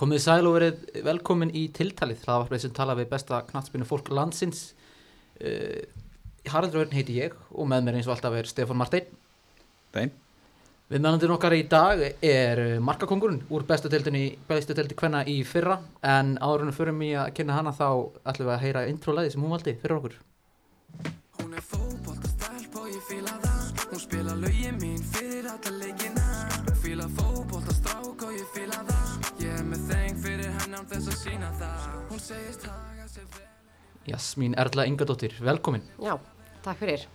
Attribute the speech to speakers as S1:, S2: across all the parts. S1: Komið sæl og verið velkomin í tiltalið hlaðavarpið sem tala við besta knattspinnu fólk landsins uh, Haraldur Örn heiti ég og með mér eins og alltaf er Stefán Marteinn
S2: Dein.
S1: Við meðandir okkar í dag er eh, markakongurinn úr bestu deildinni, bestu deildi hvenna í fyrra en áðurinn fyrir mig að kynna hana þá ætlum við að heyra intro-læði sem hún valdi fyrir okkur
S3: Hún er fótbolta stelp og ég fíla það Hún spila lögin mín fyrir alla leikina Hún fíla fótbolta strák og ég fíla það Ég er með þeng fyrir henn án þess að sína það Hún segist haga sér vel
S1: Jasmín Erla Ingadóttir, velkomin
S4: Já, takk fyrir.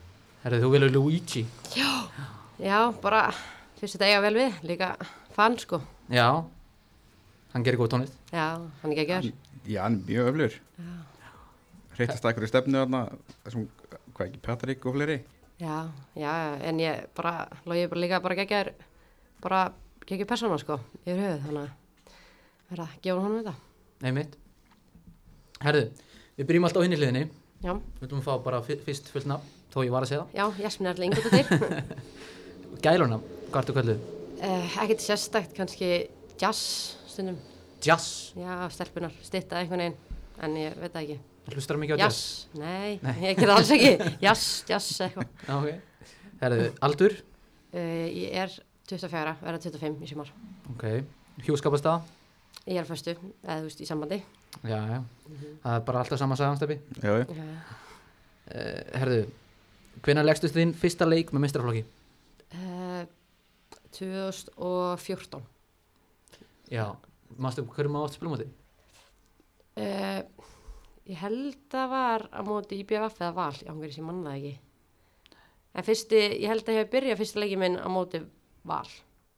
S1: Herðu þú velur Luigi
S4: Já, bara fyrst þetta eiga vel við, líka fann sko.
S1: Já, hann gerir góð tónlist
S4: Já, hann er ekki að gera.
S2: Já, hann er mjög öflur Reytast að ykkur í stefnu þarna þessum, hvað ekki, Patrik og fleiri
S4: Já, já, en ég bara, logi bara líka bara geggjar, bara geggjar persóna sko, yfir höfuð, þannig að vera að gefa honum þetta.
S1: Nei mitt Herðu, við byrjum alltaf á hinni hliðinni
S4: Já,
S1: Við viljum fá bara fyr- fyrst fullt nafn, þó ég var að segja
S4: já, Jasmin er allir yngur þetta til.
S1: það. Gælunafn, hvað ertu kallið?
S4: uh, ekkert sérstakt, kannski jazz stundum,
S1: Jazz,
S4: já, stelpunar, stitta einhvern veginn, en ég veit það ekki.
S1: hlustar mikið á jazz?
S4: Jazz, nei, ég gera alls ekki, jazz, jazz eitthvað.
S1: Já, ok. Herðu, aldur,
S4: Uh, ég er 24, verða 25 í sumar.
S1: ok. Hjúskapastað,
S4: Ég er fyrstu, eða þú veist, í sambandi.
S1: já, já. Það er bara alltaf sama samanstæpi.
S2: Já, já.
S4: Uh,
S1: Uh, herðu, hvenær leggstu þinn fyrsta leik með mistraflokki?
S4: uh, 2014.
S1: Já. Mástu hverju maður átt spilum á því?
S4: Uh, ég held að var á móti IBF eða val, ég hangur þess ég manna það ekki. En fyrsti, ég held að ég hef byrjað fyrsta leikið minn á móti val.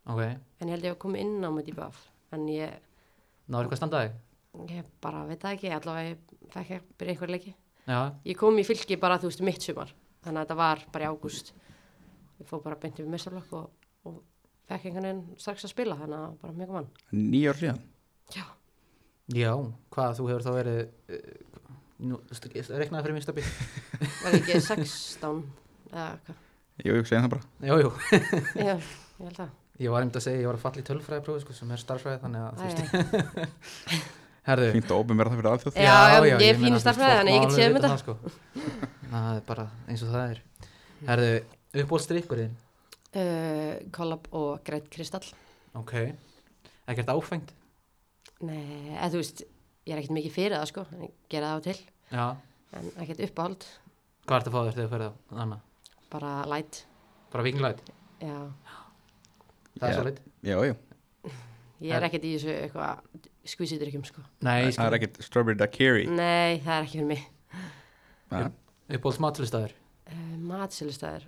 S1: Ok.
S4: En ég held að ég hef komið inn á móti IBF. En ég,
S1: Náður eitthvað standaði?
S4: ég bara veit það ekki, allavega ég fekk að byrja einhver leiki.
S1: Já,
S4: Ég kom í fylki bara, þú veist, mitt sumar. Þannig að þetta var bara í ágúst. Ég fór bara beint yfir mestarlokk og, og fekk einhvern veginn strax að spila, þannig að það var bara mjög gaman.
S2: Níu ár síðan
S4: Já,
S1: já, hvað þú hefur þá verið, uh, nú, st- reknaði fyrir minnstabi?
S4: var ekki 16 eða hvað?
S2: Jú, ég segi það bara
S1: Jú, jú,
S4: Já, ég held að.
S1: ég var einmitt að segja, ég var að falla í tölfræðaprófi, sko, sem er starfræði, þannig að, þú veist,
S4: Æ,
S1: herðu,
S2: Fínt að opum verða það fyrir alþjóð
S4: Já, já, ég er fín í stærðfræði, þannig ég get séð um
S1: þetta sko. Það er bara eins og það er Herðu, uppbólstrykkurinn
S4: uh, Collab og Greit Kristall.
S1: Ok Ekkert áfengt
S4: Nei, eða þú veist, ég er ekkert mikið fyrir það sko, en ég gera það á til.
S1: Já
S4: En ekkert uppáhald,
S1: Hvað ertu að fá þér þegar þú ferð á þannig?
S4: bara light.
S1: Bara vikinglæt
S4: Já,
S1: Það er
S2: Já.
S1: svo leitt
S2: Já, já,
S4: ég
S1: En-
S4: er ekkert í þessu eitthvað skvísidrykjum sko.
S1: Nei, Mm.
S2: það er ekkert Strawberry Daiquiri
S4: Nei, það er ekki fyrir mig.
S2: Nei.
S1: Uppbóls matlistæður
S4: Uh, Matsölustæðir.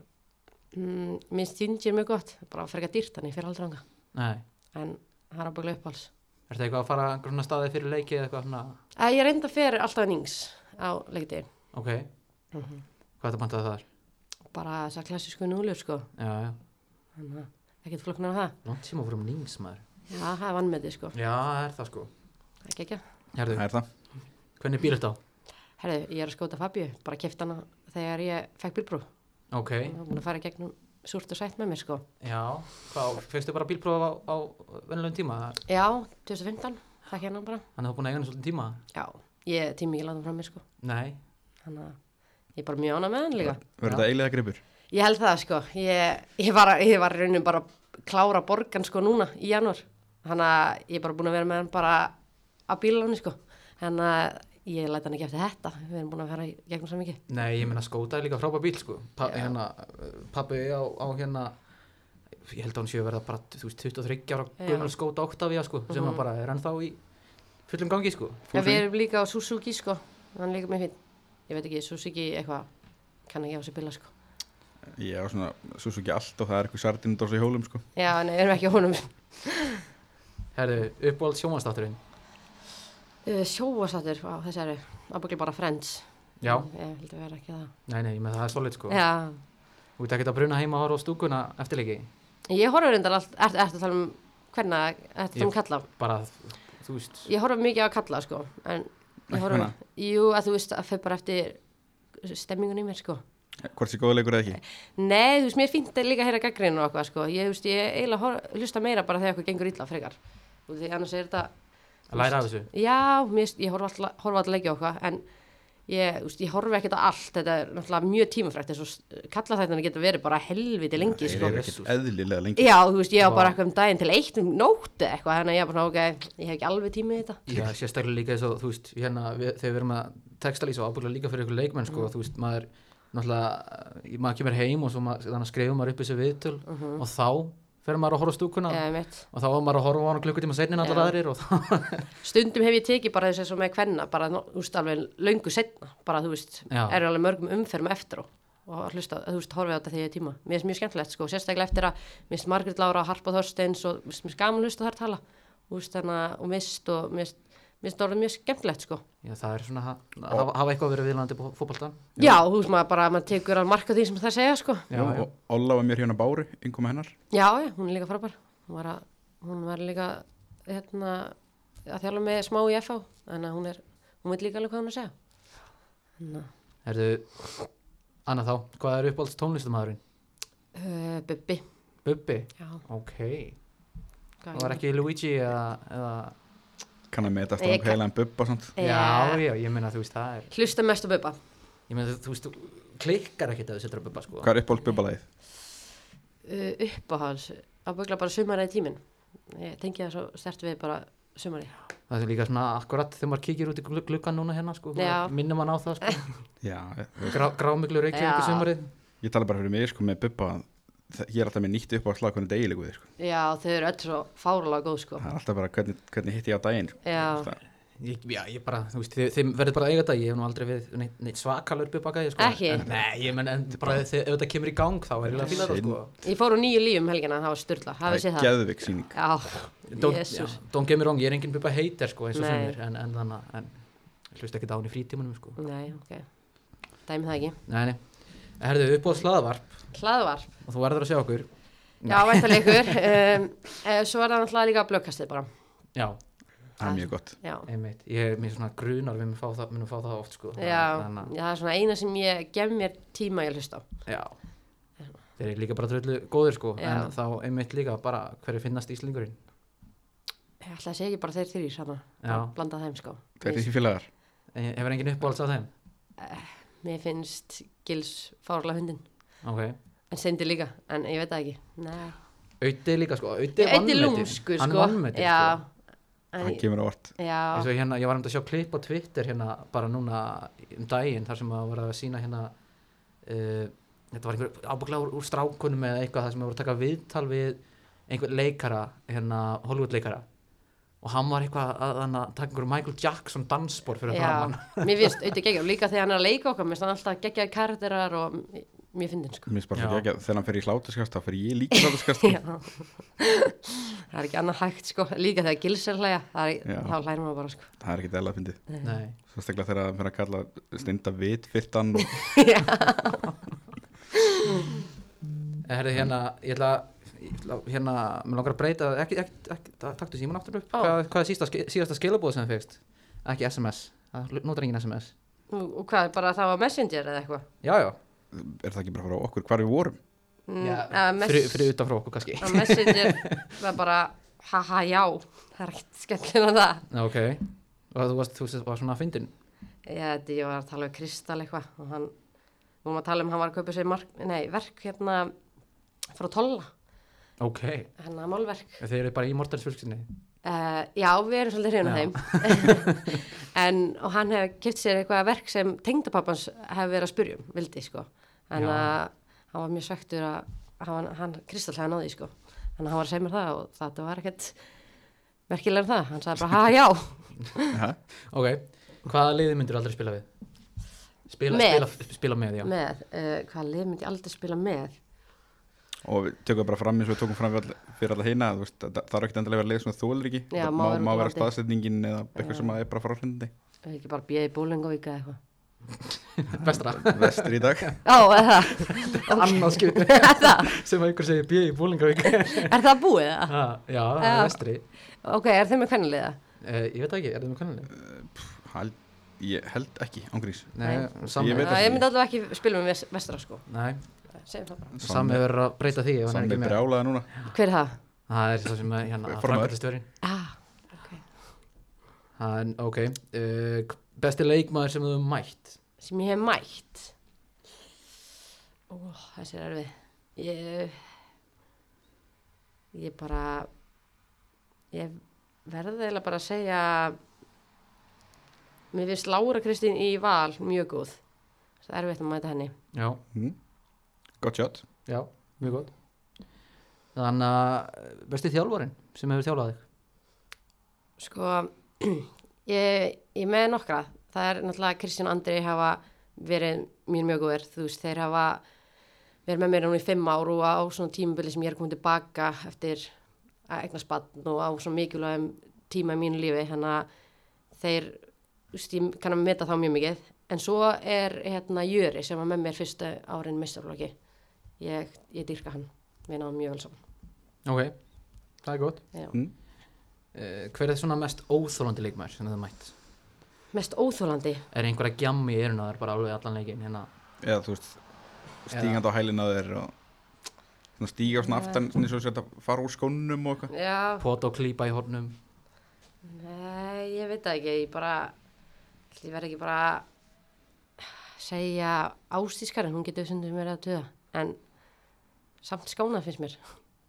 S4: Mm, Mér stýndi er mjög gott, bara að ferga dýrt þannig fyrir aldrei ánga.
S1: Nei
S4: En það er ábygglega uppáhalds.
S1: Ertu eitthvað að fara á grunna staði fyrir leiki eða eitthvað svona
S4: Æ, ég reynda fyrir alltaf nýngs á leikdegi.
S1: Ok Mhm. Hvað ertu að pantaði þar?
S4: Bara þessar klassísku núlur sko.
S1: Já, já
S4: Þannig að ekkert flokknar á það.
S1: Langt síma fórum nýms maður
S4: Já, það er vannmetið sko.
S1: Já, það er það sko
S4: Ekki ekki.
S1: Herðu,
S2: Það er það
S1: hvernig bíl þetta á?
S4: Herðu, ég er að skóta Fabíu, bara keft hana þegar ég fekk bílbrú.
S1: Ok,
S4: Hún var búin að fara í gegnum súrt og sætt með mér sko.
S1: já Hvað, fegstu bara bílprófa á, á vennilegum tíma?
S4: Já, 2015, fekk hérna bara.
S1: Þannig að þú er búin að eiga hann svolítið tíma?
S4: Já, ég tími ekki langt frá mér sko.
S1: Nei,
S4: Þannig að ég er bara mjög ánað með hann líka.
S2: Verður
S1: Já.
S2: það eiliða gripur
S4: Ég held það sko, ég, ég, var, ég var í rauninu bara að klára borgan sko núna í janúar Þannig að ég er bara búin að vera með hann bara á bílunni sko Þannig að ég læt hann ekki eftir þetta, við erum búin að fara í gegnum svo mikið
S1: Nei, ég meina skóta er líka frábær bíl sko pa,
S4: Já.
S1: hérna, uh, Pabbi á, á hérna ég held að hann séu að verða bara þú veist, 23 ára
S4: Já. Mhm.
S1: gömul skóta Octavia sko sem hann bara er ennþá í fullum gangi sko
S4: Já, við erum líka á Suzuki sko, hann er líka með fín Ég veit ekki, Suzuki eitthvað, kann ekki á sér bíla sko
S2: Já, svona, svo svo ekki allt og það er eitthvað sardindós í hólum sko
S4: Já, nei, við erum ekki á honum
S1: Herðu, uppáhald sjómanstátturinn
S4: uh, Sjóasattur, á þessari, ábyggli bara Friends
S1: Já,
S4: Ég held að vera ekki það
S1: nei, nei, ég meina það er solid sko
S4: Já,
S1: Þú ert ekkert að bruna heima og horfa á stúkuna eftirleiki
S4: ég horfur reyndar allt, ertu er, að tala um, hvernig, ertu að tala
S1: Ég-
S4: um kalla
S1: bara, þú veist
S4: Ég horfa mikið á kalla sko en
S2: Ekki
S4: ég horfa,
S2: hana?
S4: jú að þú veist að fyrir bara eftir stemmingun í mér sko
S2: Hvort sé góða leikur eða ekki
S4: Nei, þú veist, mér finnst það líka að heyra gaggrinu og eitthvað sko, ég þú veist, ég eiginlega horf, hlusta meira bara þegar eitthvað gengur illa frekar og því annars er þetta
S1: að læra af þessu
S4: Já, mér, finnst- ég horfa alltaf, horfa alltaf leikja okkar en ég, þú veist, ég horfa ekkert á allt þetta er náttúrulega mjög tímafrækt eins og kalla þetta geta verið bara helviti lengi
S2: Þeir
S4: sko.
S2: eru ekkert eðlilega lengi
S4: Já, þú veist, ég á
S1: Vá.
S4: bara eitthvað um daginn til eitt um nóttu eitthvað, þannig að ég er bara svona, ok, ég hef ekki alveg tími í þetta
S1: Já, sérstaklega líka þess að, þú veist, hérna, við, þegar við erum að textalýsa og ábúinlega líka fyrir ykkur leikmenn, sko, þú veist, maður, náttúrulega, eh, maður kemur heim og svo maður, þannig skrifum maður upp þessu viðtöl og þá fer maður að horfa á stúkuna
S4: Eða mitt.
S1: og þá var maður að horfa á hann klukkutíma seinni allar
S4: Já.
S1: aðrir og þá,
S4: Stundum hef ég tekið bara þess að með kvenna bara, no- þú veist, alveg löngu setna bara, þú veist,
S1: Já.
S4: eru alveg mörgum umferðum eftir á og hlusta, þú veist, horfið á þetta þegar ég hef tíma Mér finnst mjög skemmtilegt, sko, sérstaklega eftir að mér finnst Margrét Lára, Harpa Þorsteins og mér finnst gaman að hlusta þar tala þú veist, hana, og mist og mér finnst- mér finnst það orðið mjög skemmtilegt, sko
S1: já, það er svona, að- að hafa, hafa eitthvað að vera viðlandi fótbolta.
S4: Já, þú veist, maður bara, maður tekur að marka því sem það segja, sko
S1: Já, já.
S2: og Olla var mér hérna Báru, yngum hennar
S4: Já, já, hún er líka frábær hún var, að, hún var líka hérna, að þjála með smá í FH þannig að hún er, hún veit líka alveg hvað hún er að segja Ná.
S1: Erðu, annað þá, hvað er uppáhalds tónlistamæðurinn?
S4: Uh, Bubbi
S1: Bubbi?
S4: Já,
S1: Ok,
S4: hvað
S1: það var ekki Luigi eða, eða,
S2: kann að meta
S4: Ég
S2: eftir
S4: kann-
S2: hann heilan bubba og svona
S1: já, já, ég meina, þú veist, það er,
S4: Eh, Hlusta mest á Bubba
S1: ég meina, þú- þú veist, þú klikkar ekkert að þú setur að Bubba, sko.
S2: hvað er uppáld bubbalæðið?
S4: uh, uppáhals að bögla bara sumarið tíminn ég tengi það svo stert við bara sumarið
S1: Það er líka svona akkurat þegar maður kíkir út í glu- gluggan núna hérna sko,
S4: Já.
S1: minnum mann á það sko,
S2: já, ég-
S1: Grá, grámiglu reykja ykkur
S4: Já.
S1: sumarið.
S2: ég tala bara fyrir mig sko með bubba það- ég er alltaf með nýtt uppáld slag hvernig degilegu við sko.
S4: Já, þau eru öll svo fárulega góð sko
S2: það er alltaf bara hvernig, hvernig hitt ég á daginn sko.
S4: Já.
S2: Það-
S1: Ég, já, ég bara, þú veist, þið, þið verður bara að eiga þetta, ég hef nú aldrei verið neitt, neitt svakalur bubakaði sko.
S4: Ekki?
S1: En- Nei, ég menn, en bara þið, ef þetta kemur í gang þá er ég að fíla þetta sko.
S4: Ég fór úr nýju lífum helgina, það var styrla
S2: það
S4: hafið séð
S2: er
S4: það
S2: geðvik síning
S4: Já,
S1: Don't, já,
S4: jésús
S1: don't get me wrong, ég er engin bubba heitir sko eins og
S4: Nei.
S1: sumir, en, en þannig, að- en hlust ekki dán í frítímanum sko.
S4: Nei, ok Dæmi það ekki
S1: Nei, nei, herðu, upp á slaðavarp
S4: Hlaðvarp
S1: og þú verður að sjá okkur.
S4: Já, væntalega ykkur um, eh, Svo er það náttúrulega líka blökkastið bara
S1: Já,
S2: það er mjög gott
S4: Já,
S1: einmitt, ég er mér svona grunar við munum fá það, munum fá það oft sko.
S4: já,
S1: Þannig að-
S4: já, það er svona eina sem ég gef mér tíma ég hlusta á
S1: Já Þeir eru líka bara dröllu góðir sko
S4: Já.
S1: En þá einmitt líka bara hverju finnast Íslingurinn
S4: Ég ætla að segja ekki bara þeir þrýr saman
S1: Já.
S4: Blanda þeim sko
S2: það er því félagar
S1: En Eh, Hefur enginn uppáhalds af þeim?
S4: Mér finnst Gils fárlega hundin
S1: Ok
S4: En Steindi líka, en ég veit það ekki Nei
S1: Auði líka sko Auði er
S4: Þetta er
S1: vannmetinn
S4: lúmskur sko
S1: Hann vannmetinn
S4: Já
S1: sko
S4: en,
S2: hann kemur á orð
S1: Eins
S4: Já
S1: og hérna, ég var um að sjá klipp á Twitter hérna bara núna um daginn þar sem að var að sína hérna uh, þetta var einhver ábygglega úr, úr strákunum eða eitthvað þar sem að voru að taka viðtal við einhver leikara, hérna Hollywood leikara og hann var eitthvað að, að, að taka einhver Michael Jackson dansbor fyrir
S4: Já,
S1: framan
S4: mér finnst auðvitað geggjað og líka þegar hann er að leika okkar, mér finnst hann alltaf geggjaði karakterar og m- mér finnst hann sko.
S2: Mér spara
S1: Já.
S2: svo ekki að þegar hann fer í hlátuskast þá fer ég líka í sko. hlátuskast
S4: Já. það er ekki annað hægt sko, líka þegar Gils er að hlæja, það er,
S2: Já.
S4: þá hlærir maður bara sko.
S2: það er ekki dæla að fyndi
S1: Nei,
S2: svo stegla þegar hann fer að kalla steinda vit fyrtan og
S1: Herri, hérna, ég ætla, ég ætla hérna, mér langar að breyta, ekki, ekki, ekki ta- taktu síman aftur upp,
S4: Ó.
S1: hvað, hvað er sísta, síðasta skilabóð sem þú fegst? Ekki SMS, það notar engin SMS.
S4: Og, og hvað, bara það var Messenger eða eitthvað?
S1: Já, já,
S2: er það ekki bara frá okkur hvar við vorum
S4: Mm,
S1: já
S4: eða mess-
S1: fyrir, fyrir utan frá okkur kannski.
S4: að Messenger var bara, haha, já, það er ekkert skemmtilega en það.
S1: Ok, og þú varst, þú varst- varst svona að fyndin.
S4: Já, þetta ég var að tala um Kristal eitthvað og hann, við vorum að tala um hann var að kaupa sér mark, nei, verk hérna frá Tolla,
S1: Ok,
S4: hérna málverk.
S1: þeir eru bara í Mortens fjölskyldinni.
S4: Uh, já, við erum svolítið hreinu
S1: Já.
S4: þeim. en, og hann hefði kipt sér eitthvað verk sem tengdapappans hefði verið að spurjum, vildi, sko. En
S1: Já.
S4: að hann var mjög svektur að hann, hann Kristall hefði náði, sko. Þannig að hann var að segja mér það og þetta var ekkert merkilega um það. Hann sagði bara, ha, já,
S2: Aha.
S1: Ok, hvaða liði myndir aldrei spila við? Spila
S4: Með.
S1: Spila, spila með, já.
S4: með, uh, hvað lið myndi ég aldrei spila með?
S2: og við tökum bara fram eins og við tókum fram við alla- fyrir alla hina þú veist, það það þarf ekki endilega að vera leið sem þú þólir ekki
S4: Já,
S2: Það
S4: má
S2: má, má
S4: vera
S2: vera
S4: útlandi.
S2: staðsetningin eða eitthvað sem að er bara frá hlundi
S4: Ef Ekki bara bjöði búlingavíka eða eitthvað.
S1: Bestra.
S2: vestur í dag
S4: Já, eða það.
S1: Annað skipti sem að ykkur segir bjöði í Búlingavík.
S4: Er það búið það?
S1: Ha, já, það er
S4: Já.
S1: vestri.
S4: Ok, er þeim með hvernig liða?
S1: Uh, ég veit það ekki, er það með kannanlega?
S2: Hal, ég held ekki ángrís
S1: Nei,
S2: Ég
S1: sami,
S2: veit-
S4: Já,
S2: það
S4: ég
S2: ekki.
S4: myndi allavega ekki spila með ves- vestra, sko.
S1: nei,
S4: Segjum það bara.
S1: sami verður að breyta því ef hann er
S2: samme
S1: ekki með
S2: brjálaða núna
S4: Hver er það?
S1: Það er svo sem er hérna
S2: Formaður.
S1: framkvæmdastjórin
S4: Ah, ok.
S1: Hann, ok, uh, besti leikmaður sem þú hefur mætt
S4: sem ég hef mætt Ó, þessi er erfið ég ég bara ég verði eiginlega bara að segja mér finnst Lára Kristín í val mjög góð það er erfitt að mæta henni
S1: Já,
S2: Mm. Gott shot.
S1: já, mjög gott Þannig að eh, besti þjálfarin sem hefur þjálfað þig
S4: sko ég, ég með nokkra það er náttúrulega Kristján Andri hafa verið mér mjög góður þú veist þeir hafa verið með mér núna í fimm ár og á svona tímabili sem ég er komin tilbaka eftir að egna spann og á svona mikilvægum tíma í mínu lífi þannig að þeir þú veist, ég kann að meta þá mjög mikið en svo er hérna Jöri sem var með mér fyrstu árin mistarflokki ég, ég dýrka hann við náðum mjög vel saman
S1: Ok, það er gott
S4: Já.
S2: Mm.
S1: uh, Hver er svona mest óþólandi leikmaður sem þú hefur mætt?
S4: mest óþólandi
S1: Er einhverja gjammi í eirun á þér bara alveg allan leikinn hérna?
S2: Eða þú veist, stígandi á hælinn á þér og svona stíga svona
S4: Já.
S2: aftan, svona eins og þetta fara úr skónum og eitthvað.
S4: já
S1: Pot og klípa í hornum
S4: Nei, ég veit það ekki, ég bara, ætli ég verð ekki bara að segja ástískar en hún getur sundum mér að döða, en samt skánað finnst mér.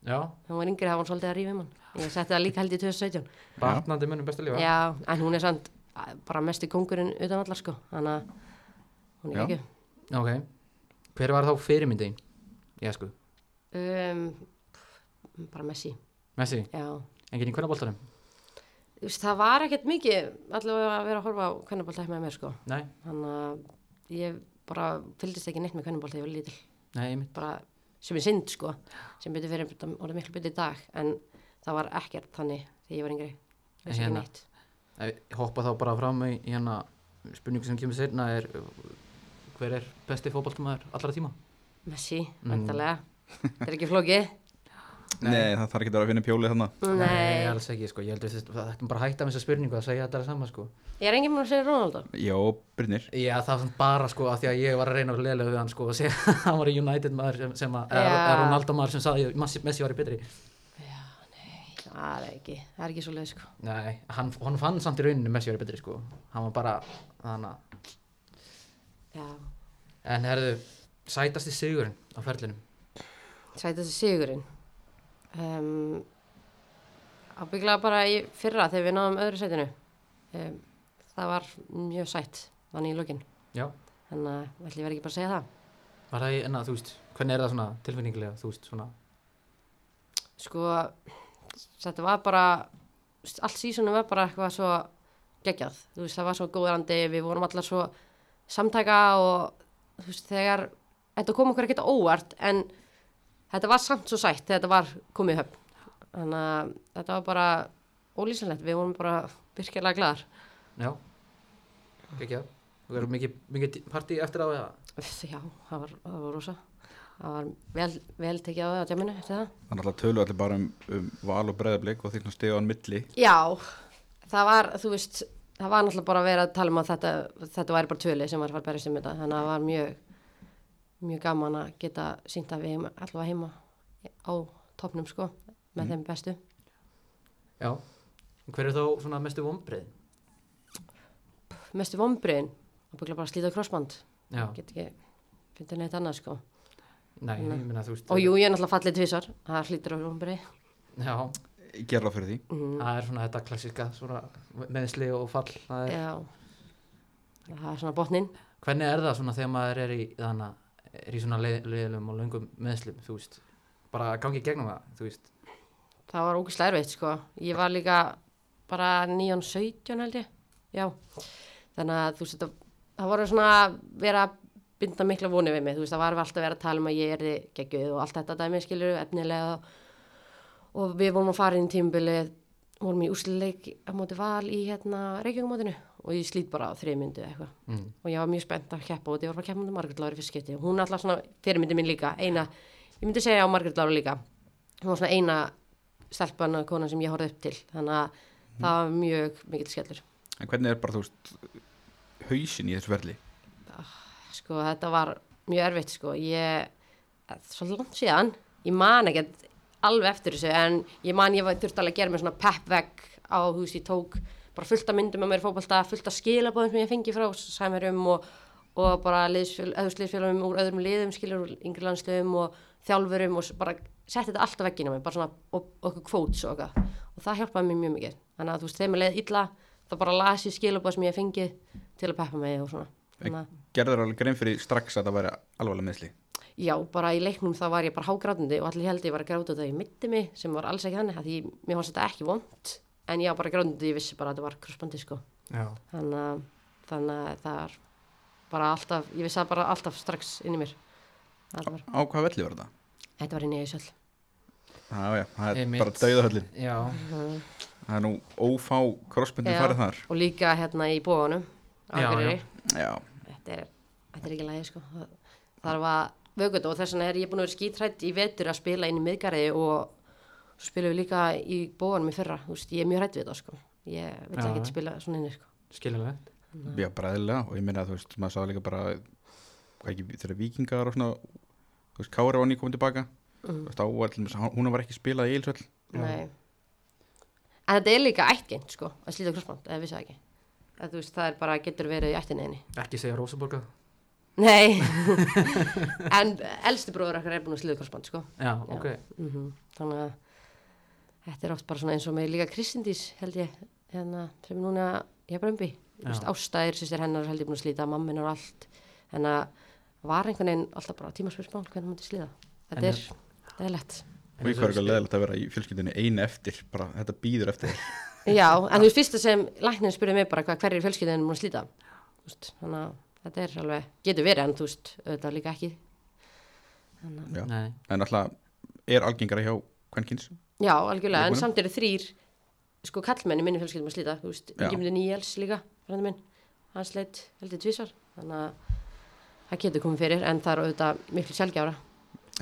S1: Já,
S4: Þegar hún var yngri þá var hún svolítið að rífa um hann. Ég setti það líka held í 2017.
S1: batnandi munum bestu lífa
S4: Já, en hún er samt að, bara mesti kongurinn utan allar sko, þannig að hún er
S2: Já.
S4: ekki.
S1: Ok, hver var þá fyrirmyndin? Já sko,
S4: Um, pff, bara Messi,
S1: Messi,
S4: já.
S1: enginn í hvernig boltanum?
S4: Þú veist, það var ekkert mikið allavega að vera að horfa á kvennabólta ekki með mér sko.
S1: Nei,
S4: Þannig að ég bara fylgdist ekki neitt með kvennabólta, ég var lítil.
S1: nei, einmitt
S4: bara sem er synd sko sem betur fyrir þetta orðið miklu betur í dag en það var ekkert þannig þegar ég var yngri þess ekki
S1: Hérna.
S4: neitt
S1: Ef við hoppa þá bara fram í í hérna spurningu sem kemur sérna er uh, hver er besti fótboltamaður allra tíma?
S4: Messi,
S1: Mm.
S4: vantarlega þetta er ekki flókið
S2: Nei, það þarf ekki að vera að finna pjólið þannig.
S1: Nei,
S4: nei,
S1: alls ekki sko, ég held að þetta er bara að hætta með þessa spurningu að segja þetta saman sko
S4: ég er enginn mér að segja Ronaldo
S2: Já, Brynir.
S1: Já, það var samt bara sko að því að ég var að reyna að leila við hann sko og segja að hann var United maður sem, sem að, eða
S4: Já.
S1: eða Ronaldo maður sem sagði að Messi- Messi var í betri
S4: það er ekki, það er ekki svo leið sko
S1: Nei, hann, hann fann samt í rauninu Messi var í betri sko, hann var bara þannig að
S4: já,
S1: En herðu, sætasti sigurinn á ferlinum
S4: sætast sigurinn um, ábygglega bara í fyrra þegar við náðum öðru sætinu um, það var mjög sætt þannig í lokin
S1: Já
S4: þannig að ætli ég verð ekki bara að segja það
S1: Var það í, enna, þú veist, hvernig er það svona tilfinningilega, þú veist, svona
S4: sko þetta var bara allt sísunum var bara eitthvað svo geggjað, þú veist það var svo góðrandi við vorum allar svo samtaka og þú veist þegar þetta kom okkur ekkert á óvart en þetta var samt svo sætt þegar þetta var komið í höfn þannig að þetta var bara ólýsanlegt, við vorum bara virkilega glæðar
S1: Já, ekki það Þú verður mikið, mikið partí eftir á eða
S4: Uff, já, það var, það var rosa það var vel, vel tekið á það á tjáminu eftir það
S2: Það er náttúrulega tölu allir bara um, um val og breðablik og því svona stiga án milli.
S4: Já, það var, þú veist, það var náttúrulega bara að vera að tala um að þetta, þetta væri bara tölu sem var að fara að berjast um þetta, þannig að það var mjög, mjög gaman að geta sínt að við eigum allavega heima á topnum, sko, með
S1: Mhm.
S4: þeim bestu.
S1: Já En Hver er þá svona mestu vombrið?
S4: Mestu vombriðin, það byggla bara að slíta krossband,
S1: Já,
S4: get ekki fundið neitt annað, sko.
S1: nei, ég meina þú veist eh,
S4: Og jú, ég er náttúrulega fallið tvisar, það slítur á vombrið.
S1: Já,
S2: Ég ger það fyrir því.
S4: Mhm.
S1: það er svona þetta klassíska svona meðsli og fall það er,
S4: Já, það er svona botnin.
S1: Hvernig er það svona þegar maður er í þannig er í svona leið- leiðilegum og löngum meðslim, þú veist bara að gangi gegnum það, þú veist
S4: það var ógislega erfitt sko ég var líka bara 9-17 held ég já þannig að þú veist þetta- það voru svona vera að binda mikla vonið við mig þú veist það var alltaf að vera að tala um að ég er geggjöð og allt þetta dæmi skilur efnilega og við vorum að fara inn í tímbilið vorum í úslileik á móti val í hérna reykjöngumótinu og ég slít bara á þriðmyndu eitthvað
S1: mm.
S4: og ég var mjög spennt að keppa og ég var bara að keppa með Margaret Láru fyrst skipti og hún er alltaf svona fyrirmyndi mín líka eina, ég myndi segja á Margaret Láru líka hún var svona eina stelpan og konan sem ég horfði upp til þannig að það var mjög mikill skellur
S2: En hvernig er bara, þú veist, hausin í þessu verli?
S4: sko þetta var mjög erfitt sko ég, svo langt síðan ég man ekkert alveg eftir þessu en ég man ég var- þurfti alveg að gera mér svona pep veg á þú veist ég tók bara fullt af myndum af mér í fótbolta, fullt af skilabóðum sem ég fengi frá sæmurum og, og bara öðusliðsfélagum úr öðrum liðum skilur úr yngri landsliðum og þjálfurum og s- bara setti þetta allt á vegginu mér, bara svona og, og okkur kvóts og okkar og það hjálpaði mér mjög mikið þannig að þú veist, þegar mér leið illa þá bara las ég skilabóð sem ég fengi til að peppa mig og svona þannig að
S2: Gerður alveg grein fyrir strax að það væri alvarlega meðsli
S4: Já, bara í leiknum þá var ég bara hágrátandi og allir held ég var að gráta þegar ég mitti mig sem var alls ekki þannig að því mér fannst þetta ekki vond en ég var bara grátandi, ég vissi bara að þetta var krossbandi sko
S1: já,
S4: þannig að, þannig að það var bara alltaf, ég vissi það bara alltaf strax inn í mér þetta var,
S2: Á hvað velli var þetta?
S4: þetta var inn í Ísöld
S2: Já, já, það er
S1: Einmitt.
S2: bara dauðahöllin
S1: já,
S2: Það er nú ófá krossbundin
S4: Já.
S2: farið þar
S4: og líka hérna í bóðunum
S1: Já,
S2: Já,
S4: þetta er, þetta er ekki lægi sko Það- þar var vögut og þess vegna er ég búin að vera skítrætt í vetur að spila inn í miðgarði og svo spilum við líka í bóðunum í fyrra, þú veist, ég er mjög hrætt við það sko ég vil
S1: Já,
S4: ekki
S1: já.
S4: spila svona inni sko
S1: skiljanlega
S2: já, bræðilega og ég meina að þú veist, maður sá líka bara hvað ekki, þegar vikingar og svona þú veist, Kári var nýkominn tilbaka þú veist, þá var til dæmis, hún var ekki spilað í Eilsvöll
S4: Nei. en þetta er líka ættgeint sko að slíta krossband, eða vissi það ekki að, þú veist, það er bara, getur verið í ættinni einni
S1: ekki segja Rósaborga
S4: Nei, en elsti bróður okkar er búin að slíða korsband, sko.
S1: já, ok,
S4: Mm Þannig að þetta er oft bara svona eins og með líka Kristindís, held ég, hérna, sem er núna ég er bara umbi.
S1: Já.
S4: Ástæðir, sýstir hennar, held ég búin að slíta, mammin og allt. Þannig að var einhvern veginn alltaf bara tímaspursmál hvernig maður slíða. Þetta
S1: En
S4: er,
S1: er-
S4: þetta er lett.
S2: og ég var ekki leðilegt að vera í fjölskyldinni einu eftir bara þetta býður eftir þér.
S4: Já, en þú veist fyrsta sem læknin spurði mig bara hvað hverjir í fjölskyldinu múin að slíta. Þú veist, Þannig að þetta er alveg, getur verið en þú veist, auðvitað líka ekki. Þannig að
S2: Já.
S1: nei,
S2: en alltaf er algengara hjá kvenkins
S4: Já, algjörlega, en
S2: Leikmönnum?
S4: samt eru þrýr sko kallmenni minni fjölskyldum að slíta þú veist,
S2: Já.
S4: ekki myndi nýjels líka frændi minn, hann sleitt heldur tvísar þannig að það getur komið fyrir en það er auðvitað miklu sjálfgjára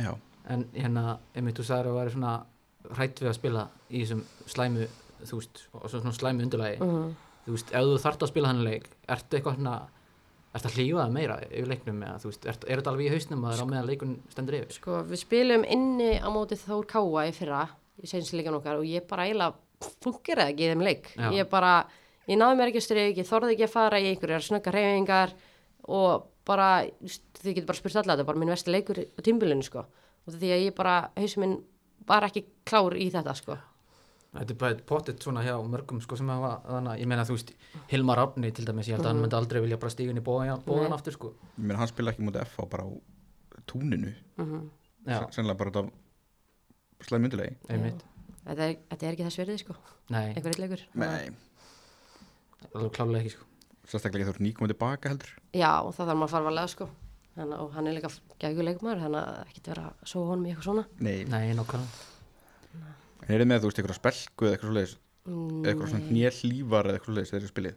S2: já,
S1: en hérna einmitt þú sagðir að það væri svona hrætt við að spila í þessum slæmu þú veist, og svona slæmu undurlægi
S4: Mhm.
S1: þú veist, ef þú þart að spila hann leik ertu eitthvað hérna ertu að hlýfa það meira yfir leiknum eða þú veist, er, er þetta alveg í hausnum að það er á meðan leikun stendur yfir
S4: Sko, við spilum inni á móti Þór Káa í fyrra í seinsleikan okkar og ég bara eiginlega fungir það ekki í þeim leik
S1: Já.
S4: ég bara, ég náði mér ekki stryk, ég þorði ekki að fara í einhverjar snöggar reyfingar og bara, þú veist, þið getur bara spurt alla þetta er bara minn vesti leikur á tímbilinu sko og því að ég bara, hausum minn var ekki klár í þetta sko
S1: Þetta er bara pottitt svona hjá mörgum sko sem hafa þannig, ég meina þú veist Hilmar Árni til dæmis, ég held að hann myndi aldrei vilja bara stígun í bóðan, bóðan
S4: Mhm. Nei.
S1: aftur sko
S2: ég meina hann spila ekki mútið FH bara á túninu
S1: Já,
S2: sennilega bara þetta slæmi undurlegi
S1: einmitt,
S4: þetta er, þetta er ekki þess verið sko
S1: nei,
S4: einhver eitt leikur
S2: nei,
S1: alveg klálega ekki sko
S2: sérstaklega þú eru nýkominn tilbaka heldur
S4: já, og það þarf maður að fara varlega sko Þannig, og hann er líka gæguleikmaður þannig að ekkert vera að sofa honum í eitthvað svona
S2: nei,
S1: Nei, nokkvæmlega,
S2: en er þið með þú veist eitthvað spelku eða eitthvað svoleiðis
S4: Mm,
S2: eða eitthvað svona nélívar eða eitthvað svoleiðis þegar þið spilið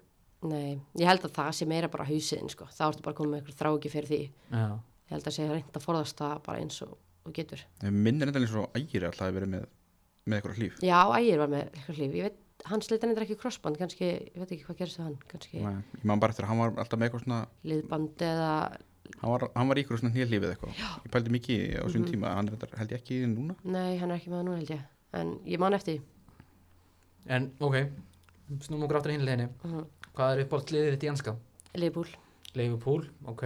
S4: Nei, ég held að það sé meira bara hausiðin sko. þá ertu bara komið með eitthvað þráki fyrir því ég
S1: já,
S4: held að sé reynd að forðast það bara eins og, og getur.
S2: Mér minnir þetta eins og ægir alltaf að vera með með eitthvað hlýf
S4: Já, ægir var með eitthvað hlýf ég veit, hann sleit hann ekki crossband kannski, ég veit ekki hvað gerist við hann kannski
S2: Nei, ég man bara eftir að hann var alltaf með eitthvað svona
S4: liðband eða
S2: hann var, hann var í eitthvað svona nélífið eitthvað ég pældi mikið í- á
S4: Mhm.
S2: svona tíma hann reyndar, held ég ekki í því núna
S4: nei, hann er ekki með það nú held ég en ég man eftir því.
S1: en ok snúm okkur aftur hinleginni
S4: Mhm.
S1: hvað er uppátt liðið þitt í anska?
S4: Liðbúl
S1: Leifupúl, ok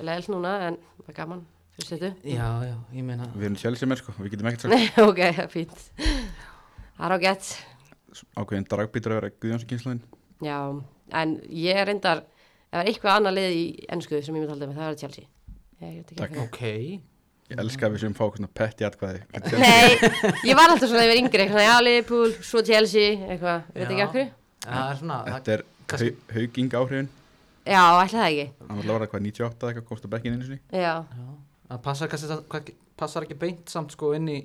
S4: leðil núna en það er gaman fyrir setu
S1: já, já, ég meina
S2: við erum sjálf sem er sko, við getum ekkert sagt
S4: Nei, ok, það er fínt það er á gett
S2: ákveðin dragbítur að vera Guðjónskynslan
S4: já, en ég reyndar ef það er eitthvað annað lið í ennsku sem ég myndi haldið með, það er Chelsea ég, ég veit ekki
S2: Takk.
S4: af hverju.
S1: ok,
S2: ég elska að við séum fá eitthvað svona pett í atkvæði
S4: Nei, ég var alltaf svona yfir yngri, eitthvað, já, Liverpool, svo Chelsea, eitthvað, veit ekki
S1: Já.
S4: af hverju?
S1: það er svona
S2: þetta er
S1: kannski-
S2: hau- hauging áhrifin
S4: Já, ætla það ekki,
S2: hann var lára hvað 98 eða eitthvað komst á bekkinn einu sinni
S4: já,
S1: já, það passar, kannski, það- hvað- passar ekki beint samt sko inn í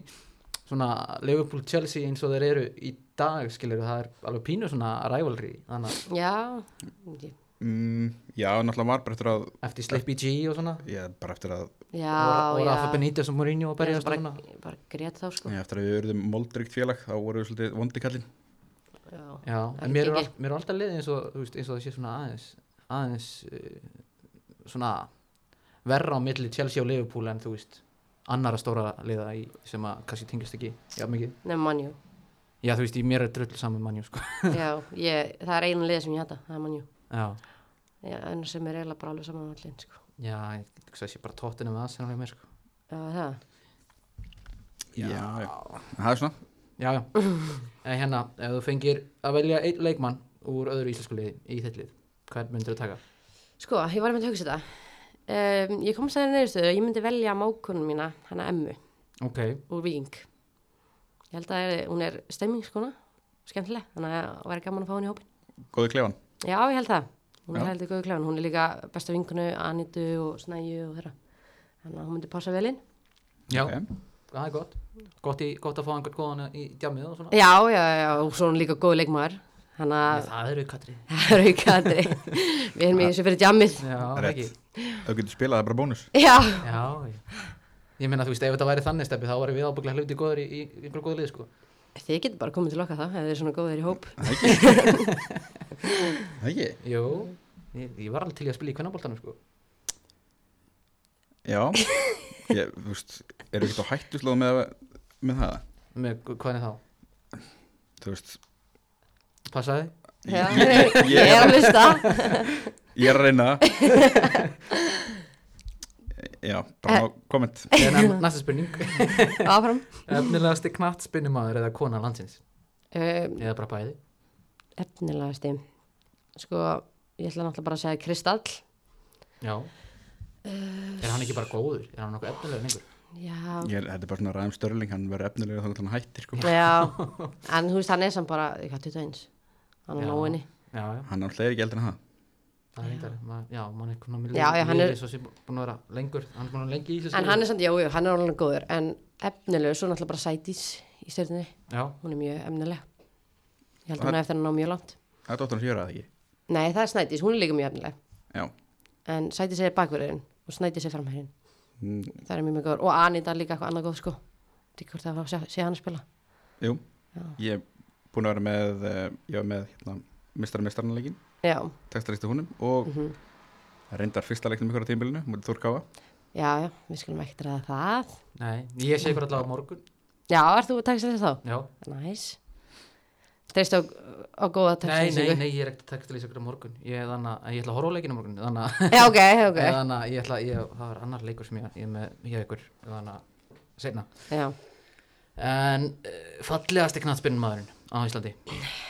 S1: svona Leifupúl Chelsea eins og þeir eru í dag skilur það er alveg pínu svona rivalry þannig að
S4: já, ég-
S2: mm, já, náttúrulega var bara eftir að
S1: eftir Slippy G og svona
S2: já, bara eftir að,
S4: já,
S1: og, og
S4: já,
S1: Rafa Benítez og Mourinho og
S4: ég
S1: berjast og
S4: bara,
S1: svona
S4: ég bara grét þá, sko,
S2: já, eftir að við eruðum moldrygt félag þá voru við svolítið vondikallin
S4: já,
S1: já,
S4: Það
S1: en
S4: er
S1: mér
S4: ekki
S1: er, al- mér er alltaf liðið eins og þú veist, eins og það sé svona aðeins aðeins uh, svona verra á milli Chelsea og Liverpool en þú veist annara stóra liða í, sem að kannski tengist ekki já mikið
S4: nefnum mannjú,
S1: já þú veist, ég mér er drull saman mannjú sko.
S4: Já, ég, það er einu lið sem ég hætta, það er mannjú.
S1: já,
S4: En sem er eiginlega bara alveg saman allir, sko.
S1: já, ég hugsa að sé bara tóttinu með aðsinn á mér sko.
S4: Já, það.
S2: já, já. En það er svona,
S1: já, já, en hérna ef þú fengir að velja einn leikmann úr öðru íslensku liði í þitt lið hvern myndir þú taka?
S4: Sko, ég var einmitt að hugsa þetta. Um, ég komst að það neyðustuðu að ég myndi velja mákunum mína, hana Emmu,
S1: ok,
S4: úr Víking. Ég held að er, hún er stemmingskona, skemmtileg, þannig að væri gaman að fá hún í hópin.
S2: góði klefan
S4: Já, ég held það. Hún er
S2: Já.
S4: heldur góðu klefan, hún er líka besta vinkunu, Anitu og Snæju og þeirra. Þannig að hún myndi passa vel inn.
S1: já,
S2: Ok.
S1: það er gott gott, í, gott að fá einhvern góðan í djamið og svona
S4: Já, já, já, og svo er hún líka góð leikmaður. Þannig að
S1: Nei, það eru katrið
S4: Það er aukandi. Við erum í þessu fyrir jammið.
S1: Já,
S2: Rétt.
S1: ekki
S2: Ef þú getur spilað, það er bara bónus
S4: Já.
S1: Já, já. Ég meina, þú veist, ef þetta væri þannig stefni þá varum við ábygglega hluti góður í, í einhverju góðu lið, sko.
S4: Þið getur bara komið til okkar þá, ef þið er svona góðir í hóp.
S2: Það ekki?
S1: Jú, ég, ég var alveg til í að spila í kvennaboltanum, sko.
S2: Já, ég, þú veist, eru ekkert á hættuslóð með, með það
S1: Með gu- hvernig þá?
S2: Þú veist,
S1: Passaði?
S4: Já.
S2: ég,
S4: Ég er að hlusta.
S2: ég er að reyna Já, bara ná komment
S1: En en næsta spurning.
S4: Áfram.
S1: Efnilegasti knatt spinnumæður eða kona landsins?
S4: Um,
S1: Eða bara bæði?
S4: Efnilega stim. Sko, ég ætla náttúrulega bara að segja Kristall.
S1: Já.
S4: Eh,
S1: Er hann ekki bara góður? Er hann nokkuð efnilegur en einhver?
S4: Já.
S2: ég, er- Þetta er bara svona ræðum störling, hann verður efnilega þá hann hættir sko.
S4: Já. En þú veist, hann er samt bara, ég hvað, 21. Hann er
S1: Já.
S4: nóinni.
S1: Já, já.
S2: Hann er alltaf ekki eldri en það
S1: Það er einhver, maður- já, mann er konar með
S4: Já, já, hann er-
S1: svo sem búin að vera lengur, hann er búin að vera lengi í þessu.
S4: En hann er samt, já, já, hann er alveg góður. En efnilega, svo náttúrulega bara sætís í stjórninni.
S1: Já,
S4: Hún er mjög efnilega. Ég held að hún er eftir að ná mjög langt.
S2: Það er dóttur hans gjöra það ekki
S4: Nei, það er Snædís, hún er líka mjög efnileg.
S2: Já,
S4: en sæti sér bakverðin og snæti sér framherrin
S2: mm,
S4: það er mjög mjög góður og Anita er líka eitthvað annað góð sko til hvort það var að sé, sé hann að spila
S2: jú
S4: Já.
S2: Ég er búin að vera með eh, Ég var með hérna, mistara mistaranalegin
S4: já, Mhm.
S2: Textaristu húnum og reyndar fyrsta leiknum ykkur á tímbilinu Múlið Þórkáfa
S4: já, já, við skulum ekkert að það
S1: nei, ég sé ykkur allavega á morgun.
S4: já, ert þú að taka sér þess þá?
S1: Já.
S4: næs treystu á, á góða
S1: Nei,
S4: textilýsingu?
S1: nei, nei, ég er ekkert að textilýsa ykkur á morgun Ég, þannig, að- ég ætla að horfa á leikinu á morgun Þannig að
S4: já, ok, ok
S1: okay. þannig, að ég ætla, ég, það er annar leikur sem ég, ég er með hjá ykkur Þannig að setna
S4: já,
S1: En uh, fallegasti knattspinn maðurinn á Íslandi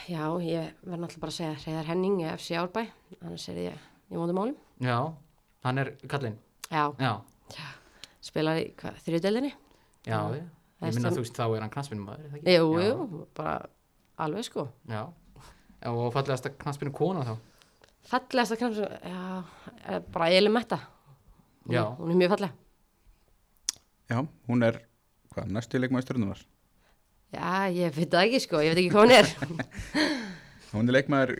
S4: já, ég verð náttúrulega bara að segja Reyðar Henning, eða FC Árbæ annars er ég, ég móti málum
S1: Já, hann er kallinn
S4: já,
S1: Já,
S4: spilar í hvað, þriðdeldinni
S1: já, já.
S4: Það er
S1: Ég minna
S4: stund-
S1: þú veist þá er hann knattspinn maður
S4: jú, jú, bara alveg sko
S1: Já, Já, og fallegasta knattspinn kona þá
S4: Fallegast að knapsa, já, eh, bara Elin Metta. Hún,
S1: Já.
S4: Hún er mjög falleg.
S2: Já, hún er, hvað, næstu leikmaður stjórnunar
S4: Já, ég veit það ekki sko, ég veit ekki hvað hún er.
S2: Hún er leikmaður,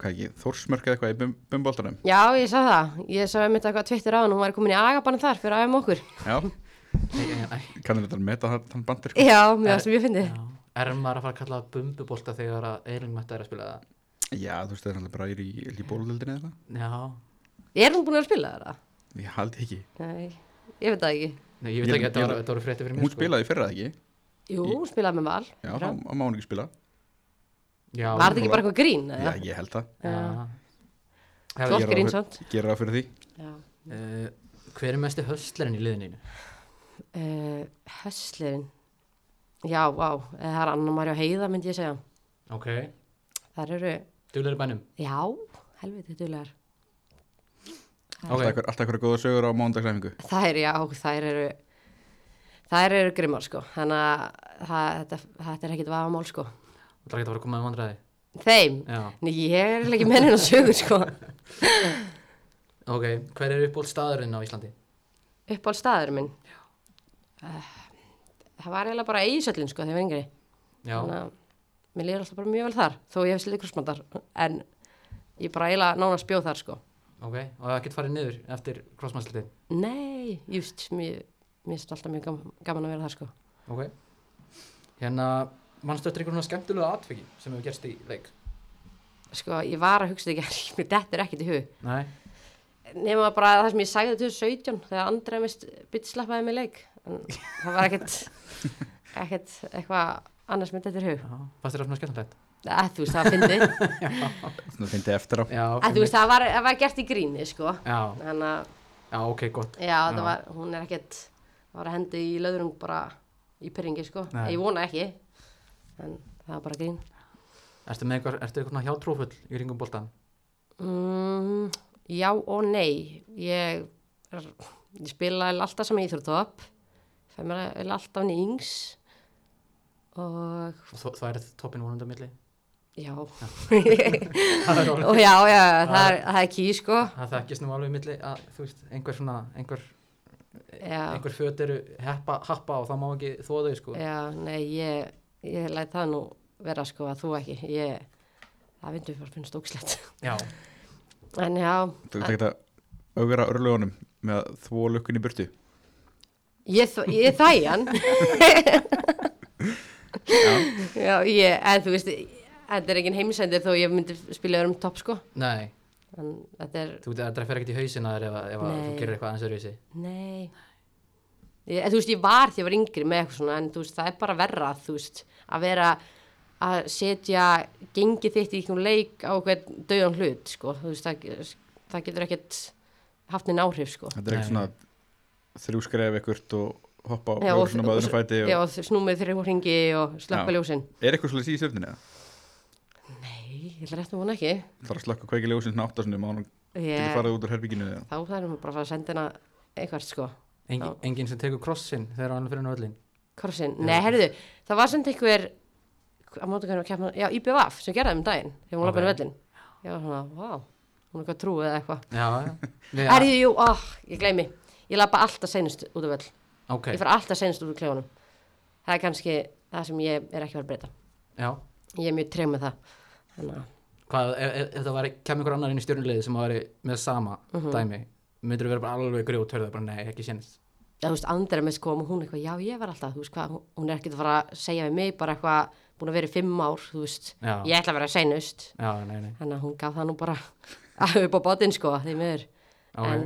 S2: hvað ekki, Þórsmörk eða eitthvað í bum- bumboltanum
S4: já, ég sá það. Ég sá einmitt eitthvað tvittir á hann, hún var komin í agabann þar fyrir aðeim okkur.
S2: Já,
S1: Nei, nei, nei.
S2: kannum þetta meta það- þann bandir sko.
S4: Já, mér varst mjög fyndið.
S1: Já. Er maður að fara að kalla það bumbubolta þegar að Eilin Metta er að spila það?
S2: Já, þú veist, það er alltaf bara í, í, í bóludeldinni eða eitthvað
S1: Já,
S4: Er hún búin að spila það?
S2: Ég held ekki
S4: Nei, ég veit það ekki.
S1: Nei, ég veit ekki
S2: Ég-
S1: að
S2: ég-
S1: þetta voru- þetta voru frétti fyrir mér
S2: Hún
S1: sko.
S2: spilaði í fyrra eða ekki
S4: Jú,
S2: Í-
S4: hún spilaði með val.
S2: Já,
S4: Fyrra.
S2: þá má hún ekki spila
S1: Já,
S4: var þetta ekki
S2: hún var-
S4: bara eitthvað grín?
S2: Já,
S4: eða?
S2: ég held það
S1: Já.
S4: Flott
S1: Herðu,
S2: Ég er á-
S4: grín samt.
S2: Ég Gerir það fyrir því
S4: Já.
S1: uh, hver er mesti höstlerinn í liðinu? þínu?
S4: Uh, höslirin. Já, vá, eh, það er Anna Marja Heiða myndi ég segja.
S1: Ok,
S4: Það eru,
S1: duglegur í bænum.
S4: já, helviti duðlegar.
S2: Alltaf einhver- alltaf einhverja góða sögur á mándagsæfingu
S4: Þær, já, þær eru þær eru grimmar sko þannig að það, þetta, þetta er ekkit vafamál sko
S1: Það er ekki að fara að koma með vandræði.
S4: þeim,
S1: Já,
S4: en ég er ekki með hennar sögur sko
S1: ok, hver er uppbólt staðurinn á Íslandi?
S4: uppáld staður minn uh, það var eiginlega bara eigisöllin sko þegar ég var yngri
S1: Já,
S4: að mér líður alltaf bara mjög vel þar þó ég hef slítið krossmandar en ég bara eiginlega nánast bjóð þar sko
S1: ok, og það getur farið niður eftir crossmannslitið.
S4: nei, just, mér mér finnst alltaf mjög gaman, gaman að vera þar sko
S1: Ok, hérna, mannstu eftir einhvern svona skemmtilega atviki sem hefur gerst í leik?
S4: sko, ég var að hugsa þetta ekki mér dettur ekkit í hug
S1: Nei,
S4: nema bara það sem ég sagði 2017 þegar Andrei mist bitslappaði mig leik en það var ekkert ekkert eitthvað annars myndi þetta er hug
S1: Já, fannst þér það svona skemmtilegt?
S4: að þú veist það að fyndi
S2: Svona fyndi eftir á
S1: Já,
S4: að þú veist það var, það var gert í gríni sko
S1: já,
S4: þannig að
S1: já, ok, gott
S4: já, það
S1: Já.
S4: var, hún er ekkert það var að hendi í löðrung bara í pyrringi sko,
S1: Nei.
S4: ég vona ekki en það var bara grín
S1: Ertu með eitthvað, ertu eitthvað svona hjátrúfull í ringum boltan?
S4: mm, já og nei ég, er, ég spila eiginlega alltaf sem íþróttopp fæ mér eiginlega alltaf hann í yngs og
S1: Það er toppin vonandi að milli
S4: já
S1: Það er orðið
S4: og já, já, það er, það er ký sko
S1: Það þekkist nú alveg í milli að þú veist, einhver svona, einhver,
S4: já,
S1: einhver föt eru heppa, happa og það má ekki þóða þau sko
S4: Já, nei, ég, ég læt það nú vera sko að þú ekki. Ég, það vindur bara finnst ógslætt.
S1: Já,
S4: En já,
S2: Þú getur að augra örlugunum með að þvó lukkunni í burtu
S4: ég, þ- ég þæg hann.
S2: Já,
S4: já, ég, en þú veist, þetta er ekki heimsendir þó ég myndi spila öðrum topp sko.
S1: nei,
S4: En þetta er,
S1: þú veit að það fer ekkert í hausina þér ef, að- ef að þú
S4: Nei.
S1: gerir eitthvað aðeins öðruvísi
S4: nei. Ég, en þú veist, ég var því að ég var yngri með eitthvað svona, en þú veist, það er bara verra, þú veist, að vera að setja gengið þitt í einhvern leik á hvern döðan hlut, sko, þú veist, það, það getur ekkert haft neinn áhrif, sko.
S2: þetta er
S1: Nei.
S2: ekki svona þrjú skref ekkert og hoppa og
S4: Já,
S2: augra
S4: og-
S2: svona
S4: og-
S2: maðurinn fæti
S4: Já,
S2: og...
S4: snúmið þrjú hringi og slökka
S2: Já.
S4: ljósin.
S2: Er eitthvað svolítið í söfninu?
S4: Nei, ég ætla rétt nú vona ekki.
S2: Það er að slökka kveiki ljósin svona áttasunum og hann getur
S4: Ég,
S2: farið út úr herbygginu eða
S4: þá þarfum við bara að fara að senda hana eitthvað, sko.
S1: Engin, engin sem tekur krossin þegar hann er fyrir nöðlin
S4: Korsin.
S1: Já.
S4: Nei, herðu, það var senda einhver, á móti hvernig að kemna, já, IBVF sem gerði það um daginn, þegar hún
S1: Ok.
S4: lappaði okay. vellin. Já, svona, vá, hún er eitthvað trúið eða eitthvað.
S1: Já, já,
S4: Ja. Herðu, jú, ó, ég gleymi. Ég lappa alltaf seinust út af vell.
S1: ok,
S4: Ég fer alltaf seinust út af klefunum. Það er kannski það sem ég er ekki að fara að breyta.
S1: já
S4: Ég er mjög treg með það. Þannig að,
S1: Hvað, ef, ef, ef það væri, kemur einhver annar inn í stjórnulegið sem að væri með sama
S4: Mhm.
S1: dæmi myndir vera bara alveg grjótörðu bara nei, ekki sénst
S4: Já, þú veist, Andra með sko, og hún eitthvað, já, ég var alltaf, þú veist hvað, hún- hún er ekkert að fara að segja við mig, bara eitthvað, búin að vera í fimm ár, þú veist,
S1: Já.
S4: ég ætla að vera seinust,
S1: Já, nei, nei,
S4: þannig að hún gaf það nú bara upp á botinn, sko, því miður.
S1: Ok.
S4: En,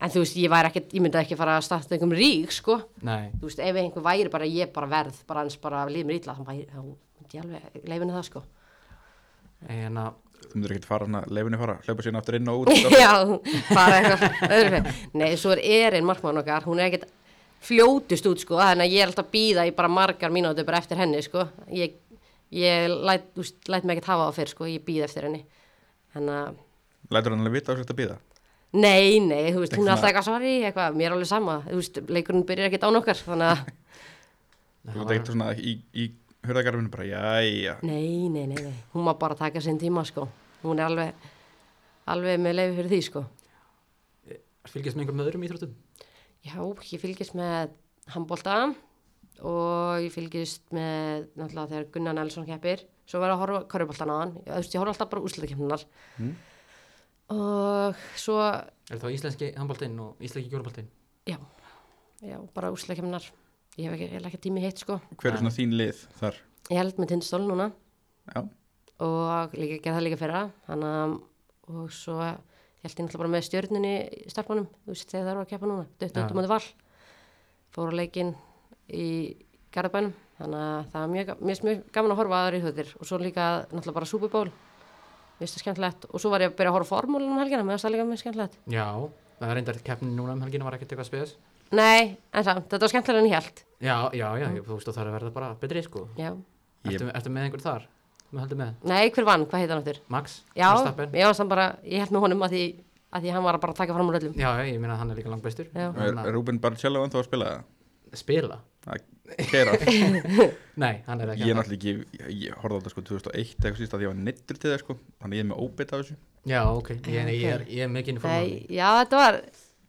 S4: en þú veist, ég væri ekkert, ég myndi ekki fara að starta einhverjum rík, sko,
S1: nei
S4: þú veist, ef einhver væri bara, ég bara verð, bara eins bara líð mér illa, þá væri- þá myndi ég alveg leifinu það, sko.
S1: En að,
S2: Þú myndir ekkert fara svona, leifinu fara, hlaupa síðan aftur inn og út
S4: Já, bara eitthvað öðrufið. Nei, svo er Erin markmann okkar, hún er ekkert fljótust út sko, þannig að ég er alltaf að býða í bara margar mínútur bara eftir henni sko. Ég, ég læt, úst, læt mig ekkert hafa það fyrr sko, ég býð eftir henni. Þannig að,
S2: Lætur hann alveg vita á þess að býða
S4: nei, nei, þú veist, hún
S2: Eitthvað-
S4: er alltaf eitthvað svari, eitthvað, mér er alveg sama, þú veist, leikurinn byrjar ekkert án okkar, þannig að,
S2: Þú ert ekkert svona í, í hörðagarfinu bara, jæja
S4: nei, nei, nei, nei, hún má bara taka sinn tíma sko, hún er alveg, alveg með leiði fyrir því sko.
S1: fylgjast með einhverjum öðrum íþróttum
S4: Já, ég fylgist með handbólta og ég fylgist með náttúrulega þegar Gunnar Nelsson keppir svo var ég að horfa körfuboltan á hann ég, þú veist, ég horfa alltaf bara úrslutakeppnunar
S2: Mm.
S4: og svo
S1: Er það íslenski handbóltinn og íslenski gjóruboltinn?
S4: já, já bara úrslutakeppnunar ég hef ekki, ég hef ekki tími hitt sko
S2: Hver er svona þín lið þar?
S4: ég held með tindstól núna
S2: Já,
S4: og líka, gerði það líka fyrra þannig að og svo ég held ég náttúrulega bara með stjörninni í starfmanum, þú veist þegar það eru að keppa núna döttu
S1: Já.
S4: út um að val fór á leikinn í Garðbænum þannig að það var mjög, ga- mér finnst mjög gaman að horfa aðra í þjóttir og svo líka náttúrulega bara Super Bowl mér finnst það skemmtilegt og svo var ég að byrja að horfa formúlunum helgina, mér finnst það líka mjög skemmtilegt
S1: Já, það er reyndar keppnin núna um helginu var ekkert eitthvað spes
S4: nei, en samt, þetta var skemmtilega en ég held
S1: Já, já, já, ég, þú veist að það er að verða bara betri sko
S4: já.
S2: Ég-
S1: Ertu, ertu með einhver þar? Þú heldur með?
S4: nei, hver vann, hvað heit hann aftur?
S1: Max?
S4: já,
S1: Verstappen?
S4: ég, var bara, ég held með honum að því, að því hann var að bara taka fram úr öllum
S1: Já, já, ég meina að hann er líka langbestur
S4: Já.
S2: er
S1: Þannig að
S2: Rúben Barcello ennþá að spila það?
S1: Spila?
S2: Að keira
S1: Nei, hann er ekki
S2: Ég er
S1: ennþá.
S2: náttúrulega ekki, ég- ég horfði á þetta sko 2001 eitthvað síst að ég var neittur til það sko Þannig ég er með óbeitt af þessu
S1: Já, ok, ég, ég, ég, er, ég er mikið inn í formúlunni
S4: Nei, já, þetta var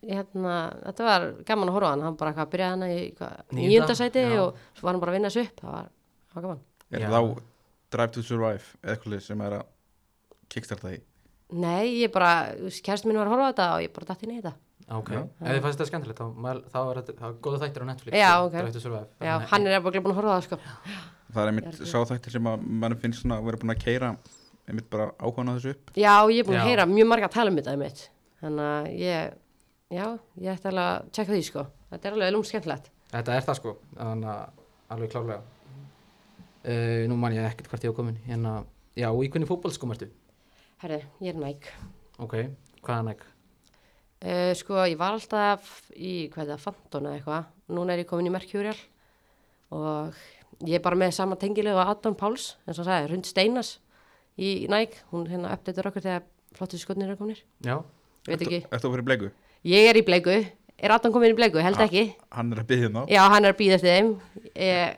S4: hérna, þetta var gaman að horfa á hann hann bara hvað byrjaði hana í hvað,
S1: Níunda,
S4: nýjunda sæti
S1: já.
S4: og svo var hann bara að vinna þessu upp það var, það var gaman
S2: Er
S1: Já.
S2: þá Drive to Survive eða eitthvað lið sem er að kickstarta því
S4: Nei, ég bara, kærstin mín var að horfa á þetta og ég bara datt inn í þetta
S1: Ok, ef þið fannst þetta skemmtilegt þá, mæl- þá er þetta þá er góða þættir á Netflix
S4: Já,
S1: og
S4: ok.
S1: Drive to Survive.
S4: Já,
S1: Þannig-
S4: hann er bara búin að horfa á það sko
S2: Það er einmitt sá þættir sem að mann finnst svona að vera búin að keira einmitt bara áhugan á þessu upp
S4: Já, ég er búin að
S1: Já.
S4: heyra mjög marga að tala um þetta einmitt þannig að ég, já, ég ætti alveg að tjekka því sko þetta er alveg lúm skemmtilegt
S1: Þetta er það sko, þannig að alveg klárlega uh, nú man ég ekkert hvert ég á komin hérna, já, og í hvernig fótballskum ertu?
S4: Herðu, ég er næk.
S1: ok, hvaðan ekki?
S4: Uh, sko, ég var alltaf í, hvað er það, Fantona eitthvað. Núna er ég komin í Mercurial og ég er bara með sama tengilegu að Adam Páls, eins og hann sagði, Rund Steinas í næk. Hún hérna uppdættur okkur þegar flottu skotnir eru kominir.
S1: já,
S4: Ég veit ekki.
S2: Ertu að fyrir bleiku?
S4: Ég er í bleiku. Er Adam komin í bleiku? Held ekki.
S2: Hann er að byggja þá
S4: Já, hann er að býða eftir þeim. Ég,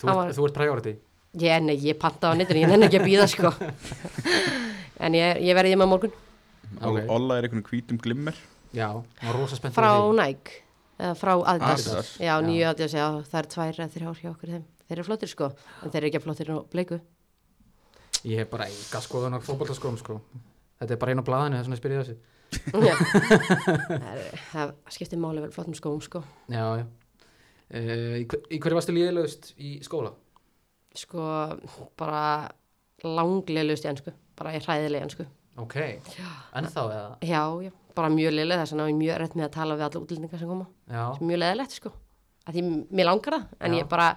S1: þú ert,
S4: Hann var-
S1: þú ert priority
S4: ég, nei, ég panta á netinu, ég nenni ekki að býða sko. en ég, ég verði í maður morgun
S1: Ok.
S2: Olla er einhvern hvítum glimmer
S1: já, hann var rosa spennt
S4: frá
S1: fyrir því.
S4: Nike, eða frá Adidas.
S2: Adidas.
S1: Já.
S4: Já, nýju Adidas, já, það er tvær eða þrjár hjá okkur þeim. Þeir eru flottir sko, en þeir eru ekki að flottir nú bleiku.
S1: ég hef bara enga skoðan á fótballskóm sko. þetta er bara einu á blaðinu þess vegna spyr ég þessu
S4: Já. það, er- það skiptir máli vel flottum skóm sko.
S1: já, já uh, í, hver- í hverju varstu liðilegust í skóla?
S4: Sko, bara langlegust í ennsku, bara ég hræðilega ennsku.
S1: ok, ennþá eða?
S4: Já, já, bara mjög leiðilega þess að ná ég mjög rétt með að tala við alla útlendingar sem koma.
S1: já,
S4: sem er mjög leðilegt sko að því mér langar það en
S1: Já.
S4: ég bara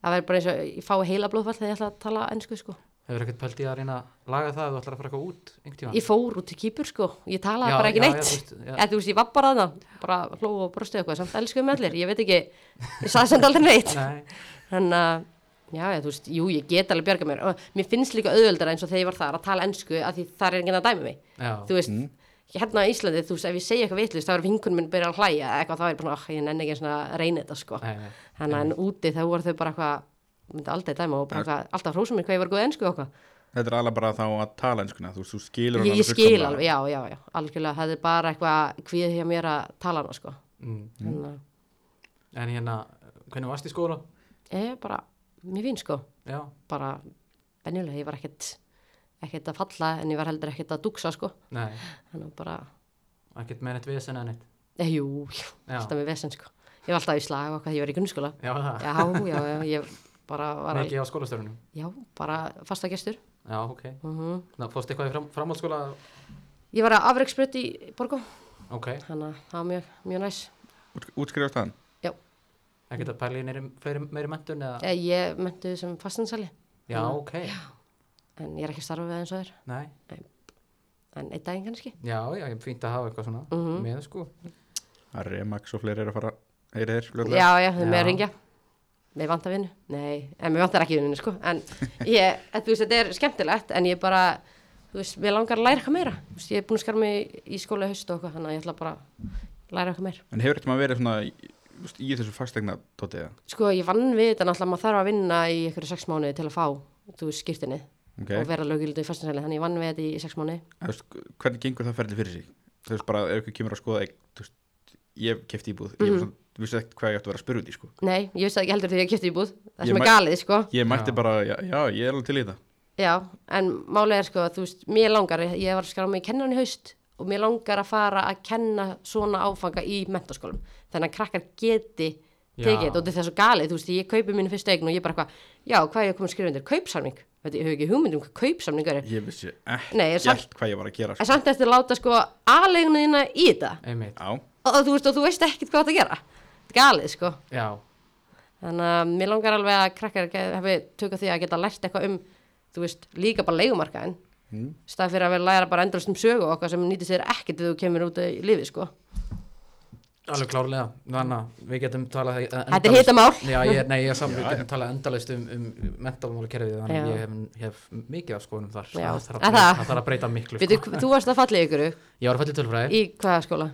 S4: það verður bara eins og ég fá heila blóðfall þegar ég ætla að tala ennsku sko
S1: hefur ekkert pælt í að reyna að laga það ef þú ætlar að fara eitthvað út einhvern tímann?
S4: ég fór út til kýpur sko ég talaði
S1: Já,
S4: bara ekki
S1: já,
S4: neitt
S1: já, þú
S4: já,
S1: veist, já.
S4: þú veist ég var bara þarna bara hló og brosti eitthvað samt elskuðum allir ég veit ekki ég sagði samt aldrei neitt
S1: Nei,
S4: þannig að já, já þú veist jú ég get alveg bjarga mér og mér finnst líka auðveldara eins og þegar ég var þar að tala ennsku að því þar er enginn að dæmi mig
S1: já,
S4: þú veist, hérna á Íslandi, þú veist, ef ég segja eitthvað vittlust, þá er vinkunum minn byrjað að hlæja eða eitthvað, þá er ég bara, "Ah, ég nenni ekki svona að reyna þetta, sko.
S1: Nei, nei.
S4: Þannig að en úti þá voru þau bara eitthvað, myndi aldrei dæma og bara eitthvað, alltaf hrósum mér hvað ég var góð ennsku og eitthvað.
S2: Þetta er alveg bara þá að tala enskuna Þú, þú skilur
S4: Ég,
S2: hann
S4: ég
S2: alveg
S4: skil
S2: fullkomlega.
S4: alveg, já, já, já, algjörlega, það er bara eitthvað hvíð hjá mér að tala hana, sko.
S1: Mm.
S4: Þannig að,
S1: en hérna, hvernig varst í skóla?
S4: ég bara, mér fín, sko,
S1: Já,
S4: bara, benjulega, ég var ekkert, ekkert að falla, en ég var heldur ekkert að duksa, sko.
S1: nei,
S4: Þannig að bara,
S1: ekkert með neitt vesen eða neitt
S4: eh, jú, jú,
S1: Já.
S4: alltaf með vesen, sko. Ég var alltaf í slag og hvað, ég var í grunnskóla.
S1: Já, það,
S4: já, já, já, ég bara var að,
S1: mikið á skólastörunum
S4: já, bara fasta gestur.
S1: Já, ok,
S4: Mm
S1: þannig að fórst eitthvað í fram, framhaldsskóla
S4: Ég var að afreiksbrödd í Borgó,
S1: Ok,
S4: þannig að það var mjög, mjög næs.
S2: Út, Útskrifast hann
S4: Já,
S1: ekkert að pæla í neiri, fleiri, meiri mentun eða?
S4: ég, Eh, ég menntu sem fastansali,
S1: Já, ok,
S4: en ég er ekki að starfa við eins og þér,
S1: nei
S4: en einn daginn kannski.
S1: Já, já, ég er fínt að hafa eitthvað svona
S4: Mhm.
S1: með sko
S2: Það er Remax og fleiri er að fara Heyri þeir fljóðlega
S4: Já, já, þau með
S1: Já.
S4: að ringja. Mér vantar vinnu, nei, en mér vantar ekki vinnu, sko, en ég, en þú veist, þetta er skemmtilegt, en ég bara, þú veist, mér langar að læra eitthvað meira. Þú veist, ég er búin að skara mig í skóla í haust og eitthvað, þannig að ég ætla bara að læra eitthvað meira.
S2: En hefur þetta maður verið svona í, þú veist, í þessu fastegna tótið
S4: Sko, ég vann við þetta náttúrulega, maður þarf að vinna í einhverju sex mánuði til að fá, þú veist, skýrtinni
S2: okay.
S4: og vera lögildu í fastnarsæli, þannig ég vann við þetta í sex mánuði.
S2: Þú veist, Hvernig gengur það ferli fyrir sig? Þú veist bara ef ykkur kemur að skoða eign, þú veist, Ég kefti íbúð
S4: Mhm.
S2: Ég var svona, vissi ekkert hvað ég átti að vera að spyrja út í sko.
S4: Nei, ég vissi það ekki heldur þegar ég kipti í búð,
S2: Ég
S4: það sem
S2: mæ-
S4: er galið, sko.
S2: Ég mætti bara, já, já, ég er alveg til í það
S4: Já, en málið er, sko, þú veist, mér langar, ég var að skrá mig í kennan í haust og mér langar að fara að kenna svona áfanga í mentaskólum. Þannig að krakkar geti
S1: Já.
S4: tekið þetta og þetta er svo galið, þú veist, ég kaupi mínu fyrstu eign og ég bara eitthvað, já, hvað er ég að koma að skrifa undir? Kaupsamning, veit ég, ég hef ekki hugmynd um hvað kaupsamning er.
S2: Ég vissi ekki
S4: Nei, ég samt-
S2: allt hvað ég var að gera
S4: En
S2: sko.
S4: samt eftir að láta sko aðleginu þína í þetta
S1: Einmitt,
S2: Já,
S4: og þú veist, og þú veist ekkert hvað það gera þetta er galið sko
S1: já,
S4: þannig að mér langar alveg að krakkar ge- hafi tökað því að geta lært eitthvað um þú veist, líka bara leigumarkaðin mm. stað fyrir að vera að læra bara endurist um sögu og okkar sem nýtist þér ekkert þegar þú kemur út í lifi sko
S1: alveg klárlega Þannig að við getum talað eh,
S4: Þetta er
S1: endalaust-
S4: hitamál.
S1: Já, ég, nei, ég saman, við getum talað endalaust um, um mentamálakerfið Þannig að
S4: Já.
S1: ég hef, hef mikið af skoðunum þar
S4: Já.
S1: Það þarf
S4: Er
S1: að breyta-
S4: það?
S1: það þarf að breyta miklu sko.
S4: Veitu, hv- þú varst að falla í ykkur
S1: Ég var að fælla í tölfræði, Eh,
S4: í hvaða skóla?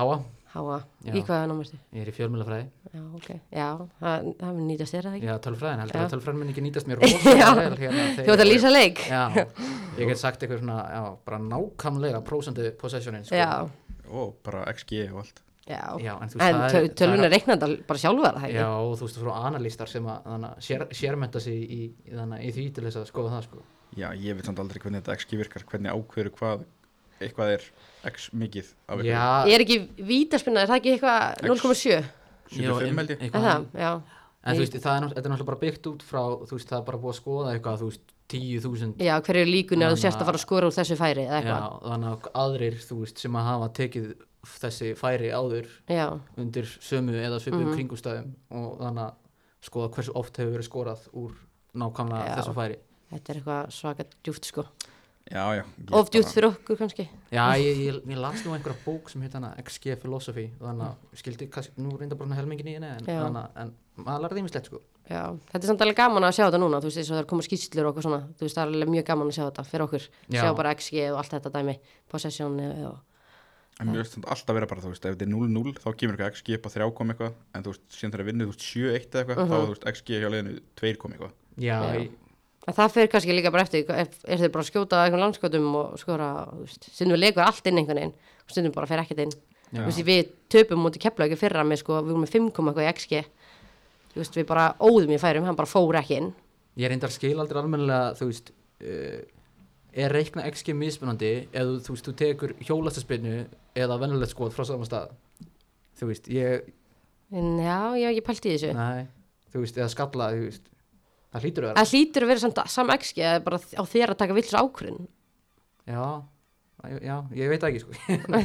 S1: háa,
S4: Háa,
S1: Já.
S4: í hvaða námurstu?
S1: ég er í fjölmjölafræði
S4: Já, ok, já, það, það mun nýtast þér er það ekki
S1: Já, tölfræðin, heldur
S4: Já.
S1: að tölfræðin minn ekki nýtast mér rosalega
S4: Já.
S1: vel hérna þegar-
S4: Þú ert að lýsa leik?
S1: Já, ég get sagt eitthvað svona, já, bara nákvæmlega prósendu possessionin, sko
S4: Já,
S2: og bara XG og allt
S4: já,
S1: Já, en þú veist,
S4: en
S1: það er- það
S4: töl-
S1: er-
S4: tölvun er reiknandi al- bara sjálfar það ekki?
S1: Já, og þú veist, frá analýstar sem að þannig að sér, sérmenta sig í, í, þannig, að í því til þess að skoða það, sko
S2: Já, ég veit samt aldrei hvernig þetta XG virkar Hvernig ákveður hvað eitthvað er X mikið af
S1: Já,
S2: eitthvað
S4: Ég er ekki vítaspinna, er það ekki eitthvað 0,7?
S1: já,
S2: 75 held ég
S4: Er
S1: eitthvað
S4: það, já.
S1: En þú veist, það er, nátt- þetta er náttúrulega bara byggt út frá, þú veist, það er bara búið að skoða eitthvað, þú veist, 10.000
S4: Já, hverju líkunni að þú
S1: Þannig
S4: sérst að
S1: að-
S4: fara að skora úr þessu færi eða
S1: Já,
S4: eitthvað?
S1: þannig að aðrir, þú veist, sem að hafa tekið þessi færi áður
S4: Já. Mhm.
S1: undir sömu eða svipum mm kringustæðum og þannig að skoða hversu oft hefur verið skorað úr nákvæmlega
S4: Já.
S1: þessu færi
S4: Þetta er eitthvað svaka djúft sko
S2: já, já ég
S4: Of djúft
S2: bara-
S4: fyrir okkur kannski
S1: Já, ég, ég, ég las nú einhverja bók sem heit hana XG Philosophy og þannig að skildi, kannski, nú reynda bara svona helmingin í henni en,
S4: Já.
S1: hana, en maður lærði ímislegt sko
S4: Já, þetta er samt alveg gaman að sjá þetta núna Þú veist, eins og það er komið skýrslur og okkur svona Þú veist, það er alveg mjög gaman að sjá þetta fyrir okkur
S1: Já.
S4: Sjá bara XG og allt þetta dæmi Possession og
S2: En mér finnst þetta alltaf vera bara, þú veist, ef þetta er 0-0 þá kemur eitthvað XG upp á 3 kom eitthvað en þú veist, síðan þegar vinnið, þú veist, 7-1 eða eitthvað þá
S4: Mhm.
S2: er þú veist, XG hjá leiðinu 2 kom eitthvað
S1: Já,
S4: Já.
S1: Ég,
S4: En það fer kannski líka bara eftir, er, er þið bara að skjóta eitthvað landskotum og skora, þú veist, stundum við leikur allt inn einhvern veginn og stundum bara fer ekkert inn.
S1: Já.
S4: Þú veist, við töpum mútið kepla ekki fyrra með, sko, við vorum með 5 koma eitthvað í XG, þú veist, við bara óðum í færum, hann bara fór ekki inn.
S1: ég reyndar skil aldrei almennilega þú veist uh, er reikna XG mismunandi eða þú veist, þú tekur hjólastaspinnu eða venjulegt skot frá saman stað þú veist, ég,
S4: En já, ég hef ekki pælt í þessu.
S1: næ þú veist, eða skalla, þú veist það hlýtur að vera,
S4: Það hlýtur að vera samt sam XG, eða bara á þér að taka villis ákvörðin.
S1: já æ, já, ég veit það ekki sko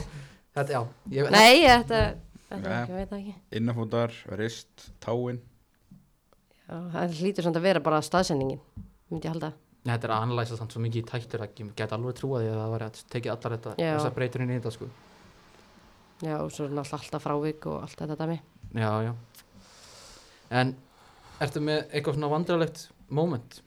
S1: þetta, já, ég,
S4: Nei, þetta, þetta
S2: Nei.
S4: er ekki, ég veit það ekki.
S2: innafóndar, rist, táin
S4: Já, það hlýtur samt að vera bara staðsendingin, myndi ég halda.
S1: þetta er að analýsa samt svo mikið í tættur að ég get alveg trúa því að það var að tekið allar þetta,
S4: Já.
S1: þessar breytur inn í þetta sko
S4: Já, og svo er náttúrulega alltaf frávik og allt þetta dæmi.
S1: já, já en ertu með eitthvað svona vandralegt moment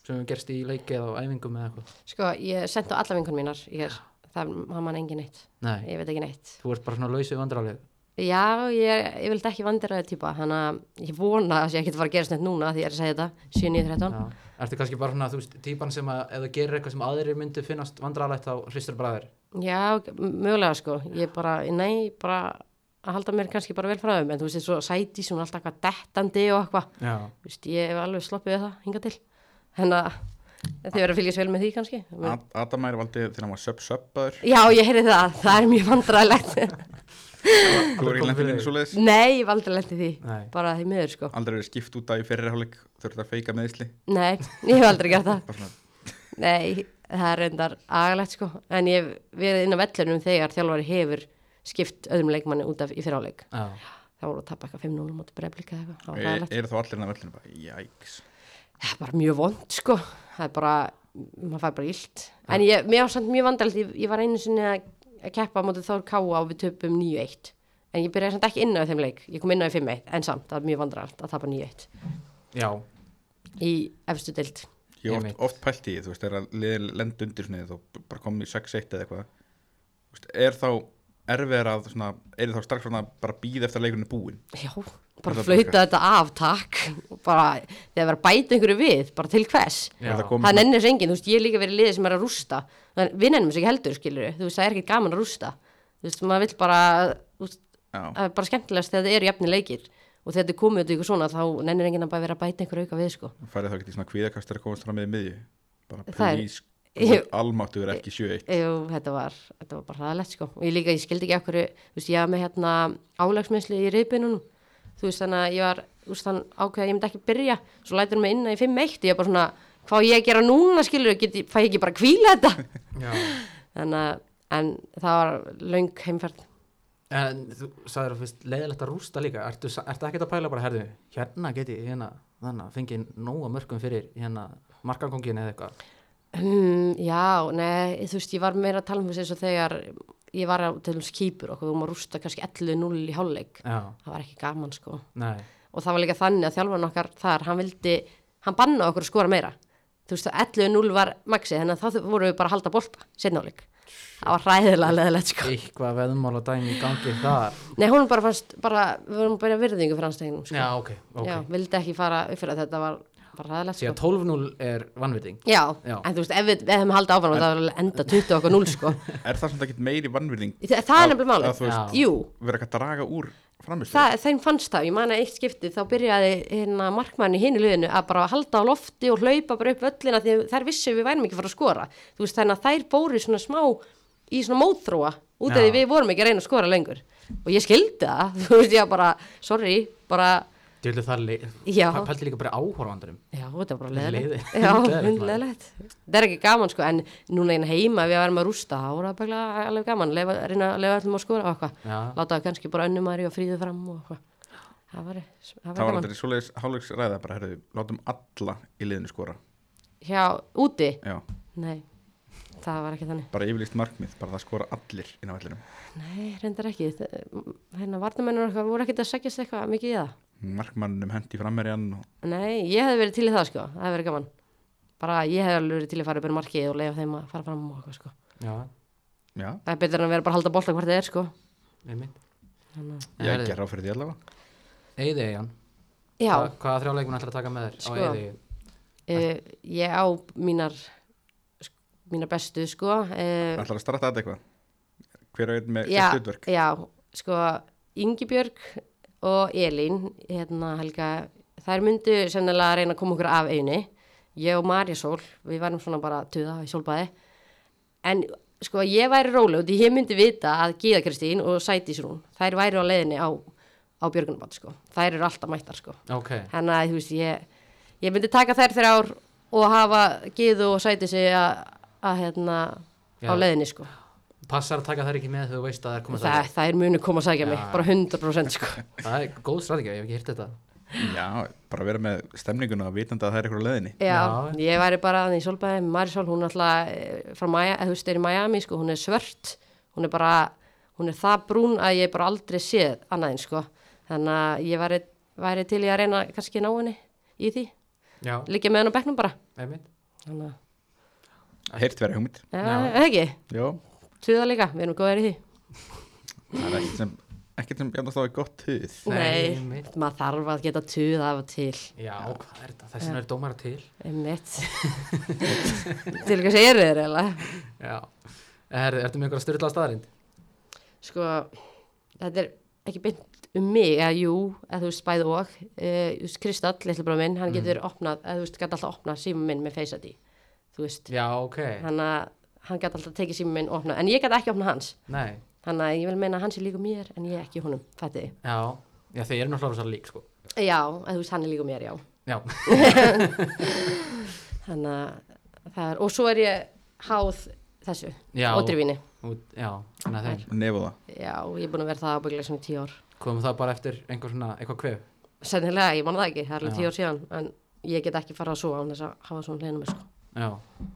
S1: sem hefur gerst í leiki eða á æfingum eða eitthvað
S4: Sko, ég sendi á alla vinkunum mínar hér, það hafa mann engin neitt,
S1: Nei,
S4: ég veit ekki neitt.
S1: þú ert bara svona lausið vandraleg
S4: Já, ég, ég vildi ekki vandiraði týpa, þannig að ég vona að ég ekkert fara að gerast neitt núna því ég er að segja þetta, 7.9.13.
S1: Já. Ertu kannski bara svona, þú veist, típan sem að ef þú gerir eitthvað sem aðrir myndu finnast vandralegt þá hristur bara þér
S4: Já, mögulega sko, ég bara, nei, bara að halda mér kannski bara vel frá þeim, en þú veist, svo sæti svona alltaf eitthvað dettandi og eitthvað,
S1: Já,
S4: þú veist, ég hef alveg sloppið við það hinga til, þannig að þið verður að fylgjast vel með því kannski. Men,
S2: Ad- Adamær valdi þegar hann var sub-subbaður
S4: já, ég heyrði það, það er mjög vandræðilegt.
S2: þú er
S1: komið
S2: ekki lendin
S1: fyrir
S2: eins og leiðis
S4: nei, ég valdi lendi því,
S1: Nei.
S4: bara því miður sko.
S2: aldrei verið skipt út af í fyrirháleik þurft að feika meðisli
S4: Nei, ég hef aldrei gert það.
S2: bara svona,
S4: Nei, það er reyndar agalegt sko, en ég hef verið inn á vellunum þegar þjálfari hefur skipt öðrum leikmanni út af í fyrráleik.
S1: já,
S4: Það voru að tappa eitthvað 5-0 móti breyflika eða eitthvað, það var
S2: er,
S4: agalegt.
S2: er e- þá allir hann að vellinu bara, jæks
S4: Það er bara mjög vond sko, það er bara, maður fær bara illt. En ég, mér var samt mjög vandrælt, ég, ég var einu sinni að að keppa á móti Þór Káa og við töpum 9-1. En ég byrjaði samt ekki inn á þeim leik, ég kom inn á í 5-1, en samt, það var mjög vandrælt að tapa 9-1
S1: já,
S4: í efstu deild.
S2: ég hef
S1: Einmitt.
S2: oft, oft pælt í því, þú veist, þegar liðin lend undir svona þú bara komið í 6-1 eða eitthvað Þú veist, er þá erfiðar að svona, er þá strax svona bara býð eftir að leikurinn er búinn
S4: Já,
S2: Þetta
S4: bara
S2: er
S4: flauta þetta af, takk og bara, þegar verður að bæta einhverju við bara til hvers,
S1: já.
S2: Er það komið
S4: það nennir þessu enginn þú veist, ég hef líka verið í liði sem er að rústa þannig við nennum þessu ekki heldur, skilur þú veist, það er ekki gaman að rústa þú veist, maður vill bara þú veist,
S2: Já.
S4: það er bara skemmtilegast þegar þetta eru jafni leikir og þegar þetta er komið út í ykkur svona þá nennir enginn að bara vera að bæta einhverju auka við, sko
S2: færið þá ekki svona kvíðakastur að komast fram með miðju bara
S4: Það er-
S2: please,
S4: Ég-
S2: almáttu verið ekki 7-1
S4: Jú, þetta var, þetta var bara hraðalegt sko og ég líka, ég skildi ekki okkur, þú veist, ég var með hérna álagsmessli í reyðbeinunum þú veist, þannig að ég var, þú veist, þannig ákveð að ég myndi ekki byrja, svo lætur hann mig inn í 5-1 ég er bara svona, hvað á ég að gera núna skilur, get, ég- fæ ég ekki bara að kvíla þetta
S1: já.
S4: þannig að, en það var löng heimferð,
S1: En þú sagðir að fyrst leiðilegt að rústa líka Ertu, sa- ertu ekkert að pæla bara, herðu, hérna geti ég hérna, þannig að fengi nóga mörgum fyrir hérna markangongin eða eitthvað
S4: um, já, nei þú veist, ég var meira að tala um þessu eins og þegar ég var á, til þess kýpur okkur, við vorum að rústa kannski 11-0 í hálfleik
S1: Já,
S4: það var ekki gaman sko
S1: nei,
S4: og það var líka þannig að þjálfarn okkar þar, hann vildi, hann banna okkur að skora meira þú veist að 11-0 var maxi þannig að þá þu- vorum við bara að halda bolta setnáleik, það var hræðilega leðilegt sko.
S1: eitthvað veðmála dæmi í gangi þar sko.
S4: nei, hún bara fannst bara, við vorum bara í virðingu fyrir hans tegnum sko.
S1: Já, ok, ok
S4: Já, vildi ekki fara upp fyrir að þetta var bara hræðilegt
S1: Því
S4: sko.
S1: að 12-0 er vannviting
S4: já,
S1: Já.
S4: en þú veist, ef við ef við hefum haldið áfram það var alveg enda 20 okkur 0 sko.
S2: er það svona ekki meiri vannvirðing
S4: það, það er
S2: Að-
S4: nefnilega
S2: að þú
S4: málið,
S1: veist-
S4: jú
S2: vera ekki að draga úr framistu
S4: Það, þeim fannst það, ég man að eitt skipti þá byrjaði hérna markmanni hinn í liðinu að bara halda á lofti og hlaupa bara upp völlina því að þær vissu við værum ekki að fara að skora þú veist þannig að þær bóru svona smá í svona mótþróa út af
S1: Já.
S4: því við vorum ekki að reyna að skora lengur og ég skildi það, þú veist ég bara sorry, bara,
S1: Þú heldur það leið
S4: Já.
S1: Það pælti líka bara í áhorfandurum
S4: já þetta var bara
S1: Leiði-
S4: leðilegt
S1: leiði-
S4: já,
S1: leiðilegt, maður.
S4: leðilegt, það er ekki gaman sko en núna einu heima við að verðum að rústa þá voru það bara alveg gaman, leifa, reyna að leifa allum að skora og eitthvað,
S1: Já,
S4: láta kannski bara önnum aðri og fríðu fram og eitthvað það var, það
S2: Það var
S4: var gaman
S2: aldrei svoleiðis hálfleiks ræða bara, herðu, látum alla í liðinu skora
S4: hjá úti,
S2: Já,
S4: nei það var ekki þannig,
S2: bara yfirlýst markmið, bara það skora allir inn á vellinum
S4: nei, reyndar ekki Þe- hérna, vartamennur okkar voru ekkert að segjast eitthvað mikið í það
S2: Markmannum hendi frammerjan og
S4: Nei, ég hefði verið til í það sko, það hefði verið gaman bara ég hefði alveg verið til í að fara upp í markið og leifa þeim að fara fram og eitthvað sko
S1: já,
S2: já,
S4: það er betur en að vera bara að halda bolta hvort það er sko
S1: einmitt
S4: Þannig. að-
S1: En
S2: ég
S1: herðu,
S2: gerði á fyrir því allavega
S1: Eyði Eyjan,
S4: Já,
S1: Hva, hvaða þrjá leikmenn ætlar að taka með þér
S4: Sko.
S1: á Eyði
S4: uh, ég á mínar sk- mínar bestu sko uh,
S2: Ætlar að starta þetta eitthvað Hver og einn með
S4: já,
S2: sitt hlutverk
S4: já, sko Ingibjörg og Elín hérna Helga, þær myndu sennilega að reyna að koma okkur af einu ég og Marja Sól, við varum svona bara að tuða í sólbæði en sko ég væri róleg út, í- ég myndi vita að Gíða Kristín og Sætís Rún þær væri á leiðinni á, á Björgunabátt sko, þær eru alltaf mættar sko
S1: ok,
S4: þannig að þú veist ég, ég myndi taka þær þrjár og hafa Gíðu og Sætís að, að hérna
S1: Já.
S4: á leiðinni sko
S1: passar að taka þær ekki með þegar þú veist að þær koma
S4: Þa,
S1: það
S4: það er munu koma að sækja mig,
S1: Já.
S4: bara 100% sko.
S1: það er góð strategið, ég hef ekki hýrt þetta
S2: Já, bara vera með stemninguna og vitandi að það er eitthvað á leðinni
S4: Já,
S1: Já.
S4: ég væri bara aðeins í Solbæði, Marisol, hún er alltaf eh, frá Maja, eða þú veist, er í Miami, sko, hún er svört, hún er bara, hún er það brún að ég bara aldrei séð annaðin, sko. Þannig að ég væri, væri til í að reyna kannski að ná henni í því,
S1: já,
S4: líka með henni á bekknum bara.
S1: einmitt
S4: Þannig að,
S2: Heyrt verið hugmynd
S4: já,
S1: Já.
S4: eða ekki,
S2: Já,
S4: tuða líka, við erum góðir í því.
S2: það er ekkert sem ekkert sem jafnast á er gott hugð
S1: Nei,
S4: Nei,
S1: einmitt.
S4: maður þarf að geta tuða af og til,
S1: já, hvað er þetta, þessin er dómara til
S4: einmitt. til hvað segir þér, eða?
S1: já, er, ertu með einhverja styrla staðarind
S4: sko, þetta er ekki beint um mig, eða jú, eða þú veist bæði og, eh, þú veist Kristall, litla bróð minn, hann getur opnað, eða þú veist, gæti alltaf opnað símum minn með Face ID, þú veist,
S1: já, ok,
S4: hann að, hann gæti alltaf tekið símum minn og opnað, en ég gæti ekki opnað hans,
S1: nei
S4: hann að ég vil meina að hans er líka mér, en ég ekki honum, fætti þið.
S1: já, já, þeir eru náttúrulega rosa lík, sko
S4: Já, eða þú veist, hann er líka mér, já,
S1: já,
S4: hann að, það er, og svo er ég háð þessu,
S1: Já.
S4: ódrifinu,
S1: Út- já, þannig að þeir
S2: Nefu það
S4: já, ég er búin að vera það ábygglega svona í tíu ár.
S1: komum það bara eftir einhver svona, eitthvað kvef
S4: Sennilega, ég man það ekki, það er
S1: Já.
S4: alveg tíu ár síðan en ég get ekki fara að sofa án þess að hafa svona hliðinu mér sko.
S1: já,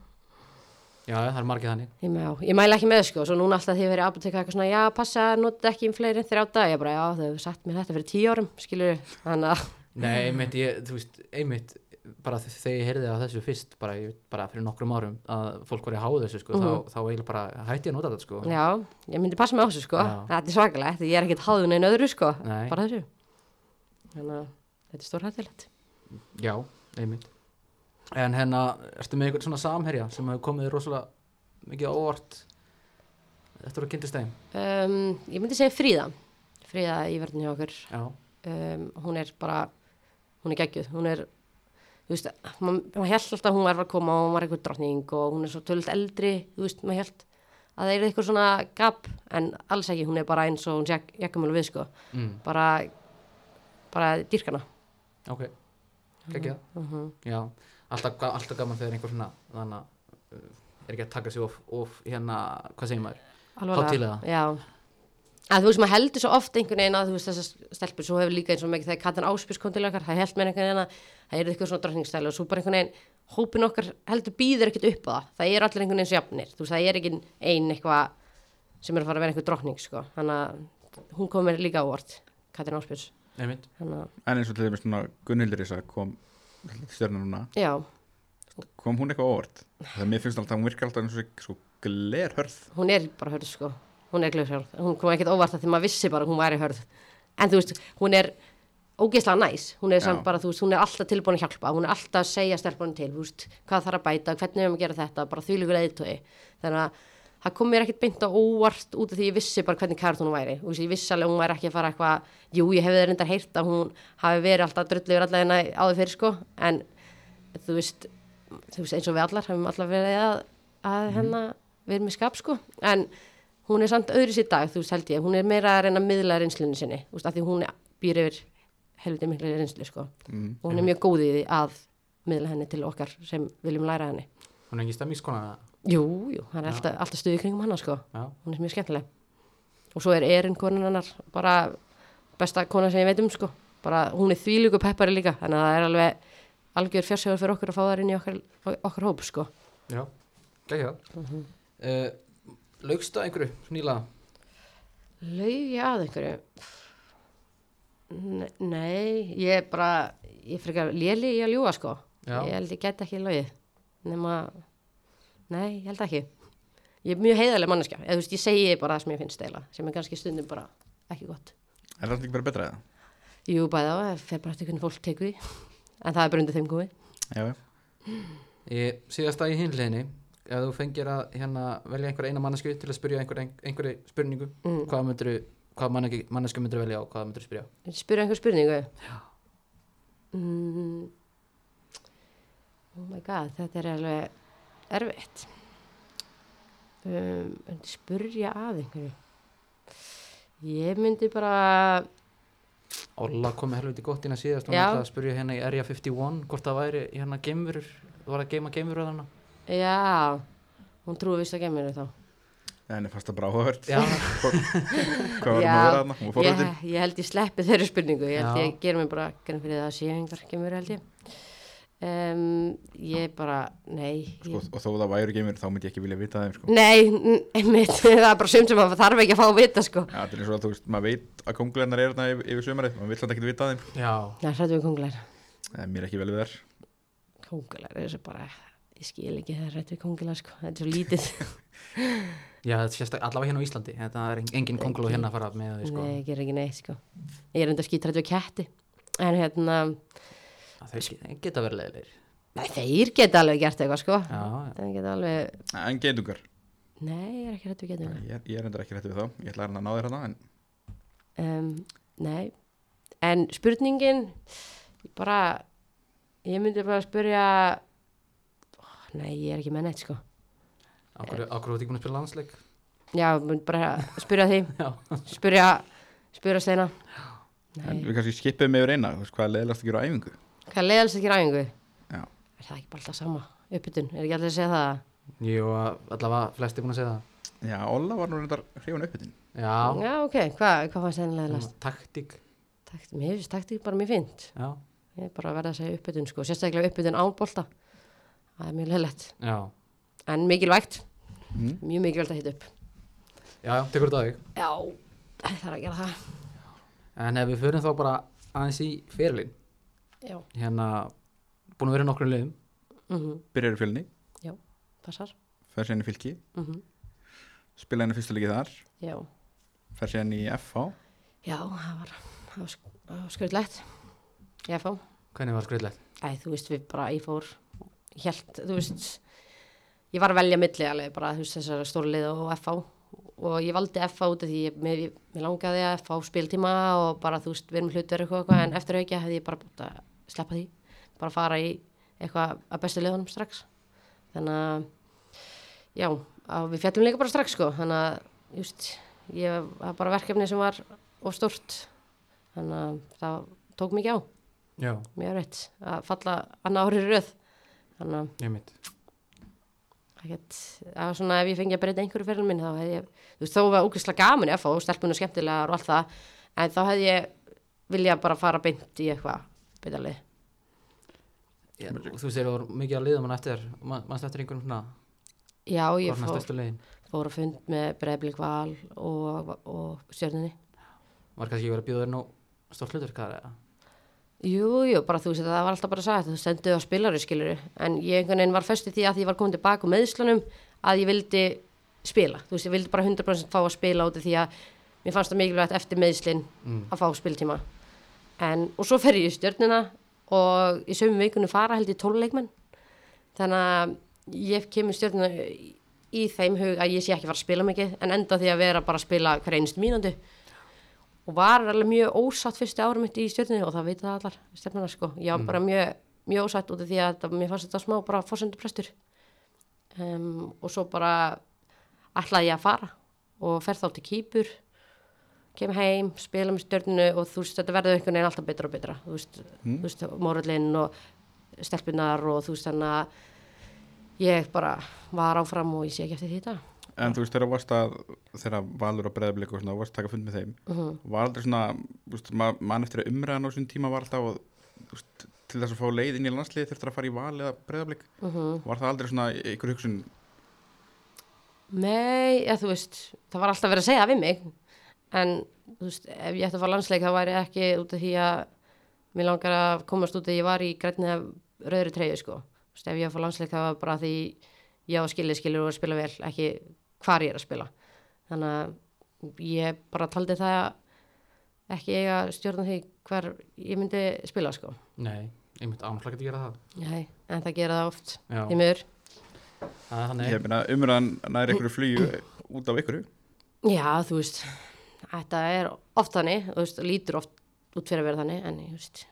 S1: já, það er margið þannig
S4: Ég, með, já, ég mæla ekki með sko, svo núna alltaf því að vera í apotek eitthvað svona, já, passa, nota ekki um fleiri en þrjá dag, ég bara, já, þau hefur sagt mér þetta fyrir tíu árum, skilur, þannig að,
S1: Nei, einmitt, ég, þú veist, einmitt bara þ- þegar ég heyrði að þessu fyrst bara, ég, bara fyrir nokkrum árum að fólk voru að háða þessu sko, þá, þá eiginlega bara hætti ég að nota þetta sko.
S4: já, ég myndi passa með þessu sko,
S1: Já.
S4: þetta er svakalegt, ég er ekkert háðun einu öðru sko,
S1: Nei.
S4: bara þessu, þannig að þetta er stór hættilegt.
S1: Já, einmitt En hérna, ertu með einhvern svona samherja sem hefur komið þér rosalega mikið á óvart eftir að kynntist þeim
S4: Um, ég myndi segja fríða, fríða í verðinu hjá okkur,
S1: Já,
S4: um, hún er bara hún er geggjuð, hún er þú veist, maður mað held alltaf að hún var að koma og hún var eitthvað drottning og hún er svo tölvöld eldri, þú veist, maður held að það er eitthvað svona gap en alls ekki, hún er bara eins og hún sé jakkamölu við sko,
S1: mm,
S4: bara bara dýrkana
S1: ok Kekja, já Alltaf, ga- alltaf gaman þegar einhver svona þannig að uh, er ekki að taka sig of, of hérna, hvað segir maður? Hátíðlega.
S4: já að þú veist, maður heldur svo oft einhvern veginn að þú veist þessar stelpur, svo hefur líka eins og mikið þegar Katan Áspjörs kom til okkar, það held mér einhvern veginn að það er eitthvað svona drottningstæli og svo bara einhvern veginn hópin okkar heldur býður ekkert upp á það það er allir einhvern veginn sjafnir, þú veist, það er ekki ein eitthvað sem er að fara að vera einhver drottning sko, þannig að hún kom mér líka á vort, Katan Áspjörs
S1: Einmitt
S4: þannig að,
S2: En eins og til þeim svona Gunnhildur Ísa kom stjörnum núna
S4: já,
S2: kom hún eitthvað óvart það mér finnst alltaf, hún virkar alltaf eins og sé svo glerhörð
S4: hún er bara hörð sko hún er glöðhörð, hún kom ekkert óvart að því maður vissi bara að hún væri hörð en þú veist, hún er ógeðslega næs hún er samt
S2: Já.
S4: bara, þú veist, hún er alltaf tilbúin að hjálpa hún er alltaf að segja stelpunum til, þú veist hvað þarf að bæta, hvernig hefum að gera þetta, bara þvílugur eðitói þannig að það kom mér ekkert beint á óvart út af því ég vissi bara hvernig kært hún væri og ég vissi alveg að hún væri ekki að fara eitthvað jú, ég hefði reyndar heyrt að hún hafi verið alltaf drullið yfir alla hérna áður fyrir sko en þú veist, þú veist eins og við allar hefum allar verið að, að hérna við erum í skap sko en hún er samt öðru sér dag þú veist held ég, hún er meira að reyna að miðla reynslunni sinni þú veist af því hún býr yfir helviti miklu reynslu sko og hún er mjög góð í því að miðla henni til okkar sem viljum læra henni
S1: Hún er ekki stemmingskona
S4: jú, jú, hann er alltaf, alltaf stuði kringum hana sko
S1: Já,
S4: hún er mjög skemmtileg og svo er Erin konan hennar bara besta kona sem ég veit um sko bara, hún er þvílíku peppari líka þannig að það er alveg algjör fjársjóður fyrir okkur að fá það inn í okkar, okkar hóp sko.
S1: Já, gekkja það uh, Laugstu að einhverju, nýla
S4: Lauði að einhverju Ne- Nei, ég er bara ég er frekar léli í að ljúga sko
S1: Já.
S4: ég held ég get ekki logið nema, nei, ég held ekki ég er mjög heiðarleg manneskja eða þú veist, ég segi bara það sem ég finnst eila sem er kannski stundum bara ekki gott
S2: Er það ekki bara betra eða?
S4: Jú, bæði á, það fer bara eftir hvernig fólk tekur því en það er bara undir þeim komið
S2: Já, já.
S1: Ég síðast að í hinleginni ef þú fengir að hérna, velja einhverja eina mannesku til að spyrja einhver, einhverju spurningu
S4: Mm.
S1: hvað, myndir, hvað mannesku, mannesku myndir velja og hvað myndir spyrja
S4: Spyrja einhver spurningu? Já. Mm. Oh my god, þetta er alveg erfitt. Um, en spyrja að einhverju. Ég myndi bara,
S1: Olla kom með helviti gott inn að síðast hún
S4: Já.
S1: ætlaði að spyrja hérna í Area 51 hvort það væri hérna geimverur þú var að geima geimverur þarna
S4: já, hún trúi vist að geminu þá.
S2: En ég fannst það bara áhugavert.
S1: Já.
S2: Hvað hvað var það að vera þarna? Hún var
S4: ég,
S2: forvitin.
S4: ég held ég sleppi þeirri spurningu, ég held
S1: Já.
S4: ég gerum mig bara grein fyrir það að sé einhver gemur held ég. Um, ég bara, nei.
S2: Sko,
S4: ég,
S2: og þó það væru geimur þá myndi ég ekki vilja vita þeim sko.
S4: Nei, n- einmitt, það er bara sem sem maður þarf ekki að fá að vita sko.
S2: Já, það er eins og að þú veist, maður veit að konglennar er þarna yfir, yfir sömarið, maður vill hann ekki vita þeim.
S1: Já,
S4: Nei, hrættu við konglar.
S2: Það er mér ekki vel við þær.
S4: Konglar er þessu bara, ég skil ekki það hrættu við konglar sko, þetta er svo lítið.
S1: Já þetta sést allavega hérna á Íslandi þetta er en- engin konglu hérna að fara með því sko.
S4: Nei, ég ger ekki neitt sko. Ég er enda skýt hrættu við ketti. En hérna,
S1: Að þeir ge- geta verið leiðilegir
S4: nei, þeir geta alveg gert eitthvað sko.
S1: Já,
S4: Þeir geta alveg,
S2: En geindungar.
S4: nei, ég er ekki hrættu við getum.
S2: Ég, er- ég er endur ekki rétt við þá. Ég ætla hérna að reyna að ná þér hana, en
S4: Um, nei, en spurningin, ég bara, ég myndi bara spyrja, oh, nei, ég er ekki með neitt sko.
S1: okkur þú ert ekki búin að spila landsleik
S4: Já, ég myndi bara spyrja því,
S1: Já,
S4: spyrja, spyrja steina.
S2: En
S4: Nei.
S2: við kannski skipum yfir eina, þú veist hvað er leðilegast að gera á æfingu?
S4: Hvað er leiðalist ekki ræðingu?
S2: Já.
S4: Er það ekki bara alltaf sama? Uppbytun, er ekki allir að segja það?
S1: Jú, allavega flesti búin að segja það
S2: Já, Olla var nú reyndar hrifun uppbytun.
S1: Já,
S4: Já, ok, hvað hva fannst þenni leiðalast?
S1: taktík
S4: Takt, mér finnst taktík bara mjög fint.
S1: Já,
S4: Ég er bara að verða að segja uppbytun, sko, sérstaklega uppbytun ánbólta. Það er mjög leiðilegt,
S1: já,
S4: en mikilvægt,
S2: Mm.
S4: mjög mikilvægt að hita upp.
S1: já, já, tekur þetta á þig
S4: Já, það er að gera það.
S1: En ef við förum þá bara aðeins í fyrirlin
S4: Já,
S1: Hérna, búin að vera í nokkrum liðum
S4: mm
S2: Byrjar í fjölni,
S4: já, passar.
S2: fer sér inn í fylki,
S4: Mm
S2: spila henni fyrsta leikið þar,
S4: Já,
S2: fer sér í FH,
S4: já, það var, það var, sk- það var skröldlegt. Ég fá.
S1: Hvernig var skriðlegt?
S4: Æ, þú veist, við bara, ég fór, ég held, þú veist, ég var að velja milli alveg bara, þú veist, þessar stórlið og FH og ég valdi FH út af því ég, mér, mér langaði að fá spiltíma og bara, þú veist, við erum hlutverð eitthvað, eitthvað en eftir aukja hefði ég bara búið að sleppa því, bara fara í eitthvað að bestu liðunum strax. Þannig að, já, að við fjallum líka bara strax, sko, þannig að, þú veist, ég það var bara verkefni sem var of stórt, þannig að það tók mikið á
S1: Já,
S4: mjög rétt að falla annað árið röð þannig að
S1: ég mitt
S4: ekkert, það var svona ef ég fengi að breyta einhverju fyrir minn þá hefði ég, þú veist þó var ógeðslega gaman ég að fá stelpunum skemmtilegar og allt það en þá hefði ég vilja bara fara beint í eitthvað beitalið
S1: Já, Þú segir þú voru mikið að liða mann eftir man- Manstu eftir einhverjum svona
S4: já ég
S1: Hvorna
S4: fór,
S1: stærstu liðin
S4: fór að fund með breyðblik val og, og stjörninni
S1: Var kannski ekki verið að bjóða þér nú stórt hlutur hvað er það?
S4: Jú, jú, bara þú veist það var alltaf bara sagt þú senduðu á spilari skiluru en ég einhvern veginn var föst í því að ég var komin tilbaka úr meðslunum að ég vildi spila þú veist, ég vildi bara 100% fá að spila út af því að mér fannst það mikilvægt eftir meðslin
S1: Mm.
S4: að fá spiltíma en, og svo fer ég í stjörnina og í sömu vikunum fara held ég 12 leikmenn þannig að ég kemur stjörnina í- í þeim hug að ég sé ekki að fara að spila mikið en enda því að vera bara að spila hver einst mínútu og var alveg mjög ósatt fyrstu árum mitt í stjörninu og það veit það allar stefnana sko, ég var bara mjög, mjög ósatt út af því að þetta, mér fannst þetta smá bara forsendu prestur um, og svo bara ætlaði ég að fara og fer þá til Kýpur kem heim, spila með stjörninu og þú veist þetta verður einhvern veginn alltaf betra og betra þú veist, mm. veist morallinn og stelpunar og þú veist þannig að ég bara var áfram og ég sé ekki eftir því þetta
S2: en þú veist þegar varst að þegar valur á breðablik og svona varst að taka fund með þeim var aldrei svona, þú veist, ma mann eftir að umræðan á svona tíma var alltaf og, þú veist, til þess að fá leið inn í landslið þurftur að fara í val eða breðablik var það aldrei svona ykkur hugsun
S4: Nei, ja, þú veist, það var alltaf verið að segja við mig en þú veist, ef ég ætti að fá landsleik þá væri ekki út af því að mér langar að komast út að ég var í grænni af rauðri treyju sko þú veist, ef ég á að fá landsleik þá var bara því ég á að skilja skilur og að spila vel ekki hvar ég er að spila þannig að ég bara taldi það ekki eiga að stjórna því hver ég myndi spila sko
S1: Nei, ég myndi ánægla ekki að gera það
S4: Nei, en það gera það oft
S1: Já.
S4: því miður
S1: Það er
S2: ég
S1: þannig,
S2: meina umræðan nær ykkur flýju út af ykkur
S4: Já, þú veist, þetta er oft þannig, þú veist, lítur oft út fyrir að vera þannig, en þú veist,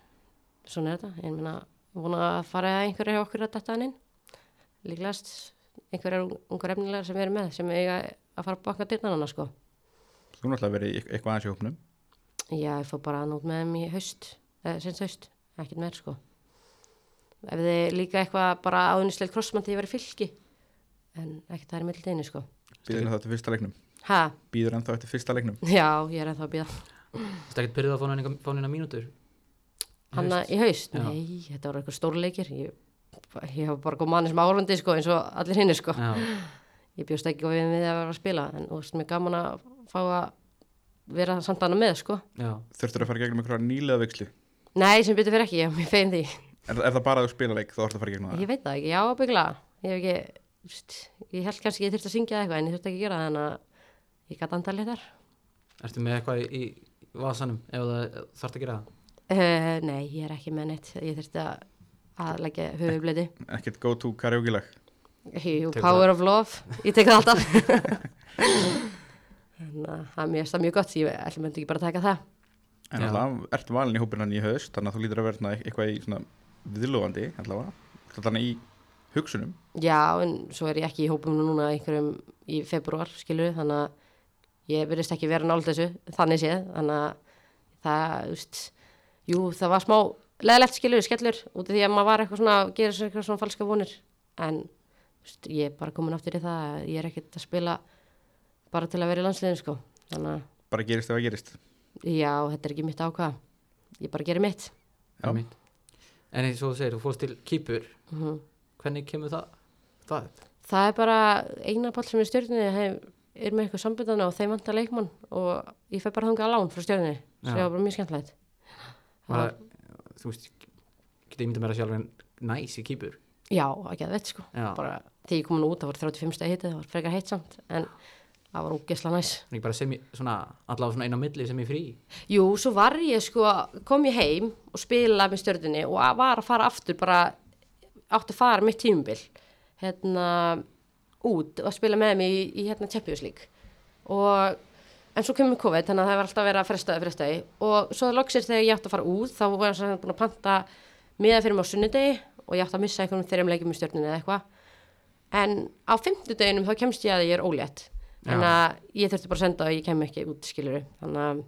S4: svona er þetta. Ég meina, vona að fara einhverju hjá okkur að detta hann inn, líklegast einhverjar ungar efnilegar sem eru með, sem eiga að fara að baka dyrnanana, sko.
S2: þú er náttúrulega verið eit- eitthvað aðeins í hópnum
S4: Já, ég fór bara að nót með þeim í haust, eða sinns haust, ekkert meir, sko. Ef þið líka eitthvað bara áðunislega krossmann til ég verið fylki, en ekkert það er millir deinu, sko.
S2: býður ennþá eftir fyrsta leiknum
S4: Ha,
S2: býður ennþá eftir fyrsta leiknum
S4: já, ég er ennþá að býða.
S1: þú veist ekki byrjuð að fá neina- fá neina mínútur
S4: Hanna í haust?
S1: Já.
S4: Nei, þetta voru eitthvað stórleikir. Ég, ég hef bara góð manni sem áhörfandi, sko, eins og allir hinnir, sko.
S1: Já,
S4: Ég bjóst ekki við við að vera að spila, en þú veist, mér er gaman að fá að vera samt annað með, sko.
S1: já,
S2: þurftur að fara í gegnum einhverja nýlega vikslu
S4: Nei, sem betur fyrir ekki, ég er mjög fein því.
S2: er, er það bara að þú spila leik þá ertu að fara í gegnum það
S4: Ég veit það ekki, já, byggla. Ég hef ekki, þú veist, ég held kannski ég þurfti að syngja eitthvað, en ég þurfti ekki að gera það, en að ég gæti andalið þar.
S1: ertu með eitthvað í, í vasanum ef það þarf að gera það
S4: Uh, nei, ég er ekki með neitt. Ég þurfti að, að leggja höfublöti.
S2: ekkert go to karaoke lag
S4: Jú,
S1: Tekur
S4: Power of Love, ég tek það alltaf Þannig að það er mjög, það mjög gott, ég ætlum myndi ekki bara að taka það
S2: en
S1: Já.
S2: alltaf ert valin í hópinu hann í haust þannig að þú lítur að vera svona eit- eitthvað í svona viðlóðandi allavega þannig í hugsunum
S4: Já, en svo er ég ekki í hópum núna einhverjum í februar, skilur þannig að ég verðist ekki vera nált þessu þannig séð, þannig að það, þú veist, jú, það var smá leðilegt skilur, skellur, út af því að maður var eitthvað svona, gera sér eitthvað svona falska vonir en, þú veist, ég er bara komin aftur í það að ég er ekkert að spila bara til að vera í landsliðin, sko þannig að
S2: bara gerist ef það gerist
S4: Já, þetta er ekki mitt ákvað. Ég bara gerir mitt.
S2: Já.
S1: Einmitt. En eins og þú segir, þú fórst til Kýpur
S4: Mhm.
S1: Hvernig kemur það? Það upp?
S4: Það er bara eina pál sem er stjórnir hef, er með eitthvað sambundana og þeim vantar leikmann og ég fæ bara þangað að lán frá stjórnir.
S1: Já.
S4: Svo það var bara mjög skemmtilegt.
S1: Var það, þú veist, getur ég myndið mér að sjálf en næs í kýpur.
S4: Já, ekki að veit sko.
S1: Já.
S4: Bara þegar ég komin út, það var 35 stegi hitið, það var frekar heitt samt, en það var ógesla næs.
S1: Ekki bara sem ég, svona, allavega svona einu á milli sem ég frí.
S4: Jú, svo var ég sko, kom ég heim og spilaði með stjórninni og að- var að fara aftur bara, átti að fara mitt tímubil, hérna, út og spila með mig í, í hérna Champions League. Og, en svo kemur COVID, þannig að það var alltaf verið að frestaði, frestaði. Og svo loksir þegar ég átti að fara út, þá var ég búin að panta miða fyrir mig á sunnudegi og ég átti að missa einhvern þegar ég leikið með stjórninni eða eitthvað. En á fimmtudeginum þá kemst ég að ég er ólétt. Þannig að ég þurfti bara að senda og ég kem ekki út, skilur Þannig að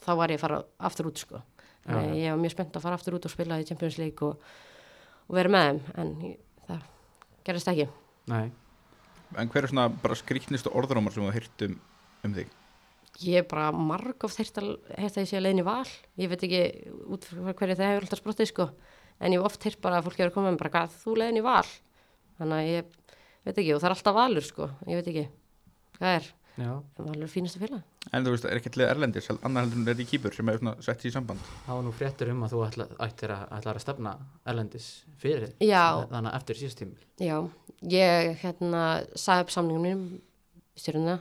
S4: þá var ég að fara aftur út, sko. Þannig að ég var mjög spennt að fara aftur út og spila í Champions League og, og vera með þeim. En ég, það gerist ekki.
S1: Nei.
S2: en hver er svona bara skrýtnistu orðrómar sem þú hýrt um, um þig
S4: Ég er bara margoft heyrt að heyrt að ég sé að leiðin í val. Ég veit ekki út frá hverju það hefur alltaf sprottið, sko. En ég hef oft heyrt bara að fólk hefur komið með bara hvað þú leiðin í val. Þannig að ég veit ekki, og það er alltaf valur, sko. Ég veit ekki. Hvað er?
S1: Já,
S4: Valur er fínasta félag.
S2: en þú veist, er ekkert leið erlendis hel- annað heldur en þetta í kýpur sem er svona sett í samband
S1: það var nú fréttur um að þú ætla, ættir að, ætlar að stefna erlendis fyrir.
S4: Já.
S1: Þannig að eftir síðust tímil.
S4: Já, ég hérna sagði upp samningum mínum stjórnuna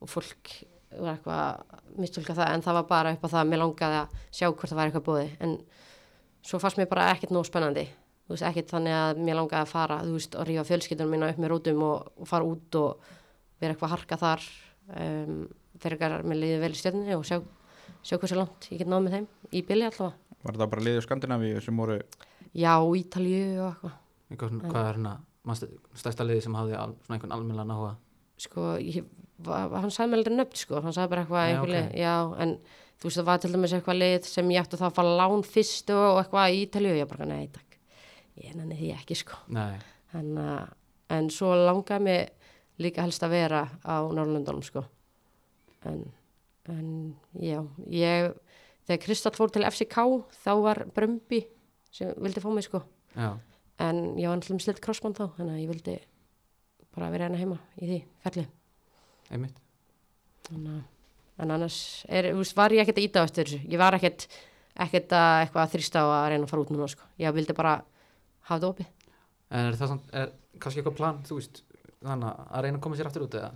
S4: og fólk var eitthvað mistúlka það en það var bara upp á það að mér langaði að sjá hvort það var eitthvað bóði en svo fannst mér bara ekkert nóg spennandi þú veist, ekkert þannig að mér langaði að fara þú veist, og rífa fjölskyldunum mína upp með rótum og, og fara út og vera eitthvað að harka þar um, fyrir eitthvað mér liðið vel í stjórnuna og sjá, sjá hversu langt ég get náð með þeim í bylli allavega
S2: var það bara liðið Skandinavíu sem voru
S4: Já, Ítalíu og eitthvað
S1: Eitthvað svona, hvað er hérna, mannstu, stærsta liði sem hafði al, svona einhvern almennilega náhuga.
S4: sko, ég, va, hann sagði mér aldrei nöfn sko, hann sagði bara eitthvað
S1: Já,
S4: einhver
S1: ok.
S4: lið, já, en þú veist það var til dæmis eitthvað lið sem ég ætti þá að fara á lán fyrst og, og eitthvað í Ítalíu, ég bara, nei takk ég nenni því ekki sko
S1: Nei.
S4: en, en svo langaði mig líka helst að vera á Norrlundunum sko en, en já ég, þegar Kristall fór til FCK þá var Brömbi sem vildi fá mig sko
S1: já,
S4: en ég var náttúrulega slilt krossmann þá þannig að ég vildi bara vera hérna heima í því ferli
S1: einmitt
S4: Þannig að- en annars er, þú veist, var ég ekkert að íta á eftir þessu ég var ekkert, ekkert að eitthvað að þrýsta á að reyna að fara út núna sko. ég vildi bara hafa þetta opið
S1: En er það samt, er kannski eitthvað plan, þú veist, þannig að reyna að koma sér aftur út eða?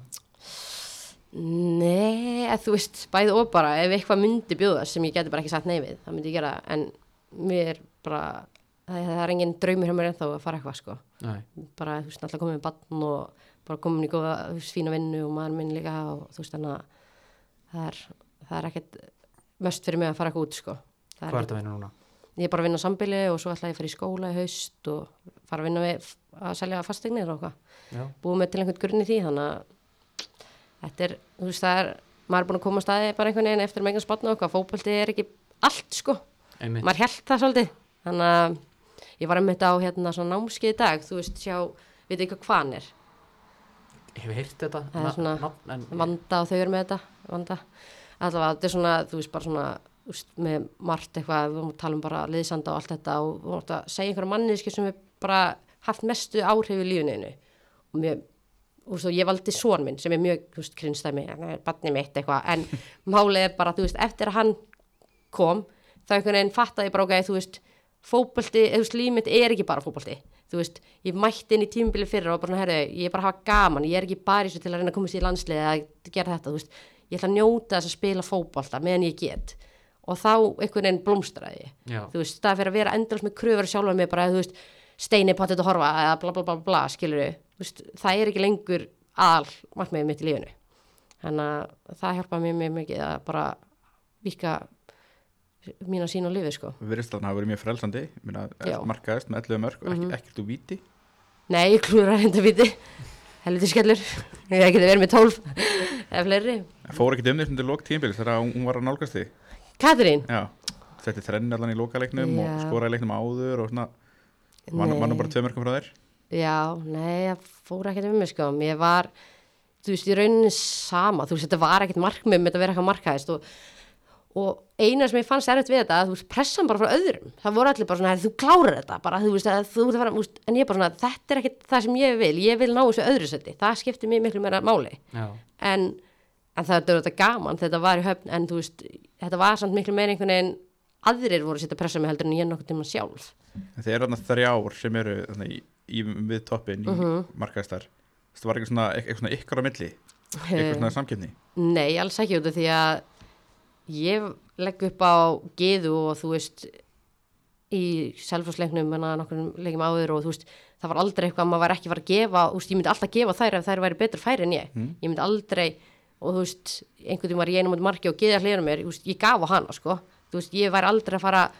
S4: Nei, að þú veist, bæði og bara ef eitthvað myndi bjóða sem ég geti bara ekki sagt nei við, það myndi ég gera það. en mér bara, það, það er engin draumur hjá mér ennþá að fara eitthvað sko
S1: Nei.
S4: bara, þú veist, alltaf komið með bann og bara komin í góða, þú veist, fína vinnu og maður minn líka og þú veist, þannig að það er, það er ekkert mest fyrir mig að fara eitthvað út sko Það
S1: Hvað er þetta að vinna núna?
S4: ég er bara að vinna á sambili og svo ætla ég að fara í skóla í haust og fara að vinna við að selja fasteignir og hvað
S1: Já.
S4: búið með til einhvern grunn í því þannig að þetta er, þú veist það er maður er búin að koma á staði bara einhvern veginn eftir meginn spotna og hvað fótbolti er ekki allt sko
S1: Einmitt.
S4: maður held það svolítið þannig að ég var einmitt á hérna svona námskeið í dag þú veist sjá, við veit ekki hvað hann er
S1: Hefur heyrt þetta?
S4: Það er
S1: na-
S4: svona-
S1: nafn, en,
S4: vanda og þau eru með þetta vanda, allavega þetta er svona þú veist bara svona úst, með margt eitthvað, við talum um bara liðsanda og allt þetta og við vorum að segja einhverja manniski sem er bara haft mestu áhrif í lífinu og mér úst, og ég valdi són minn sem er mjög þú veist, krinstæmi, barni mitt eitthvað en málið er bara, þú veist, eftir að hann kom, þá einhvern veginn fattaði ég bara okkar, þú veist, fótbolti eða þú veist, líf mitt er ekki bara fótbolti þú veist, ég mætti inn í tímubili fyrir og bara svona, herðu, ég er bara að hafa gaman, ég er ekki bara í þessu til að reyna að komast í landsliði að gera þetta, þú veist, ég ætla að njóta þess að spila fótbolta meðan ég get og þá einhvern veginn blómstraði ég
S1: Já.
S4: þú veist, það fyrir að vera endurlega með kröfur sjálfa mig bara, þú veist, steini pottet og horfa eða bla bla bla bla, skilur þú veist, það er ekki lengur all markmiðið mitt í lífinu þannig að það hjálpaði mér mjög mikið að bara vika mína sín á lífi, sko
S2: Virðislan hafa verið mjög frelsandi minna,
S4: Já.
S2: markaðist með 11 mörg og ekki, ekkert úr víti
S4: Nei, ég klúður að reynda viti helviti skellur, ég geti verið með tólf eða fleiri
S2: Það fór ekkert um því sem þetta lók tímbils þegar hún- hún var að nálgast því
S4: Katrín,
S2: Já, setti þrenn allan í lokaleiknum og
S4: Já.
S2: skoraði í leiknum áður og svona vann
S4: Nei.
S2: vann hún bara 2 mörgum frá þér
S4: já, nei, það fór ekkert um mig, sko ég var, þú veist, í rauninni sama þú veist, þetta var ekkert markmið með þetta vera eitthvað markaðist og, og eina sem ég fannst erfitt við þetta, þú veist, pressan bara frá öðrum það voru allir bara svona, "Herri, þú klárar þetta bara, þú veist, að þú ert að fara, þú veist, en ég bara svona þetta er ekkert það sem ég vil, ég vil ná þessu öðru seti það skiptir mér miklu meira máli
S1: Já.
S4: en, en það er þetta gaman þetta var í höfn en þú veist þetta var samt miklu meira einhvern veginn aðrir voru að setja pressa mig heldur en ég nokkuð tíma sjálf
S2: En Þeir eru þarna þrjár sem eru þannig, í, í, við toppin í uh
S4: Mhm.
S2: -huh. markaðistar Það var eitthvað svona, eitthvað svona ykkar á milli eitthvað svona samkjöfni
S4: nei, alls ekki út af því að ég legg upp á geðu og þú veist í selfhúsleiknum en að nokkur leikjum áður og þú veist það var aldrei eitthvað að maður var ekki að fara að gefa þú veist, ég myndi alltaf gefa þær ef þær væri betur færi en ég ég myndi aldrei og þú veist, einhvern tímann var ég einum út marki og geða hliðinu mér, þú veist, ég gaf á hana sko þú veist, ég væri aldrei að fara að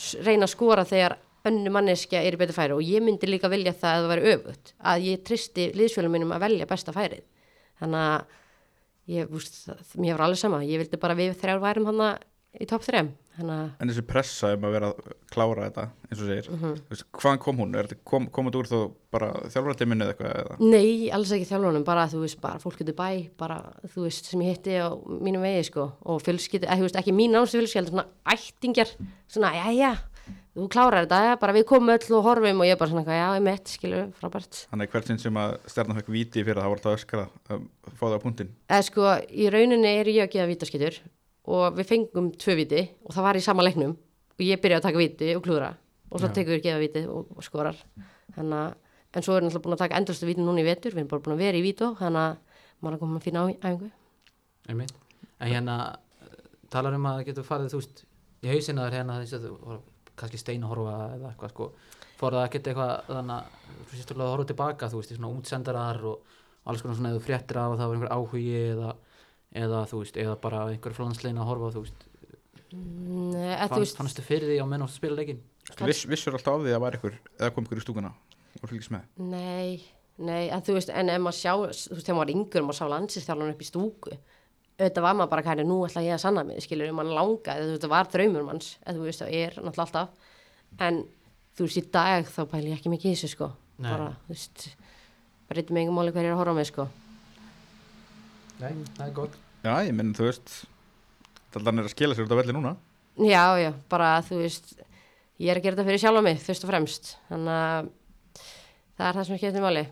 S4: s- reyna að skora þegar önnu manneskja er í betur færi og ég myndi líka vilja það að það væri öfugt, að ég tristi liðsfjölum minnum að velja besta færið þannig að ég, þú veist, það- mér var alveg sama, ég vildi bara að við þrjár værum hana í topp þrem, þannig að
S2: En þessi pressa um að vera að klára þetta eins og segir, uh
S4: Mhm.
S2: -huh. hvaðan kom hún? Er þetta kom, komað úr þó bara þjálfaratiminu eða eitthvað? Eða?
S4: Nei, alls ekki þjálfunum, bara þú veist, bara fólk út í bæ, bara þú veist, sem ég hitti á mínum vegi, sko, og fjölskyldu, eða þú veist, ekki mín nánustu fjölskyldu, svona ættingjar, svona, já, já, þú klárar þetta, já, bara við komum öll og horfum og ég bara svona, eitthvað, já, ég mitt, skilur, frábært.
S2: Þannig að hvert sinn sem að stjarnan fekk víti fyrir það var alltaf öskara að fá það á punktinn.
S4: Eða sko, í rauninni er ég að gefa vítaskytur og við fengum tvö viti og það var í sama leiknum og ég byrja að taka viti og klúðra og svo tekur ég gefa viti og, og skorar þannig að en svo erum við búin að taka endlustu viti núna í vetur, við erum bara búin að vera í vítu þannig að maður er að koma að finna á æfingu
S1: Einmitt. En hérna, eh, talar um að getur farið, þú veist, í hausina þér hérna, þess að þú voru kannski stein að horfa eða eitthvað, sko, fór það að geta eitthvað, þannig að, þú sést að horfa tilbaka, þú veist, í svona útsendarar og alls konar svona, eða þú fréttir af að það var einhver áhugi eða, eða, þú veist, eða bara einhver flanslein að horfa, þú veist,
S4: Nei, eða, þú
S1: fann,
S4: veist,
S1: fannstu fyrir því á menn og spila leikinn?
S2: Þú Viss, vissur alltaf af því að það var ykkur eða kom ykkur í stúkuna og fylgist með.
S4: nei, nei, en þú veist, en ef maður sjá, þú veist, þegar maður var yngur, maður sá landsistjálun upp í stúku, auðvitað var maður bara kæri, nú ætla ég að sanna mig, skilur, mann langaði, þú veist, það var draumur manns, eða þú veist, það er náttúrulega alltaf, en þú veist, í dag þá pæli ég ekki mikið í þessu, sko,
S1: Nei.
S4: bara, þú veist, breytum engum máli hverjir að horfa á mig sko
S1: Nei, það er gott
S2: Já, ég menn, þú veist Dallan er að skila sér út af velli núna
S4: já, já, bara þú veist ég er að gera þetta fyrir sjálfa mig, fyrst og fremst þannig að það er það sem skiptir máli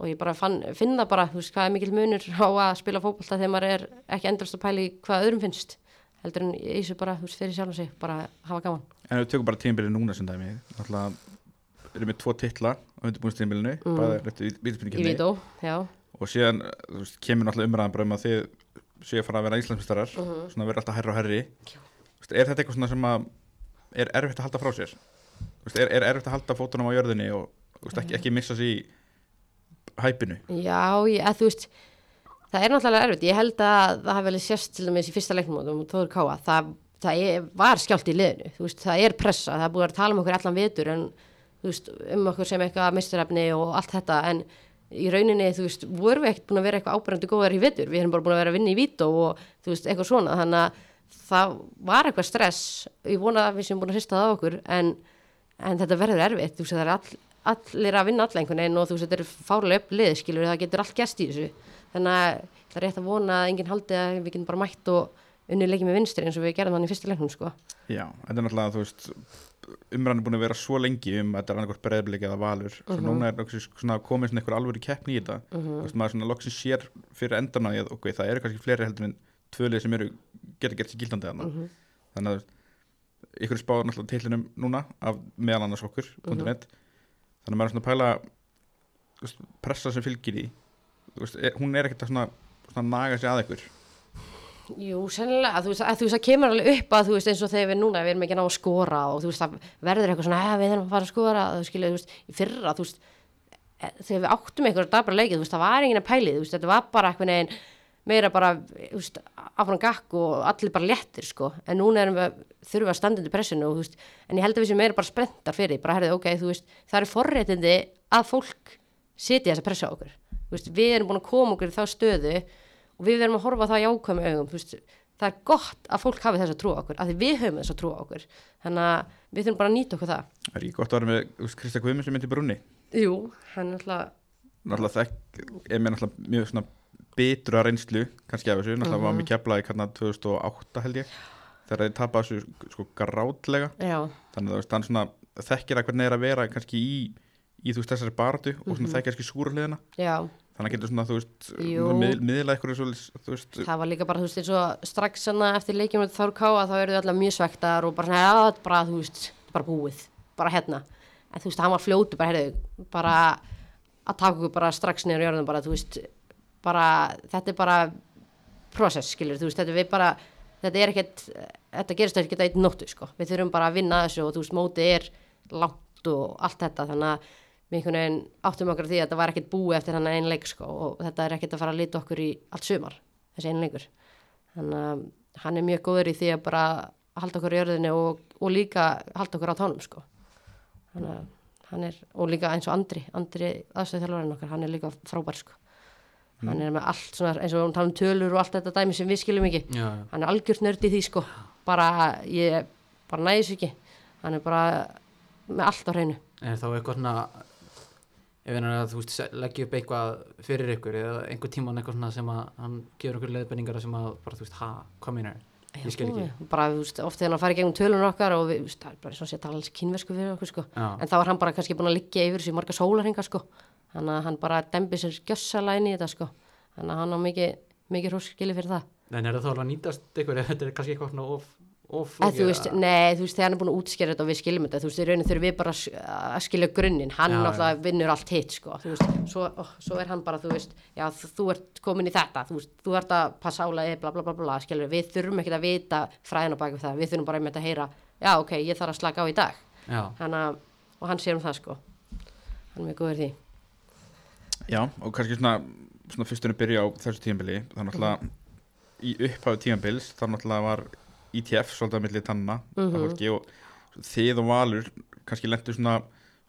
S4: og ég bara fann, finn það bara, þú veist hvað er mikill munur á að spila fótbolta þegar maður er ekki endurst að pæla í hvað öðrum finnst heldur en í þessu bara, þú veist, fyrir sjálfa sig bara hafa gaman
S2: En við tökum bara tímabilið núna sem dæmi Náttúrulega erum við tvo titla á undirbúinstímabilinu mm. Bæða réttu
S4: í
S2: vítaspyrningkefni
S4: vító, já,
S2: Og síðan þú veist, kemur náttúrulega umræðan bara um að þið séu að fara að vera Íslandsmyndstarar Svona að vera alltaf herri og herri Þú veist, Er þetta eitthvað svona sem að er erfitt að halda frá sér? Þú veist, Er, er erfitt að halda fótunum á jörðinni og þú veist, ekki, ekki missa sér í hæpinu?
S4: Já, ég, að þú veist, það er náttúrulega erfitt. Ég held að það hafi vel sérst til dæmis í fyrsta leiknumótum og Þóður Káa. Það, það er, var skjált í liðinu, þú veist, það er pressa, það er búið að tala um okkur allan vetur en þú veist, um okkur sem eitthvað misturefni og allt þetta en í rauninni, þú veist, vorum við ekkert búin að vera eitthvað ábærandi góðar í vetur, við erum bara búin að vera að vinna í vít og þú veist, eitthvað svona, þannig að það var eitthvað stress, ég vona að við sem búin að hrista það af okkur en en þetta verður erfitt, þú veist, það er all, allir að vinna alla einhvern veginn og þú veist, þetta er fárlega upplið, skilur, það getur allt gæst í þessu, þannig að það er rétt að vona að enginn haldi að við getum bara mætt og unnið leikið með vinstri eins og við gerðum hann í fyrsta leiknum, sko.
S2: Já, þetta er náttúrulega, þú veist umræðan er búin að vera svo lengi um að þetta er annarkvært breyðblik eða valur svo núna er loksins svona komið svona einhver alvöru keppni í þetta þú veist, maður svona loksins sér fyrir endan á því að ok, það eru kannski fleiri heldur en tvölið sem eru, geta gert sér gildandi þarna þannig að þú veist, ykkur er spáð náttúrulega teilinum núna af meðal annars okkur, mm þannig að maður er svona að pæla þú veist, pressa sem fylgir í veist, er, hún er ekkert að svona, svona naga sig að ykkur
S4: Jú, sennilega, þú veist, að, þú veist, það kemur alveg upp að þú veist, eins og þegar við núna, við erum ekki að ná að skora og þú veist, það verður eitthvað svona, að við erum að fara að skora, þú skilja, þú veist, í fyrra, þú veist, eh, þegar við áttum eitthvað dabra leikið, þú veist, það var enginn að pæli, þú veist, þetta var bara eitthvað neginn, meira bara, þú veist, áfram gakk og allir bara léttir, sko, en núna erum við, þurfum við að standa undir pressinu og þú veist, en ég held að við sem meira bara spenntar fyrir, því, bara herðið, ok, þú veist, það eru forréttindi að fólk setja þessa pressa á okkur Þú veist, við erum búin að koma okkur í þá stöðu og við erum að horfa á það í ákvæmi augum Þú veist, það er gott að fólk hafi þess að trúa okkur af því við höfum þess að trúa okkur þannig að við þurfum bara að nýta okkur það
S2: er ekki gott að vera með þú veist, Krista Guðmund sem myndi brunni
S4: Jú, hann er alltaf
S2: náttúrulega þekk er mér náttúrulega mjög svona bitra reynslu kannski af þessu, náttúrulega var mér keflaði hérna 2008 held ég þegar þið tapa þessu sko grátlega
S4: Já,
S2: þannig að þú veist, hann svona þekkir að hvernig er að vera kannski í, í þú veist þessari baratu og svona þekkir kannski súra hliðina
S4: já,
S2: þannig að getur svona þú veist
S4: Jú.
S2: mið, miðla ykkur svo, þú veist
S4: það var líka bara, þú veist, eins og strax hana eftir leikjum með Þór Káa þá eru þau alltaf mjög svektar og bara svona, já, þetta er bara, þú veist, þetta er bara búið, bara hérna en þú veist, hann var fljótu, bara, heyrðu, bara að taka okkur bara strax niður í jörðum bara, þú veist, bara þetta er bara process, skilur, þú veist, þetta við bara þetta er ekkert, þetta gerist ekkert eitt nóttu, sko, við þurfum bara að vinna að þessu og þú veist, mótið er langt og allt þetta, þannig að við einhvern veginn áttum okkur á því að þetta var ekkert búið eftir hann einleik, sko, og þetta er ekkert að fara að lita okkur í allt sumar, þessi einleikur þannig að hann er mjög góður í því að bara halda okkur í jörðinni og, og líka halda okkur á tánum, sko þannig að hann er, og líka eins og Andri Andri aðstöðþjálfarinn okkar, hann er líka frábær, sko
S1: Mm.
S4: hann er með allt svona, eins og hann tala um tölur og allt þetta dæmi sem við skiljum ekki
S1: Já, já.
S4: hann er algjört nörd í því sko bara, ég, bara næðis ekki hann er bara með allt á hreinu
S1: En þá eitthvað svona ef hann er að þú veist se- leggja upp eitthvað fyrir ykkur eða einhver tíman eitthvað svona sem að hann gefur okkur leiðbenningar sem að bara þú veist, ha, hvað meinar ég skil ekki,
S4: bara, þú veist, oft þegar hann farið gegnum tölunum okkar og við, þú veist, það er bara svona sér tala alls kynversku fyrir okkur sko,
S1: Já.
S4: en þá er hann bara kannski búin að liggja yfir þessu í marga sólarhinga sko þannig að hann bara dembi sér gjössalega inn í þetta sko þannig að hann á mikið, mikið hróskili fyrir það
S1: en er það þá alveg að nýtast ykkur eða þetta er kannski eitthvað svona of, of
S4: En þú
S1: flókið
S4: veist,
S1: að-
S4: nei, þú veist, þegar hann er búin að útskýra þetta og við skiljum þetta, þú veist, í raunin þurfum við bara að s- að skilja grunninn, hann
S1: Já,
S4: náttúrulega vinnur allt hitt, sko, þú veist, svo, ó, svo er hann bara, þú veist, já, þ- þú ert komin í þetta, þú veist, þú ert að passa álega, bla, bla, bla, bla, skiljum, við þurfum ekkert að vita fræðina baki það, við þurfum bara einmitt að heyra, já, ok, ég þarf að slaka á í dag,
S1: Já,
S4: hann að, og hann sér um það, sko, hann er mjög góður í því,
S2: Já, og kannski svona, svona fyrstunum byrja á þessu tíðanbili þá náttúrulega í upphafi tíðanbils þá náttúrulega var ITF svolítið að milli tanna mm -hmm. og þið og Valur kannski lendu svona,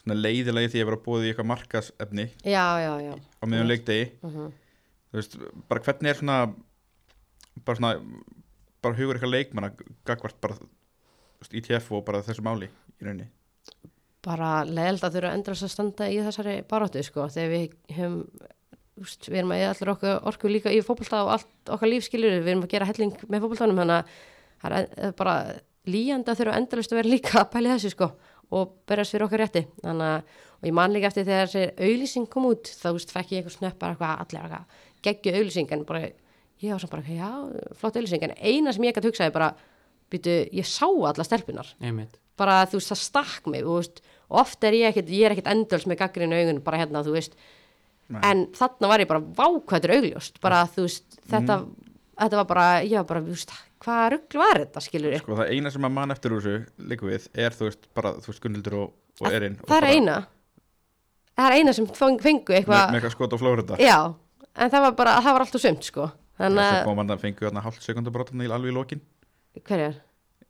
S2: svona leiðilegi því að vera búið í eitthvað markasefni
S4: já, já, já,
S2: á meðan leikdegi þú veist, bara hvernig er svona bara svona bara E hugur eitthvað leikmanna gagvart bara þú veist, ITF og bara þessu máli í rauninni
S4: bara leðild að þurfa að endra að standa í þessari baráttu sko þegar við höfum úst, við erum að eða allir okkur orku líka í fótbolta og allt okkar lífskilur við erum að gera helling með fótboltanum þannig að það er en- bara líjandi að þurfa endalist að vera líka að pæli þessu sko og berjast fyrir okkar rétti þannig að og ég man líka eftir þegar þessi auðlýsing kom út þá þú veist fekk ég eitthvað snöpp bara eitthvað allir eitthvað geggju auðlýsing en bara ég var svona bara já flott auðlýsing en eina sem ég gæti hugsaði bara býtu ég sá alla stelpunar
S1: einmitt
S4: bara þú veist það stakk mig þú veist, og oft er ég ekkert, ég er ekkert endals með gaggrinu augun bara hérna þú veist
S2: Nei. Mm.
S4: en þarna var ég bara vákvæður augljóst bara þú veist þetta, þetta var bara, ég var bara þú veist, hvað rugl var þetta skilur
S2: sko það eina sem að mann eftir úr þessu líku við er þú veist bara þú veist Gunnildur og, og Erin og
S4: það er
S2: bara
S4: eina það er eina sem feng-
S2: með,
S4: fengu
S2: með
S4: eitthvað
S2: eitthvað skot á Flórida
S4: já, en það var bara, það var allt og sumt sko þannig
S2: svo
S4: að,
S2: kom hann að fengu hann að hálft sekundabrótan í alveg í lokin
S4: hverjar?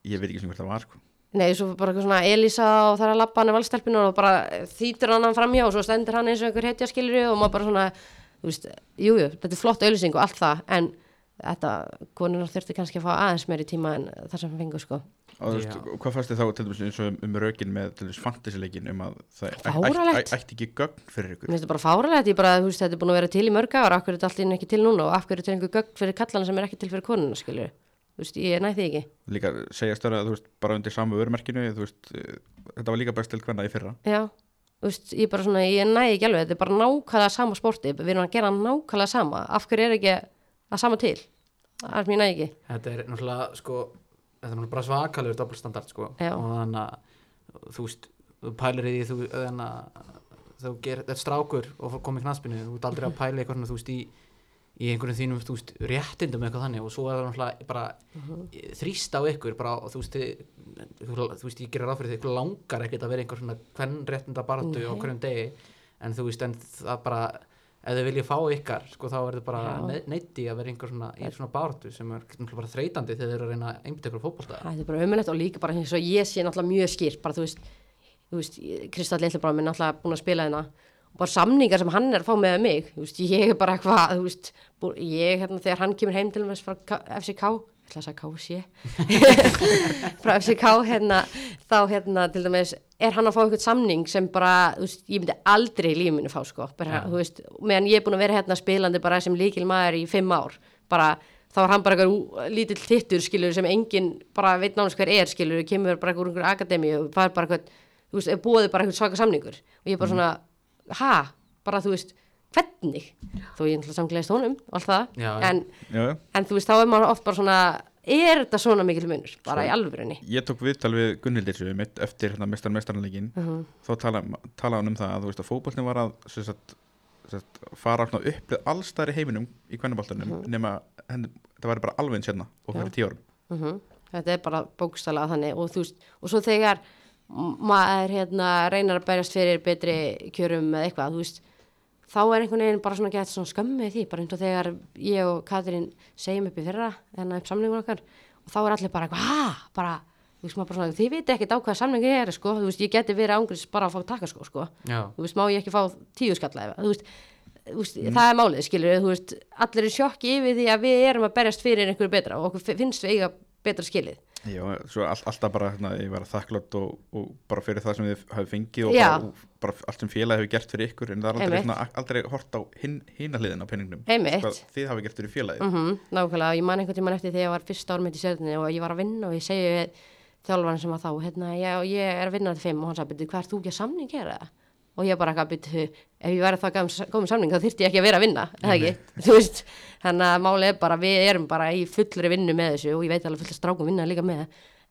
S2: ég veit ekki sem hvert það var sko
S4: Nei, svo bara eitthvað svona Elisa og það er að labba hann af valstelpinu og bara þýtur hann hann framhjá og svo stendur hann eins og einhver hetja skilur og maður bara svona, þú veist, jújú, jú, þetta er flott auðlýsing og allt það, en þetta, konunar þurfti kannski að fá aðeins meiri tíma en það sem fengur, sko.
S2: og þú veist,
S1: Já.
S2: hvað fannst þið þá til dæmis eins og um, um rökin með til dæmis fantasy-leikin um að það æ- æ-
S4: Fáránlegt.
S2: æ- ætti ekki gögn fyrir ykkur
S4: Mér finnst þetta bara fáralegt, ég bara, þú veist, þetta er búin að vera til í mörg ára, af hverju er þetta allt inn ekki til núna og af hverju er til einhver gögn fyrir kallana sem er ekki til fyrir konuna, skilur. Þú veist, ég næði ekki.
S2: líka segja störa þú veist bara undir samu vörumerkinu þú veist eh, þetta var líka best til hvenna í fyrra
S4: Já, þú veist, ég bara svona, ég næði ekki alveg, þetta er bara nákvæmlega sama sporti, við erum að gera nákvæmlega sama, af hverju er ekki að sama til? Það er sem ég næði ekki.
S1: þetta er náttúrulega sko þetta er náttúrulega bara svakalegur doppelstandard sko
S4: Já.
S1: og þannig að þú veist þú pælir í því þú þannig að þú ger, þetta er strákur og fór- kom í knaspinu þú ert aldrei að pæla í eitthvað svona þú veist í í einhverjum þínum, þú veist, réttindum eitthvað þannig og svo er það náttúrulega bara
S4: Mhm.
S1: þrýst á ykkur, bara, og þú veist þið- þú þú veist, ég gerir ráð fyrir því ykkur langar ekkert að vera einhver svona hvern réttinda baratu á hverjum degi, en þú veist en það bara, ef þau vilja fá ykkar sko, þá er þau bara
S4: Já.
S1: ne- neitt í að vera einhver svona, í svona baratu sem er náttúrulega bara þreytandi þegar þau eru að reyna að einbytta ykkur á fótbolta
S4: Það er bara ömulegt og líka bara eins og ég sé náttúrulega mjög skýrt, bara þú veist, þú veist, Kristall Lillibráð minn náttúrulega búin að spila hérna og bara samningar sem hann er að fá með mig, þú veist, ég er bara eitthvað, þú veist, bú- ég hérna þegar hann kemur heim til mér frá K- FCK, ég ætla að segja KC, frá FCK hérna, þá hérna til dæmis er hann að fá einhvern samning sem bara, þú veist, ég myndi aldrei í lífið mínu fá sko, bara,
S1: Já.
S4: þú veist, meðan ég er búin að vera hérna spilandi bara sem líkil maður í fimm ár, bara þá er hann bara eitthvað ú- lítill þittur skilur sem enginn bara veit nánast hver er skilur, kemur bara eitthvað úr einhver akademi og það er bara eitthvað, þú veist, er búið bara eitthvað svaka samningur og ég
S1: Mhm.
S4: er bara svona, ha, bara þú veist, hvernig, þó ég náttúrulega samgleðist honum og allt það,
S1: Já, já.
S4: en,
S2: já, já.
S4: en þú veist, þá er maður oft bara svona, er þetta svona mikil munur, bara í alvörunni?
S2: ég tók viðtal við Gunnhildur sem við mitt eftir hérna mestar mestarleikin
S4: Uh-huh.
S2: þá tala, tala hann um það að þú veist að fótboltin var að sem sagt, sem sagt, fara svona upplið allstæðar í heiminum í kvennaboltanum
S4: Uh-huh.
S2: nema henni, það væri bara alveg eins hérna og fyrir tíu árum
S4: -hmm. Þetta er bara bókstala þannig og þú veist, og svo þegar m- maður hérna reynar að berjast fyrir betri kjörum eða eitthvað, þú veist þá er einhvern veginn bara svona gett svona skömmið því, bara eins og þegar ég og Katrín segjum upp í fyrra, þannig upp samningun okkar og þá er allir bara eitthvað, ha, bara þú veist, maður bara svona, þið viti ekkert á hvaða samningur er sko, þú veist, ég geti verið ángriðs bara að fá takaskó sko,
S1: Já.
S4: þú veist, má ég ekki fá tíu skalla eða, þú veist, þú veist það er málið, skilur, þú veist, allir er sjokki yfir því að við erum að berjast fyrir einhverju betra og okkur fi- finnst við eiga betra skilið
S2: já, svo all, alltaf bara hérna, ég var þakklátt og, og bara fyrir það sem þið hafi fengið og
S4: Já.
S2: bara, og bara allt sem félagi hefur gert fyrir ykkur en það er aldrei,
S4: Einmitt.
S2: svona, aldrei hort á hin, hinahliðin á peningnum
S4: Einmitt.
S2: Hvað þið hafi gert fyrir félagi
S4: mm nákvæmlega, ég man einhvern tímann eftir þegar ég var fyrst árum mitt í stjórninni og ég var að vinna og ég segi við þjálfarinn sem var þá, hérna, ég, ég er að vinna til fimm og hann sagði, byrju, hvað ert þú ekki að samning gera það? Og ég bara eitthvað, byrju, ef ég væri það góð með samning þá þyrfti ég ekki að vera að vinna, eða ekki, þú veist, þannig að málið er bara, við erum bara í fullri vinnu með þessu og ég veit alveg fullt að strákum vinna líka með,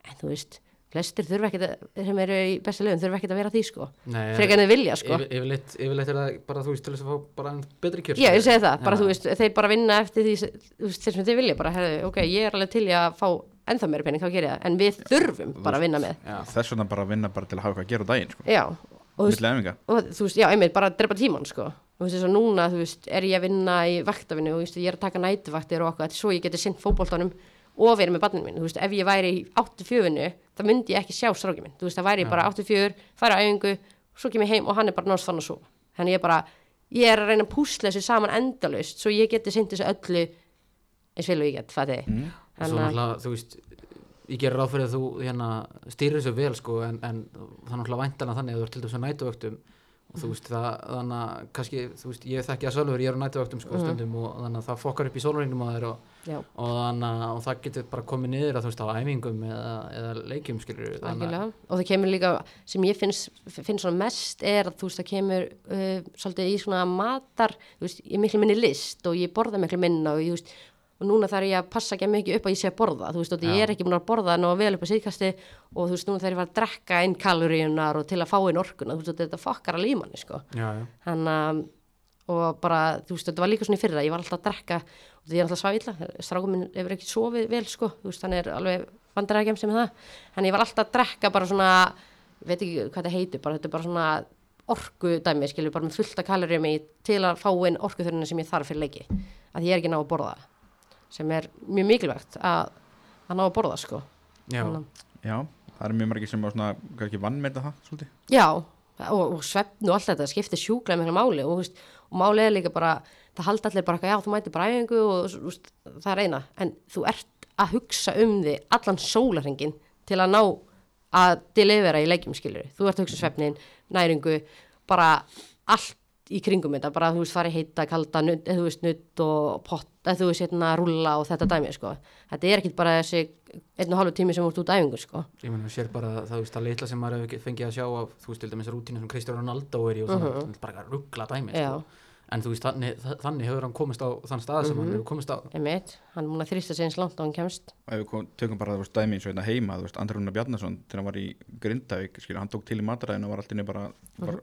S4: en þú veist, flestir þurfa ekkert að, sem eru í bestu lögum, þurfa ekkert að vera að því, sko,
S1: Nei,
S4: frekar en þau vilja, sko.
S1: Yfir- yfirleitt, yfirleitt er það bara þú veist til þess að fá bara enn betri kjör sko.
S4: Já, ég segi það, bara
S1: Já.
S4: þú veist, þeir bara vinna eftir því, sem- þú veist, þeir sem þeir vilja bara, herðu, ok, ég er alveg til í að fá ennþá meira pening, þá ger ég það, en við þurfum bara að vinna með,
S1: Já.
S2: þess vegna bara að vinna bara til að hafa eitthvað að gera á daginn sko.
S4: já, Mm. og þú veist,
S2: milli æfinga
S4: og þú veist, já, einmitt, bara drepa tíman, sko, þú veist, þess að núna, þú veist, er ég að vinna í vaktavinu, og þú veist, ég er að taka nætuvaktir og okkur, þetta er svo ég geti sinnt fótboltanum og verið með barninu mín, þú veist, ef ég væri í 84-vinu, það myndi ég ekki sjá strákið minn, þú veist, það væri ég bara 84, færa á æfingu, svo kem ég heim og hann er bara náttúrulega fann að sofa, þannig ég bara, ég er að reyna að púsla þessu saman endalaust, svo ég geti sinnt þessu öllu eins vel Mm. og ég get, það er
S1: Svo náttúrulega, þú veist, ég gerir ráð fyrir að þú hérna, stýrir þessu vel sko, en, en það er náttúrulega væntanlega þannig að þú ert til dæmis á nætuvöktum og þú veist það þannig að kannski, þú veist, ég þekki að sjálfur ég er á nætuvöktum
S4: Mm.
S1: sko, stundum og þannig að það fokkar upp í sólurinnum að þér og,
S4: já,
S1: og þannig að og það getur bara komið niður að þú veist á æfingum eða, eða leikjum skilur
S4: algjörlega og það kemur líka, sem ég finnst, finnst svona mest er að þú veist það kemur uh, svolítið í svona matar þú veist, ég er miklu minni list og ég borða miklu minna og ég þú veist, og núna þarf ég að passa ekki að mikið upp að ég sé að borða, þú veist, og ég er ekki múin að borða ná vel upp að síðkasti og þú veist, núna þarf ég að fara að drekka inn kaloríunar og til að fá inn orkuna, þú veist, og þetta fokkar alveg í manni, sko
S1: já, já,
S4: þannig að og bara, þú veist, þetta var líka svona í fyrra ég var alltaf að drekka, og því ég er alltaf svaf illa strákum minn hefur ekki sofið vel, sko þú veist, hann er alveg vandræða gemsi með það en ég var alltaf að drekka bara svona ég veit ekki hvað þetta heitir, bara þetta er bara svona orku dæmi, skilju, bara með fullta kaloríum í til að fá inn orku þörfina sem ég þarf fyrir leiki, að ég er ekki ná að borða sem er mjög mikilvægt að, að ná að borða, sko
S1: já,
S4: Þannig að-
S2: Já, það er mjög margir sem að svona, kannski vannmeta það svolítið
S4: Já, og, og svefn og allt þetta skiptir sjúklega miklu máli og, þú veist, og máli er líka bara, það halda allir bara eitthvað, já, þú mætir bara æfingu og þú veist, það er eina, en þú ert að hugsa um þig allan sólarhengin til að ná að delivera í leikjum skilur, þú ert að hugsa um svefnin næringu, bara allt í kringum þetta, bara þú veist fari heita kalda, nudd, eða þú veist nudd og pott, eða þú veist hérna rúlla og þetta dæmi sko, þetta er ekkit bara þessi einn og halvu tími sem þú ert út að æfingu sko
S1: ég meina, sér bara það, þú veist, það litla sem maður hefur ekki fengið að sjá af, þú veist, til dæmis rútínu sem Kristján Ronaldo er í og svona, uh -huh. bara ruggla dæmi,
S4: Já.
S1: sko. en þú veist, þannig, þa- þannig hefur hann komist á þann stað sem hann hefur komist á,
S4: Einmitt, hann er múin að þrýsta sig eins langt og hann kemst.
S2: og ef við kom- tökum bara þú veist dæmi eins og þetta heima þú veist Andri Rúnar Bjarnason þegar hann var í Grindavík skil, hann tók til í mataræðinu og var alltaf bara, var,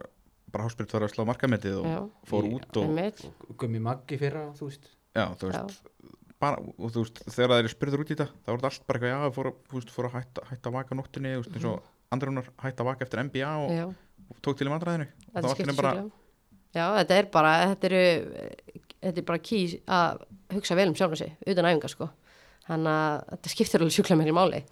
S2: bara háspyrt var að slá markametið og
S4: Mhm. Já.
S2: fór út og,
S4: Einmitt,
S1: Gummi Maggi fyrra, þú veist
S2: já, þú veist, bara, og þú veist þegar það er spurður út í þetta þá er þetta allt bara eitthvað já, fór, að- þú veist, fór að hætta, hætta að vaka á nóttinni þú veist, eins og Andri Rúnar hætta að vaka eftir NBA og,
S4: Mhm. já,
S2: og tók til í mataræðinu og
S4: þetta
S2: allt í einu
S4: skiptir
S2: bara,
S4: sjúklega. Já, þetta er bara, þetta eru, eh, þetta er bara ký að hugsa vel um sjálfum sig, utan æfinga sko. Þannig að þetta skiptir alveg sjúklega miklu máli.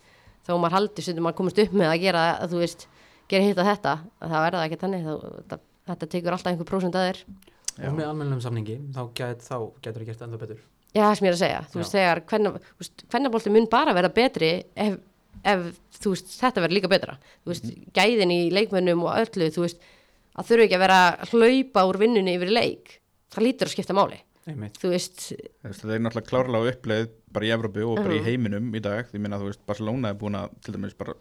S4: Þó maður haldi stundum að komast upp með að gera, að þú veist, gera hitt að þetta, að það verða ekki þannig, þá, þetta, þetta tekur alltaf einhver prósent að þér.
S1: og með almennum samningi, þá, gæt, þá getur það gert enda betur
S4: Já, það sem ég er að segja, þú veist, þegar hvernig, þú veist, kvennabólti mun bara verða betri ef, ef, þú veist, þetta verður líka betra, þú veist, gæðin í leikmönnum og öllu, þú veist, að þurfa ekki að vera að hlaupa úr vinnunni yfir í leik, það lítur að skipta máli,
S1: einmitt,
S4: þú veist,
S2: þú veist, þetta er náttúrulega klárlega uppleið bara í Evrópu og bara í heiminum í dag því minna þú veist Barcelona er búin að til dæmis bara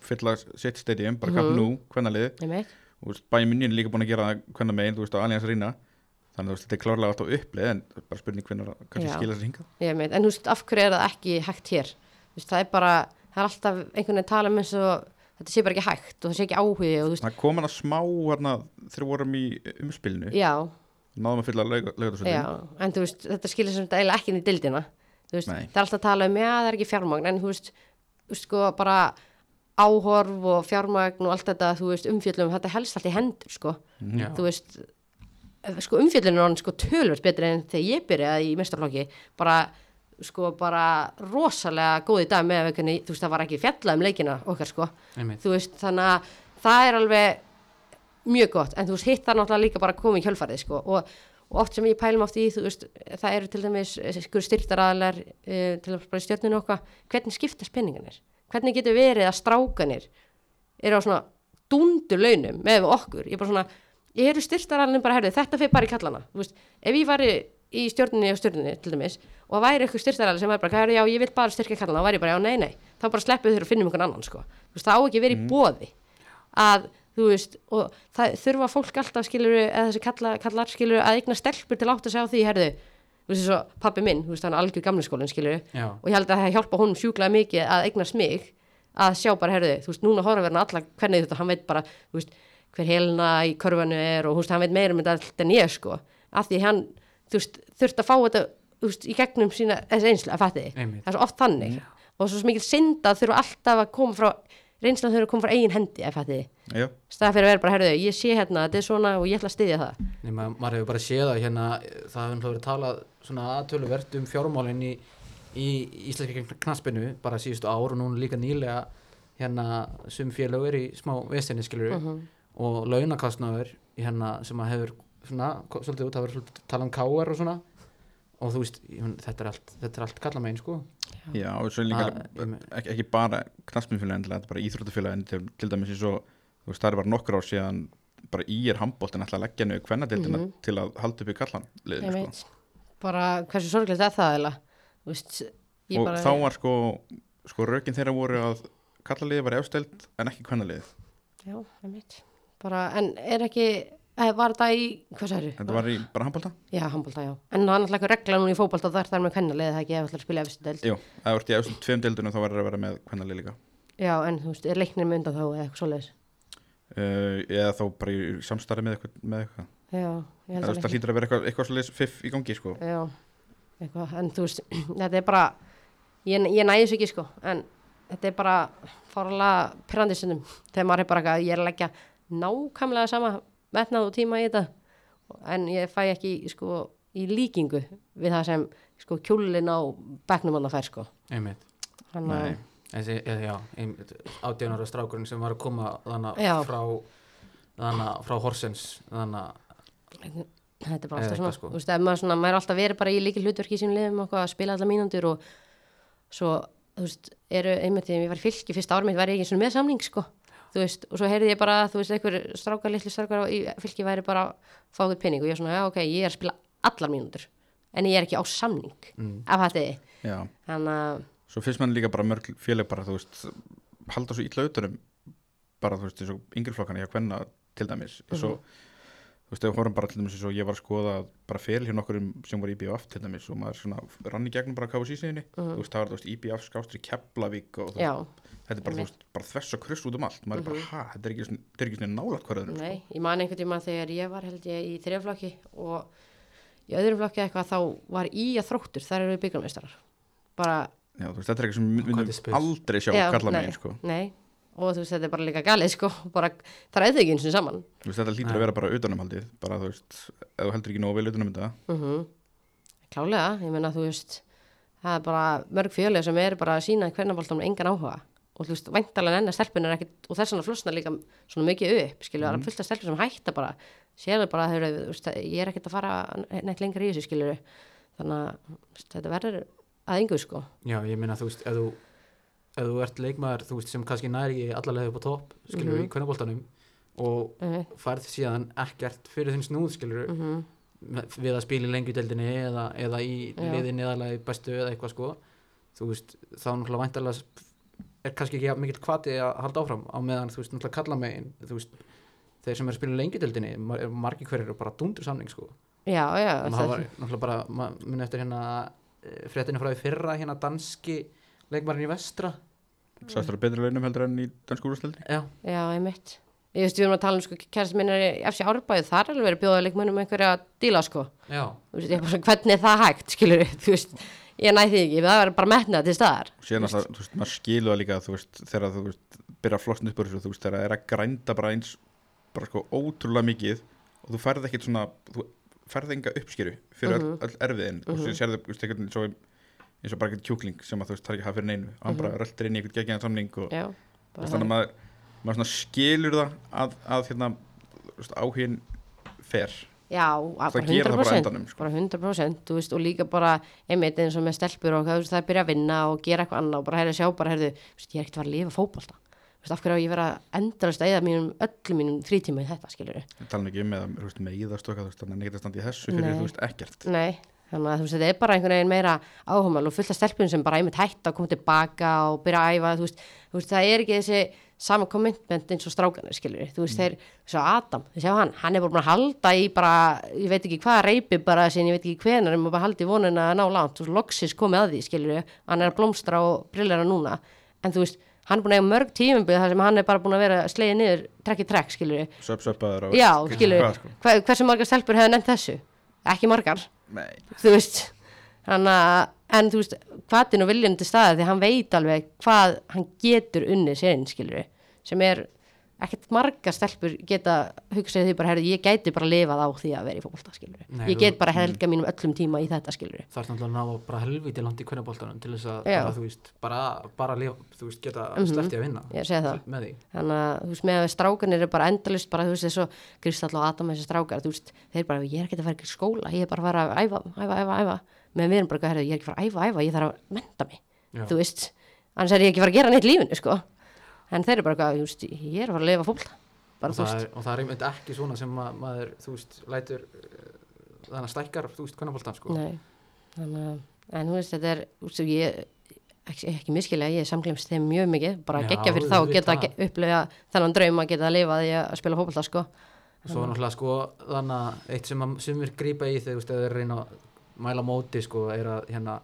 S2: fylla sitt stadium bara
S4: Mhm.
S2: mm -hmm. nú, hvernalið
S4: einmitt,
S2: og bæjum minni er líka búin að gera það hvernig megin, þú veist, á Allianz Rína þannig að þú veist, þetta er klárlega alltaf upplið en það er bara spurning hvernig það kannski
S4: Já.
S2: skila sér hingað
S4: ég meit, en þú veist, af hverju er það ekki hægt hér, þú veist, það er bara, það er alltaf einhvern veginn tala um eins og þetta sé bara ekki hægt og það sé ekki áhugi og þú veist,
S2: það kom hana smá hérna þegar við vorum í umspilinu
S4: já,
S2: náðum að fylla
S4: Já,
S2: lögatarsöldin
S4: en þú veist, þetta skilir sem þetta eiginlega ekki inn í dildina þú veist,
S2: Nei.
S4: það er alltaf að tala um, já, það er ekki fjármagn en þú veist, þú veist, sko, bara áhorf og fjármagn og allt þetta þú veist, umfjöllum, þetta helst allt í hendur sko,
S1: Já.
S4: þú veist eh, sko, umfjöllunum er hann sko tölvöld betri en þegar ég byrjaði í mestarflokki bara, sko, bara rosalega góð í dag með vekunni, þú veist, það var ekki fjallað um leikina okkar, sko
S1: einmitt.
S4: þú veist, þannig að það er alveg mjög gott, en þú veist, hitt það náttúrulega líka bara að koma í kjölfarið, sko, og, og oft sem ég pælum oft í, þú veist, það eru til dæmis eh, skur styrtaraðalar uh, til dæmis bara í stjórninu okkar, hvernig skiptast penninganir, hvernig getur verið að strákanir eru á svona dundur launum með við okkur, ég er bara svona ég eru styrtaraðalinn bara, herðu, þetta fyrir bara í kallana þú veist, ef ég væri í stjórninni og stjórninni til dæmis, og væri eitthvað styrtaraðal sem væri bara, herðu, já, ég vil bara styrka kallana og væri ég bara, já, nei, nei, þá bara sleppu þér og finnum einhvern annan, sko, þú veist, það á ekki verið í bóði að, þú veist, og það þurfa fólk alltaf skilur, eða þessi kalla, kallar skilur að eigna stelpur til átt að segja á því, herðu, þú veist, svo pappi minn, þú veist, hann er algjör gamli skólinn, skilur,
S1: Já.
S4: og ég held að það hjálpa honum sjúklega mikið að eignast mig að sjá bara, herðu, þú veist, núna horfa verðin alla hvernig þetta, hann veit bara, þú veist, hver helna í körfanu er og þú veist, hann veit meira um þetta allt en ég, sko, af því hann, þú veist, þurft að fá þetta, þú veist, í gegnum sína, þessi einslega, fætti,
S1: Einmitt.
S4: það er svo oft þannig og svo mikið synda þurfa alltaf að koma frá, reynslan þurfa að koma frá eigin hendi, ef fætti,
S2: já,
S4: staða fyrir að vera bara, herðu, ég sé hérna, þetta er svona og ég ætla að styðja það,
S1: nema maður hefur bara séð að hérna það hefur náttúrulega verið talað svona aðtöluvert um fjármálin í, í íslenska knaspinu bara síðustu ár og núna líka nýlega hérna sum félög er í smá vestinni skilur og launakastnaður hérna sem að hefur svona ko- svolítið út, það hefur svolítið talað um káar og svona og þú veist, ég mun- þetta er allt, þetta er allt kalla megin sko
S2: Já, og svo er líka
S1: Það- ég me-
S2: ekki, ekki bara knassmjöfélagin þetta er bara íþróttafélagin til, til dæmis eins og þú veist, það er bara nokkur ár síðan bara í er handbóltin alltaf að leggja niður kvennadeildina til að halda upp í sko. kallan
S4: Mhm. ég
S2: liðinu,
S4: veit bara hversu sorglegt er það eða þú veist
S2: sko.
S4: ég
S2: og
S4: bara
S2: þá var sko, sko rökin þeirra voru að kallaliðið var efstelt en ekki kvennaliðið
S4: já, ég veit bara en er ekki eh, var þetta í hvað særu
S2: þetta var í
S4: Ah.
S2: bara handbólta?
S4: já, handbólta já en það er náttúrulega eitthvað regla núna í fótbólta þar þar með kvennalið það ekki ef ætlar að spila efstu deild
S2: Jú, ef þú ert í efstum tveim deildunum þá verður að vera með kvennalið líka
S4: já, en þú veist er leiknir með undan þá eða eitthvað svoleiðis
S2: uh, eða þá bara í samstarfi með eitthvað, með eitthvað.
S4: já,
S2: Eða,
S4: ég held
S2: þú
S4: að
S2: veist, það hlýtur að vera eitthvað, eitthvað svolítið fiff í gangi sko.
S4: já, eitthvað, en þú veist þetta er bara, ég, ég næði þessu ekki sko, en þetta er bara fórlega pyrrandi stundum þegar maður er bara eitthvað, ég er að leggja nákvæmlega sama metnað og tíma í þetta en ég fæ ekki sko í líkingu við það sem sko kjúlin á bekknum hann að fær sko
S1: einmitt
S4: hann að,
S2: Nei.
S1: Þessi, eh, já, einmitt, 18 ára strákurinn sem var að koma þannig
S4: Já.
S1: frá þannig frá Horsens þannig,
S4: þetta er bara
S1: Eða
S4: alltaf
S1: eitthvað,
S4: svona,
S1: sko.
S4: þú veist, ef maður svona maður er alltaf verið bara í líki hlutverki í sínum liðum og eitthvað að spila alla mínundur og svo, þú veist, eru einmitt þegar ég var í fylki fyrsta árum mitt var ég ekki eins og með samning sko, þú veist, og svo heyrði ég bara þú veist, einhver strákar, litli strákar í fylki væri bara að fá þau penning og ég var svona, já ok, ég er að spila allar mínundur en ég er ekki á samning
S1: Mm.
S4: af hætti,
S2: Já.
S4: þannig að
S2: svo finnst mann líka bara mörg félag bara þú veist halda svo illa utanum bara þú veist eins og yngri flokkana hjá hvenna til dæmis eins
S4: Mhm.
S2: og þú veist ef við horfum bara til dæmis eins og ég var að skoða bara fyrir hjá nokkurum sem voru í IBF til dæmis og maður svona rann í gegnum bara KFC síðinni þú veist það var þú veist IBF skástri Keflavík og þú veist,
S4: Mhm. já, Mhm.
S2: þetta er bara þú veist bara þvers og krust út um allt maður er bara ha þetta er ekki, svona- þetta er ekki svona nálægt hverðunum
S4: Nei, ég man einhvern tíma þegar ég var held ég í þriðaflokki og í öðrum flokki eitthvað þá var í að þróttur, þar eru við byggjumistrar bara
S2: já þú veist þetta er ekki sem við
S1: Hvað er
S2: myndum
S1: spes?
S2: aldrei sjá
S4: Já,
S2: kalla
S4: nei,
S2: megin sko
S4: Nei, og þú veist þetta er bara líka galið sko, bara það er þau ekki eins og saman
S2: þú veist þetta lítur að vera bara utanumhaldið bara þú veist ef þú heldur ekki nógu vel utanum þetta
S4: Klálega, ég meina þú veist það er bara mörg fjölega sem er bara að sína hvernaboltum engan áhuga og þú veist, væntalega enna stelpun er ekkit og þess vegna flosna líka svona mikið upp skilur, það er fullt af stelpun sem hætta bara sér það bara að þau eru, þú veist, ég er ekkit að fara neitt lengra í þessu skilur þannig að þú veist, þetta verður að engu sko
S1: já, ég meina þú veist ef þú, ef þú ert leikmaður þú veist sem kannski næri ekki allarlega upp á topp skilur í kvennaboltanum og
S4: Einmitt.
S1: færð síðan ekkert fyrir þinn snúð skilur
S4: mhm.
S1: við að spila í lengjudeldinni eða, eða í
S4: Já.
S1: liðinni eða í bestu eða eitthvað sko þú veist, þá náttúrulega væntalega er kannski ekki jafn mikill kvati að halda áfram á meðan þú veist, náttúrulega kalla megin þú veist, þeir sem eru að spila í lengjudeldinni mar- eru margir hverjir eru bara dundur samning sko
S4: Já, já,
S1: og
S4: það-
S1: það var náttúrulega bara ma- minn eftir hérna eh, fréttinu frá því fyrra hérna danski leikmarinn í vestra
S2: Sastur á betri launum heldur en í dansku úrstöldi
S1: já,
S4: Já, einmitt. Ég veist, við erum að tala um sko, kærasti minn er í FC Árbæðu, þar er alveg verið að bjóða leikmönnum einhverja díla, sko.
S1: já,
S4: Þú veist, ég bara, hvernig er það hægt, skilur þú veist, ég næði því ekki, það er bara metnað til staðar.
S2: og síðan alltaf, þú veist, maður skilur það líka þú veist, þegar þú veist, byrja að flosna upp úr þessu þú veist, þegar það er að grænda bara eins bara sko ótrúlega mikið og þú færð ekkit svona, þú færð enga uppskýru fyrir öll, öll erfiðin og síðan sérðu, þú veist, einhvern veginn svo eins og bara eitthvað kjúkling sem að þú veist, það er ekki að hafa fyrir neinu og hann bara röltir inn í eitthvað geggjæðan samning og
S4: Já,
S2: þú veist,
S4: bara
S2: þannig að
S4: það.
S2: maður, maður svona skilur það að, að hérna, þú veist, áhugin fer,
S4: Já, að bara
S2: gera það bara
S4: 100%.
S2: á endanum, sko.
S4: Bara 100%, þú veist, og líka bara, einmitt eins og með stelpur og hvað, þú veist, það er byrja að vinna og gera eitthvað annað og bara herri sjá, bara herri, þú veist, ég er ekkert að fara að lifa fótbolta. Þú veist, af hverju á ég að vera endalast að eða mínum, öllum mínum frítíma í þetta, skilur
S2: Ég tala nú ekki um eða, þú veist, meiðast og eitthvað, þú veist, þannig að neitt að standa í þessu fyrir,
S4: Nei.
S2: þú veist, ekkert
S4: Nei, þannig að þú veist, þetta er bara einhvern veginn meira áhugamál og fullt af stelpunum sem bara einmitt hætta að koma tilbaka og byrja að æfa, þú veist, þú veist það er ekki þessi sama commitment eins og strákanir, skilur þú veist, þeir, svo Adam, þið sjá hann, hann er bara búin að halda í bara, ég veit ekki hvað reypi bara sín, ég veit ekki hvenar, um að bara halda í vonuna að ná langt og loksis komið að því, skilur hann er að blómstra og brillera núna, en þú veist, hann er búin að eiga mörg tímumbyggð þar sem hann er bara búin að vera slegið niður trekk í trekk, skilur
S2: söp-söpaður og
S4: Já, skilur,
S2: hvað, sko.
S4: hva- hversu margar stelpur hefur nefnt þessu? Ekki margar
S2: Nei.
S4: þú veist hana, en þú veist, hvaðin og viljandi staða því hann veit alveg hvað hann getur unnið sérinn, skilur sem er, ekkert margar stelpur geta hugsaði því bara, herrðu, ég gæti bara lifað á því að vera í fólkta, skilur
S1: Nei,
S4: ég
S1: þú- Mm.
S4: get bara helga mínum öllum tíma í þetta, skilur
S1: það er náttúrulega að ná bara helviti langt í kvennaboltanum til þess að
S4: Já. Mhm.
S1: bara, þú veist, bara, bara lifa, þú veist, geta mm að vinna
S4: ég segi það
S1: með því
S4: þannig að þú veist með að við strákanir er bara endalist bara þú veist þessu Kristall og Adam þessi strákar þú veist þeir bara ég er ekki að fara ekki í skóla ég er bara að fara að æfa, æfa, æfa, æfa meðan við erum bara eitthvað herrðu ég er ekki að fara að æfa, æfa ég þarf að mennta mig
S1: Já.
S4: þú veist, annars er ég ekki að fara að gera neitt í lífinu, sko en þeir eru bara eitthvað, þú veist, ég er að fara að lifa fólta bara,
S1: og
S4: þú
S1: það,
S4: veist,
S1: er, og það er einmitt ekki svona sem ma maður, þú veist, lætur eh, þannig að stækkar, þú veist, hvernig bóltan sko.
S4: nei þannig að, en þú veist, þetta er þú veist, ég, ekki, ekki miskilega ég samglemst þeim mjög mikið, bara
S1: Já,
S4: geggja fyrir þá og geta
S1: auðvitað.
S4: ge- upplega þennan draum að geta að lifa því að spila fólta, sko
S1: svo er náttúrulega sko, þannig að eitt sem að sumir grípa í þegar þú veist, ef þeir reyna að mæla móti sko, er að hérna,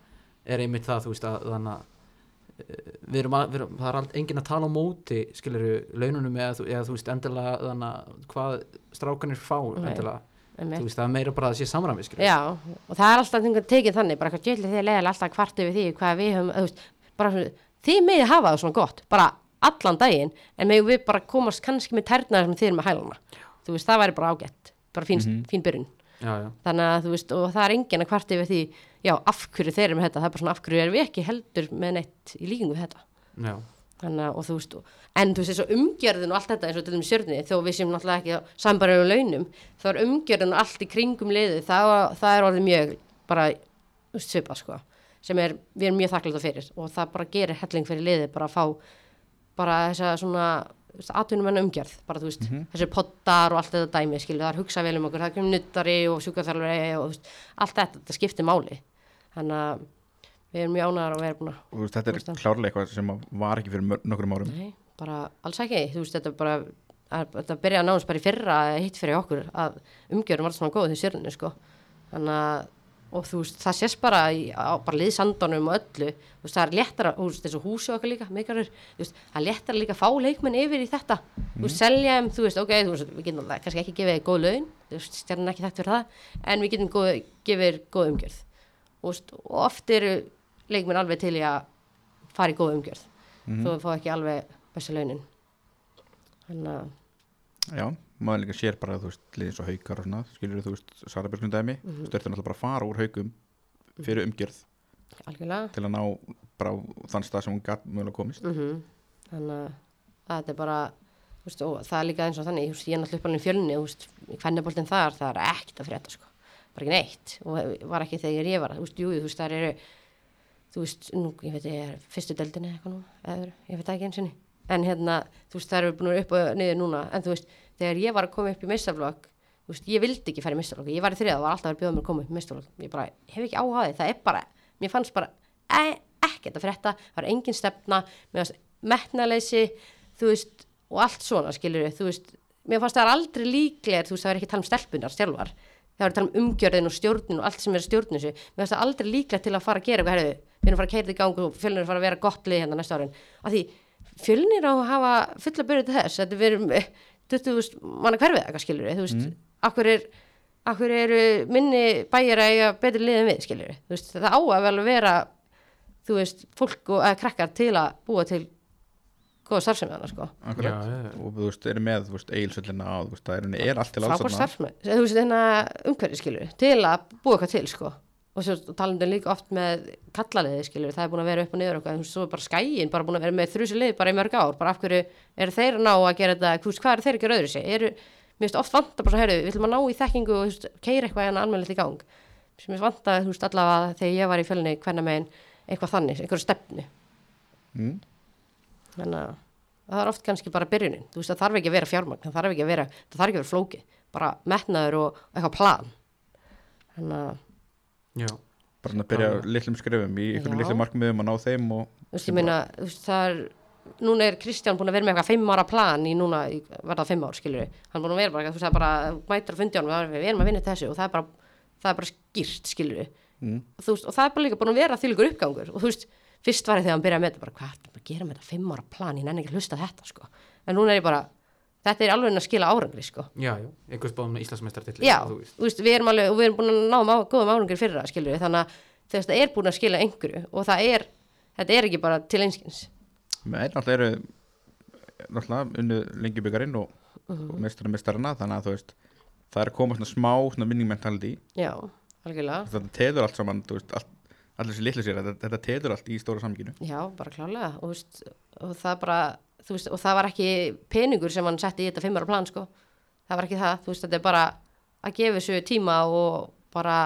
S1: er einmitt það, þú veist, að þannig að eh, við erum að, við erum, það er all, engin að tala á móti skilur laununum eða, þú- eða þú veist endilega þannig að hvað strákanir fá
S4: Nei.
S1: endilega,
S4: Einmitt.
S1: þú veist, það er meira bara að það sé samræmi skilur,
S4: Já, og það er alltaf einhvern tekið þannig, bara eitthvað djöldið þið leðal alltaf kvart yfir því hvað við höfum, þú veist, bara svona, þið meði hafa það svona gott, bara allan daginn, en megum við bara komast kannski með tærnar sem þið erum með hæluna, þú veist, það væri bara ágætt, bara fín, fín byrjun,
S1: já, já,
S4: þannig að þú veist, og það er enginn að kvart yfir því, já, af hverju þeir eru með þetta, það er bara svona af hverju erum við ekki heldur með neitt í líkingu við þetta
S1: já,
S4: þannig að, og þú veist, og- en þú veist þessu umgjörðin og allt þetta eins og til þeim sjörni þó við sem náttúrulega ekki á sambarjum launum þá er umgjörðin og allt í kringum liði það, það er orðið mjög bara þú veist, svipað sko sem er, við erum mjög þakklæta fyrir og það bara gerir helling fyrir liði bara að fá bara þessa svona atvinnumenn umgjörð, bara þú veist, þessi poddar og allt þetta dæmi, skilur, það er hugsa vel um okkur það er komið nuttari og sjúkarþjálfari og þú veist, allt þetta, þetta skiptir máli þannig að við erum mjög ánæðar að vera búin að
S2: og þú veist, þetta
S4: Ástæðan.
S2: er klárlega eitthvað sem að var ekki fyrir mör- nokkrum árum
S4: Nei, bara alls ekki, þú veist, þetta er bara að- þetta byrja að náðast bara í fyrra eða hitt fyrir okkur að umgjörum var svona góð því sérinu, sko þannig að, og þú veist, það sést bara í, á bara liðsandunum og öllu þú veist, það er léttara, þú veist, þessu húsi okkar líka mikarur, þú veist, það er léttara líka að fá leikmenn yfir í þetta, þú veist, selja þeim, þú veist, ok, þú veist, við getum alltaf kannski ekki gefið þér góð laun, þú veist, stjarnan er ekki þekkt fyrir það en við getum góð, gefið þér góð umgjörð og, veist, og oft eru leikmenn alveg til í að fara í góð umgjörð þó að fá ekki alveg bestu launin þannig að
S2: Já, maður líka sér bara þú veist, liðið svo haukar og svona, skilur þú veist Sarabjörgum dæmi, mm -hmm. störtum alltaf bara að fara úr haukum fyrir umgjörð
S4: algjörlega
S2: til að ná bara á þann stað sem hún gat mögulega komist
S4: mm þannig að þetta er bara þú veist, og það er líka eins og þannig þú veist, ég er náttúrulega uppalinn í fjölni þú veist, hvernig þar, það er ekkert að frétta sko. bara ekki neitt og var ekki þegar ég var þú veist, jú, jú, þú veist, þar eru þú veist, nú, ég veit, ég er fyrstu deldinni eitthvað nú, eður, ég veit það ekki eins og en hérna, þú veist, það eru búin að vera upp og niður núna, en þú veist, þegar ég var að koma upp í meistarflokk, þú veist, ég vildi ekki fara í meistarflokk, ég var í þriða og var alltaf að bjóða mér að koma upp í meistarflokk, ég bara, hef ekki áhugaði það er bara, mér fannst bara e ekkert að frétta, það var engin stefna mér fannst metnaleysi þú veist, og allt svona skilur þú veist, mér fannst það er aldrei líklegar þú veist, það er ekki að tala um stelpunar sjálfar það er að tala um umgjörðin og stjórnin og allt sem er stjórnin þessu, mér finnst það aldrei líklegt til að fara að gera eitthvað, herðu, við erum að fara að keira þetta í gang og fjölnir er að fara að vera gott lið hérna næsta árin af því fjölnir á að hafa fulla byrjuð til þess, þetta verður 20.000 manna hverfið eitthvað skilur þú veist, mm. akkur, er, akkur eru minni bæjar að eiga betri lið en við skilur, þú veist, þetta á að vel vera þú veist, fólk og að krakkar til að búa til góða starfsemi hana sko
S2: Akkurat.
S1: Já, já, já.
S2: og þú veist, eru með, þú veist, eilsöllina á, þú veist, það er, henni er allt til alls
S4: frábær
S2: þarna.
S4: starfsmenn, þú veist hérna umhverfi skilur, til að búa eitthvað til sko og svo talandum líka oft með kallaliði skilur, það er búin að vera upp og niður og eitthvað, þú veist, svo er bara skæin, bara búin að vera með þrjusi lið bara í mörg ár, bara af hverju eru þeir að ná að gera þetta, þú veist, hvað eru þeir að gera öðru sig eru, mér veist, oft vanta bara svo, heyrðu, við ætlum að ná í þekkingu og þú veist, keira eitthvað hérna almennilegt í gang sem mér vanta, þú veist, allavega þegar ég var í fjölni, hvernig megin, eitthvað þannig, einhverju stefnu
S2: Mm.
S4: þannig að það er oft kannski bara byrjunin þú veist það þarf ekki að vera fjármagn það þarf ekki að vera, það þarf ekki að vera flóki bara metnaður og eitthvað plan þannig að þú
S1: já.
S2: bara svona að byrja á litlum skrifum í ykkur
S4: Já.
S2: litlum markmiðum að ná þeim og
S4: veist ég meina þú veist það er núna er Kristján búin að vera með eitthvað fimm ára plan í núna í, verða fimm ár skilur hann búin að vera bara eitthvað, þú veist það er bara þú mætir að fundi honum það er, við erum að vinna í þessu og það er bara það er bara skýrt skilur
S2: Mm.
S4: þú veist, og það er bara líka búin að vera þýlikur uppgangur og þú veist, fyrst var ég þegar hann byrjaði með þetta bara hvað ætlum við að gera með þetta fimm ára plan ég nenni ekki að hlusta á þetta sko en núna er ég bara þetta er alveg að skila árangri sko
S1: já, já, einhvers báðum Íslandsmeistartilli
S4: Já,
S1: þú
S4: þú
S1: veist.
S4: veist, við erum alveg og við erum búin að ná má, góðum árangri fyrir það, skilur við þannig að þess að það er búin að skila einhverju og það er, þetta er ekki bara til einskins
S2: með náttúrulega eru náttúrulega unnu lengi byggarinn og, og meistarinn meistarina, þannig að þú veist það er að koma svona smá svona minning mentality
S4: Já, algjörlega
S2: þetta telur allt saman, þú veist, all, allir þessi litlu sér þetta, þetta telur allt í stóra samkinu
S4: Já, bara klálega og, þú veist, og það bara, þú veist, og það var ekki peningur sem hann setti í þetta fimmara plan sko, það var ekki það, þú veist, þetta er bara að gefa þessu tíma og bara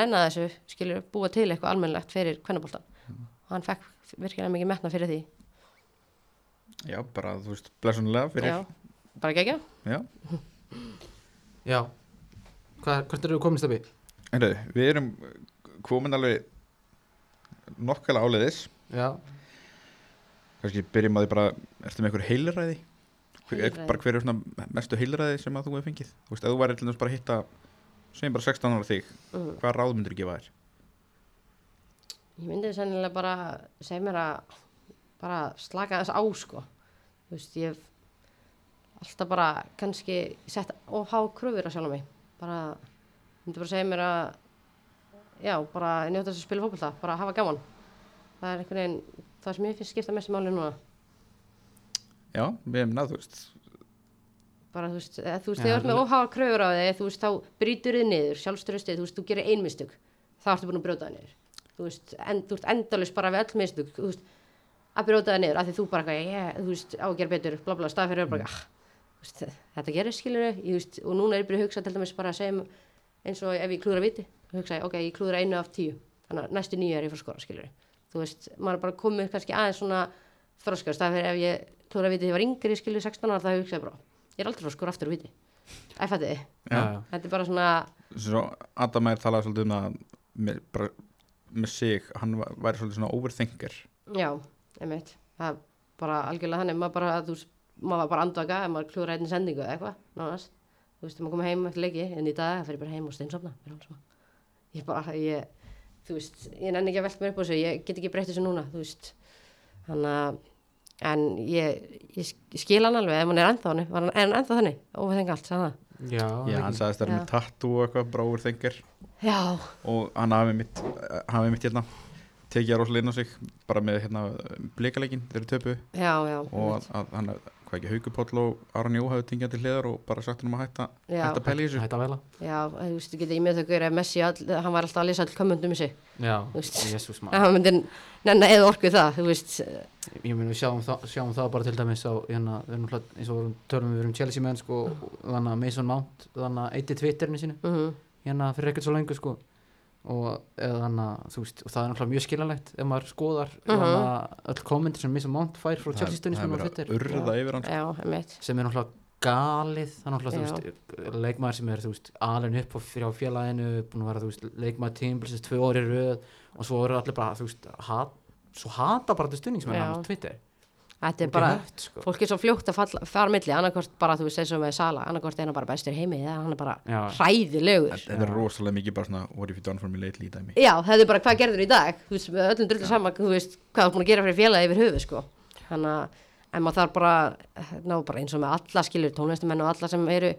S4: nenna þessu, skilur, búa til eitthvað almennlegt fyrir kvennabóltan og hann fekk virkilega mikið metna fyrir því
S2: Já, bara, þú veist, blessunlega fyrir
S4: Já, bara gegja
S2: Já.
S1: Já Hvað, Hvert eru þú komin stefni?
S2: Heyrðu, við erum komin alveg nokkala áleiðis
S1: Já,
S2: kannski byrjum að því bara, ertu með einhver heilræði?
S4: Heilræði.
S2: heilræði. bara hver er svona mestu heilræði sem að þú hefur fengið þú veist, ef þú væri til þess bara að hitta segjum bara 16 ára þig,
S4: mm.
S2: hvað ráð myndir gefa þér?
S4: Ég myndi sennilega bara segja mér að bara slaka þess á sko Þú veist, ég hef alltaf bara kannski sett of há kröfur að sjálf mig bara, myndi bara segja mér að já, bara njóta þess að spila fótbolta bara hafa gaman það er einhvern veginn, það sem ég finnst skipta mestu máli núna
S2: Já, við hefum náð, þú veist
S4: bara þú veist, eða, þú veist,
S1: Já,
S4: þegar þú ert með
S1: l-
S4: óháa kröfur á þig þú veist, þá brýtur þið niður, sjálfstörustið þú veist, þú gerir ein mistök, þá ertu búin að brjóta það niður þú veist, en, þú veist, endalist bara við öll mistök, þú veist, að brjóta það niður af því þú bara, eitthvað, ég, þú veist, á að gera betur bla bla, stað fyrir bara, ah, þú veist, þetta gerir skilur ég veist, og núna er ég byrjuð að hugsa til dæmis bara að segja um- eins og ef ég klúðra viti, þá hugsa ég, ok, ég klúðra einu af tíu þannig að næstu nýju er ég fyrir skora skilur þú veist, maður er bara komið kannski aðeins svona þroskast, það fyrir ef ég klúðra viti þegar ég var yngri skilur 16 ára, það hugsa ég bara ég er aldrei fyrir að skora aftur úr viti æ, fætti,
S1: já, já.
S4: þetta er bara svona
S2: svo Adam er talað svolítið um það með, bara, með sig, hann va- væri svolítið svona overthinker
S4: já, einmitt, það er bara algjörlega þannig, maður bara, þú veist maður var bara andvaka, ef maður klúðra einni sendingu eða eitthvað, nánast, þú veist, ef maður kom heim eftir leiki, en í dag, það fer ég bara heim og steinsofna mér er alveg sama. ég bara, ég þú veist, ég nenni ekki að velta mér upp á þessu ég get ekki breytt þessu núna, þú veist þannig að, en ég, ég skil hann alveg, ef hann er ennþá þannig var hann, er hann ennþá þannig, ófengi allt, sagði það
S1: Já,
S2: já,
S1: ekki-
S2: hann sagðist það
S4: Já.
S2: með tattoo og eitthvað, bara overthinker
S4: já,
S2: og hann hafi mitt, hafi mitt hérna tekið að rosalega inn á sig bara með hérna blikaleikin, þeir eru töpu
S4: já, já
S2: og að, að hann, hvað ekki, Haukupóll og Aron Jó hafði tingjað til hliðar og bara sagt hann um að hætta,
S4: Já.
S2: hætta að pæla í þessu
S1: Hætt að vela
S4: Já, þú veist, þú getur ímyndað þau gaur að Messi, all, hann var alltaf að lesa all komundum í sig.
S1: Já,
S4: Þú veist.
S1: jésús
S4: Að
S1: maður
S4: Hann myndi nenn að eða orku það, þú veist.
S1: Ég meina við sjáum, það- sjáum það bara til dæmis á, hérna, við erum hlað, eins og við erum tölum við erum Chelsea menn sko, og þannig að Mason Mount þannig að eitti Twitterinu sínu
S4: Mm
S1: hérna fyrir ekkert svo lengur sko og eða þannig að þú veist og það er náttúrulega mjög skiljanlegt ef maður skoðar uh
S4: Mhm.
S1: öll kommentir sem Mason Mount fær frá Chelsea
S2: það
S1: stundinsmenn á
S2: er verið
S1: Twitter
S2: að urða yfir hann sko.
S4: Já, einmitt.
S1: sem er náttúrulega galið það er náttúrulega,
S4: Já.
S1: þú veist, leikmaður sem er, þú veist, alveg upp á- frá félaginu, búin að vera, þú veist, leikmaður tímbilsins tvö orði röð og svo eru allir bara, þú veist, hat, svo hata bara þetta stunningsmenn
S4: Já.
S1: hann á Twitter
S4: Þetta er
S1: Út í
S4: bara,
S1: hött, sko.
S4: fólk er svo fljótt að falla, fara á milli, annarkvort bara, þú veist, eins og með Sala, annarkvort er hann bara bestur í heimi, eða hann er bara
S1: Já.
S4: hræðilegur.
S2: þetta er rosalega mikið bara svona what if you done for me lately dæmi
S4: Já, þetta er bara hvað gerður í dag, þú veist, með öllum drullið saman, þú veist, hvað þú er búin að gera fyrir félagi yfir höfu, sko. Þannig að, en maður þarf bara, ná, bara eins og með alla skilur, tónlistumenn og alla sem eru,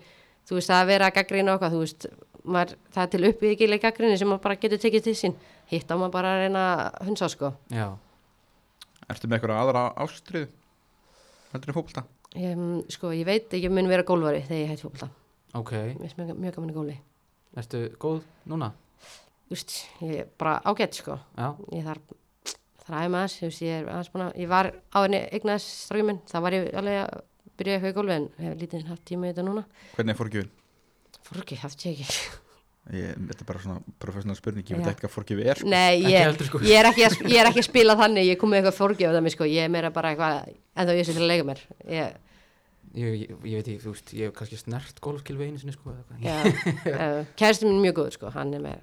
S4: þú veist, að vera að gaggrina okkar, þú veist, maður, það er til uppbyggileg gaggrinni sem maður bara getur tekið til sín, hitt á maður bara að reyna að hunsa, sko.
S1: Já,
S2: ertu með eitthvað aðra ástrið heldur þið fókbalta
S4: Ég, mm, sko, ég veit, ég mun vera gólvari þegar ég hætti fólkta,
S1: ok,
S4: mér finnst mjög, mjög gaman í góli.
S1: ertu góð núna?
S4: Þú veist, ég er bara ágætt, sko.
S1: Já,
S4: ég þarf þarf aðeins aðeins, þú veist, ég er aðeins búin að ég var á henni eignaðis strákjum minn það var ég alveg að byrja eitthvað í gólfi en hefur lítið haft tíma í þetta núna
S2: hvernig er forgjöfin?
S4: fór ekki, haft ég ekki
S2: Ég, þetta er bara svona professional spurning, ég veit
S4: Já.
S2: ekki hvað forgjöfi er sko.
S4: Nei, ég,
S1: heldur, sko.
S4: ég, er ekki að, ég er ekki að spila þannig ég kom með eitthvað fórgjöf það mér sko, ég er meira bara eitthvað en þá ég sé til að leika mér ég,
S1: ég, ég, ég veit ekki, þú veist, ég hef kannski snert golfkilvi einu sinni, sko, eða eitthvað.
S4: já, uh, kæristin minn er mjög góð sko, hann er með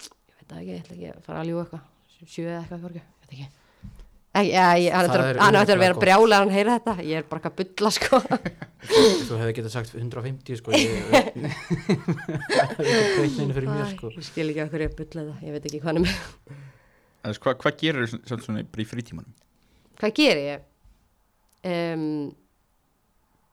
S4: ég veit það ekki, ég ætla ekki að fara að ljúga eitthvað sjö eða eitthvað fórgjöf, ég veit ekki Ekki, já, ég, hann
S1: Það
S4: ætlar-
S1: er
S4: hann ætti að
S1: örugglega
S4: vera
S1: gott.
S4: brjálega hann heyra þetta, ég er bara eitthvað að bulla sko
S1: þú hefði getað sagt 150, sko, ég ég- það er ekki kveitninu fyrir mér, sko.
S4: Æ, ég skil ekki okkur ég að bulla það, ég veit ekki hvað hann er með
S2: En þess, hvað, hvað gerir þau samt svona í- bara í frítímanum?
S4: hvað gerir ég um,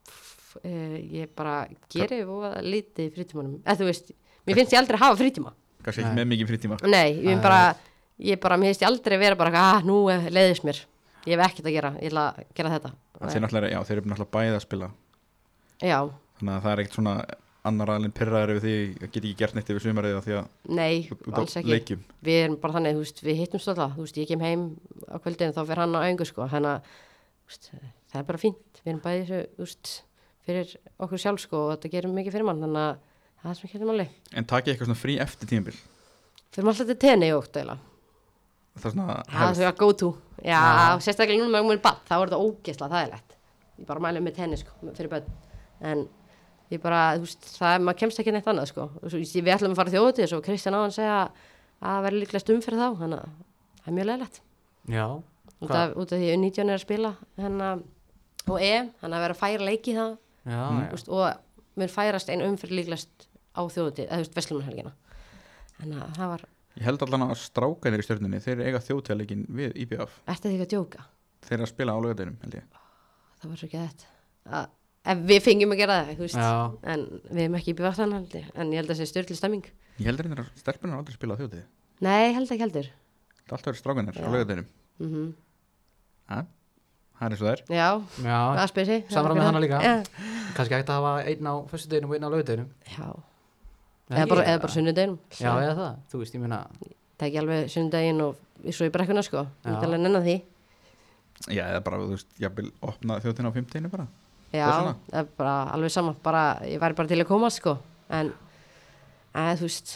S4: f, uh, ég bara gerir og lítið í frítímanum eða þú veist, mér finnst ég aldrei hafa frítíma
S2: kannski ekki
S1: Nei.
S2: með mikið frítíma
S4: nei, ég
S1: Æ.
S4: bara ég bara, mér finnst ég aldrei vera bara að ah, nú eh, leiðist mér, ég hef ekkert að gera ég ætla að gera þetta
S2: þeir, náttúrulega- já, þeir eru náttúrulega bæði að spila
S4: já,
S2: þannig að það er ekkert svona annar aðlinn pyrraður yfir því að geta ekki gert neitt yfir sumarið af því að
S4: nei,
S2: út
S4: alls
S2: á
S4: ekki
S2: leikjum
S4: við erum bara þannig, þú veist, við hittumst alltaf þú veist, ég kem heim á kvöldinu þá fer hann á öngu sko, þannig að þú veist, það er bara fínt, við erum bæði þessu, þú veist, fyrir okkur sjálf sko og þetta gerum mikið fyrir mann, þannig að það er sem ekki hættum alveg,
S2: en takið eitthvað svona frí eftir tímabil
S4: fyrir maður alltaf til tenni og ótt eila
S2: það er svona
S4: Já,
S2: hefð.
S4: þau að go to Já, sérstaklega núna með mjög bann þá er þetta ógeðslega þægilegt Ég bara mæli með tennis sko, fyrir börn En ég bara, þú veist, það maður kemst ekki neitt annað sko Og svo, Við ætlum að fara þjóðutíð Svo Kristján áðan segja að það verður líklega stum fyrir þá Þannig að það er mjög leðilegt
S1: Já,
S4: út, af- út af því að 19 er að spila hennar, Og EM, þannig að vera að færa leiki í það
S1: já,
S4: þú veist, Og mér færast ein umfyrir líklegast á þjóðutíð Eða þú veist, Vestlumhelgina Þannig að það var,
S2: Ég held allan að strákanir í stjörnunni þeir eiga þjóðtjáleikin við IBF
S4: ertu því að djóka?
S2: þeir eru að spila á lögadeinum held ég
S4: það var svo ekki þetta ef við fengjum að gera það, þú veist
S1: Já.
S4: en við hefum ekki býðvægt þannig haldi en ég held að það sé styrli stemming
S2: Ég held reyndar að stelpunar aldrei spila á þjóðtíð
S4: nei, held ekki heldur
S2: Það alltaf eru strákanir á
S4: Já.
S2: lögadeinum
S4: mm
S2: Ha? Það er eins og það er
S4: já,
S1: já,
S4: það spyrir sig
S1: Samræmi hana líka.
S4: já,
S1: kannski hægt að hafa einn á föstudeginum og einn á lögudeginum
S4: já. Eða, bara, sko. eða bara sunnudeginum
S1: Já, eða það, þú veist, ég meina
S4: tekja alveg sunnudegin og svo í brekkuna sko ég
S1: Já.
S4: ætla alveg að nennan því
S2: Já, eða bara, þú veist, ég vil opna þjóðtíðin á fimmtíðinu bara
S4: já,
S2: Þess vegna?
S4: það er bara alveg sama bara, ég væri bara til að koma sko en að, þú veist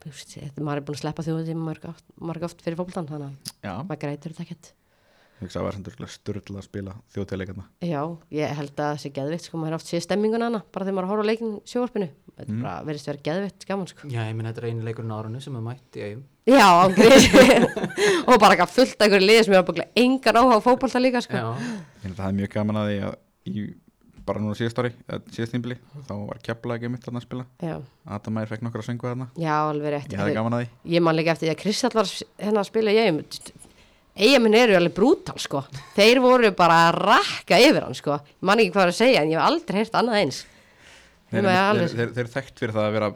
S4: þú veist, þetta- maður er búin að sleppa þjóðið marg, oft- marg oft fyrir fólkdan þannig að
S2: Já,
S4: maður grætur þetta ekkert
S2: ég hugsa að það var sem styrla að spila þjóðtíðleikarna
S4: Já, ég held að það sé geðvitt sko, maður er oft séð stemminguna hana, bara þegar maður horfir á leikin sjóvarpinu, þetta mm. bara verðist vera geðvitt gaman sko.
S1: Já, ég meina þetta er eini leikurinn á árunni sem er mætt í eigum
S4: Já, ángrið og bara eitthvað fullt af einhverju liði sem er bara engan áhuga á fótbolta líka sko.
S1: Já,
S2: Ég held að það er mjög gaman að því að í, bara núna síðast ári, eða síðast nýmbili þá var keflaði ekki mitt þarna að spila
S4: Já,
S2: Adamær fekk nokkra söngu þarna
S4: já, alveg rétt.
S2: Ég hefði gaman að því
S4: Ég man líka eftir því að Kristall var s- hérna að spila í eigum. Eigaminn eru alveg brútal sko. Þeir voru bara að rakka yfir hann sko. Ég Man ekki hvað er að segja en ég hef aldrei heyrt annað eins.
S2: Þeir,
S4: Nema ég
S2: þeir,
S4: alveg-
S2: þeir, þeir, eru þekkt fyrir það að vera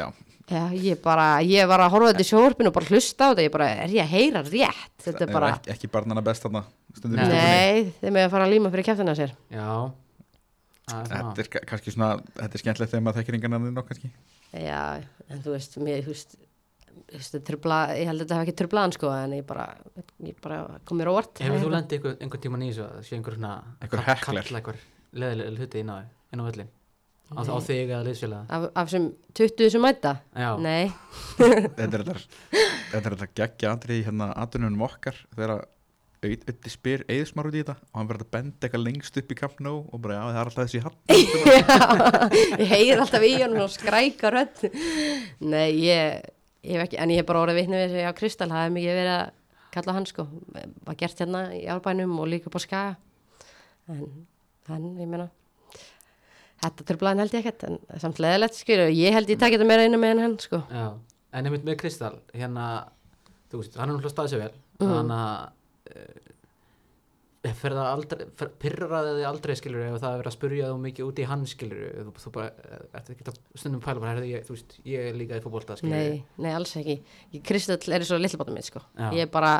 S2: Já,
S4: Já, ég bara, ég var að horfa á þetta í sjóvarpinu og bara hlusta á þetta, ég bara, er ég að heyra rétt? Þetta
S2: þeir
S4: er bara,
S2: eru ekki, ekki barnana best þarna stundum í
S1: Nei.
S2: stúkunni.
S4: Nei, þeir með að fara að líma fyrir kæftina sér
S1: já Það er
S2: Þetta
S1: svona
S2: er ka- kannski svona, þetta er skemmtilegt þegar maður þekkir engan annan nokk kannski
S4: Já, en þú veist, mér, þú veist, þú veist þetta trubla, ég held að þetta hef ekki trublaðan sko en ég bara, ég bara kom mér á orð
S1: Hefur þú lendið einhver, einhver tíma nýs og sé einhver svona
S2: Einhver
S1: kall-
S2: heklar.
S1: kalla einhver leðilega hluti inn á, inn á öllin á, á þig eða liðsfélaga
S4: Af, af sem 20 sem mæta?
S1: Já,
S4: Nei,
S2: Þetta er þetta, þetta, er þetta geggja andri í hérna aðdununum okkar þegar að Au- Auddi spyr eðismar út í þetta og hann verður að benda eitthvað lengst upp í Camp Nou og bara já það er alltaf þessi hatt
S4: ég heyri alltaf í hann og skræka rödd Nei, ég, ég hef ekki, en ég hef bara orðið vitni við þessu, já, Kristall, það hef mikið verið að kalla á hann sko, var gert hérna í árbænum og líka upp á skaga en hann, ég meina þetta trublaðan held ég ekkert en samt leðilegt skilur, ég held ég takk þetta meira einu með en hann sko,
S1: já En einmitt með Kristall, hérna þú veist, hann er náttúrulega staðið sér vel
S4: Mhm.
S1: þannig að uh, fer það aldrei, fer, pyrraði þið aldrei skilur ef það er verið að spurja þú mikið út í hann skilur þú, þú bara, eh, ertu ekki að stundum pæla bara, herði, ég, þú veist, ég er líka í fótbolta skilur
S4: nei, nei, alls ekki ég, Kristall er svo lillabátum minn sko
S1: Já.
S4: ég er bara,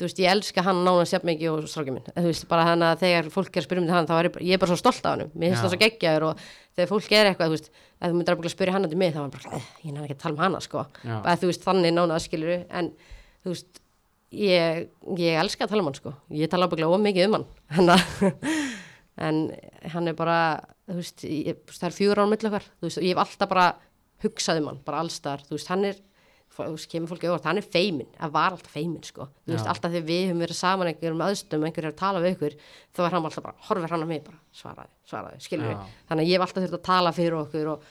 S4: þú veist, ég elska hann nána sér mikið og strákið minn, En þú veist, bara þannig að þegar fólk er að spyrja um hann, þá er ég bara, ég er bara svo stolt af hann mér finnst
S1: Já.
S4: það svo geggjaður og þegar fólk er eitthvað, þú veist, ef þú myndir að spyrja hann út í mig, þá er hann bara, "Eh, ég nefn ekki að tala um hana sko,
S1: Já.
S4: bara þú veist, þannig nána skilur en, þú veist, ég, ég elska að tala um hann sko ég tala ábygglega of mikið um hann en, en hann er bara þú veist, ég, þú veist, það er fjögur án milli okkar, þú veist, og ég hef alltaf bara hugsað um hann, bara allstar, þú veist, hann er fó- þú veist, kemur fólki óvart, hann er feimin hann var alltaf feimin sko, þú veist,
S1: Já.
S4: alltaf þegar við höfum verið saman einhverjum aðstum, einhverjum að tala við ykkur þá er hann alltaf bara, horfir hann á mig bara svaraði, svaraði, skilur
S1: Já.
S4: þannig að ég hef alltaf þurft að tala fyrir okkur og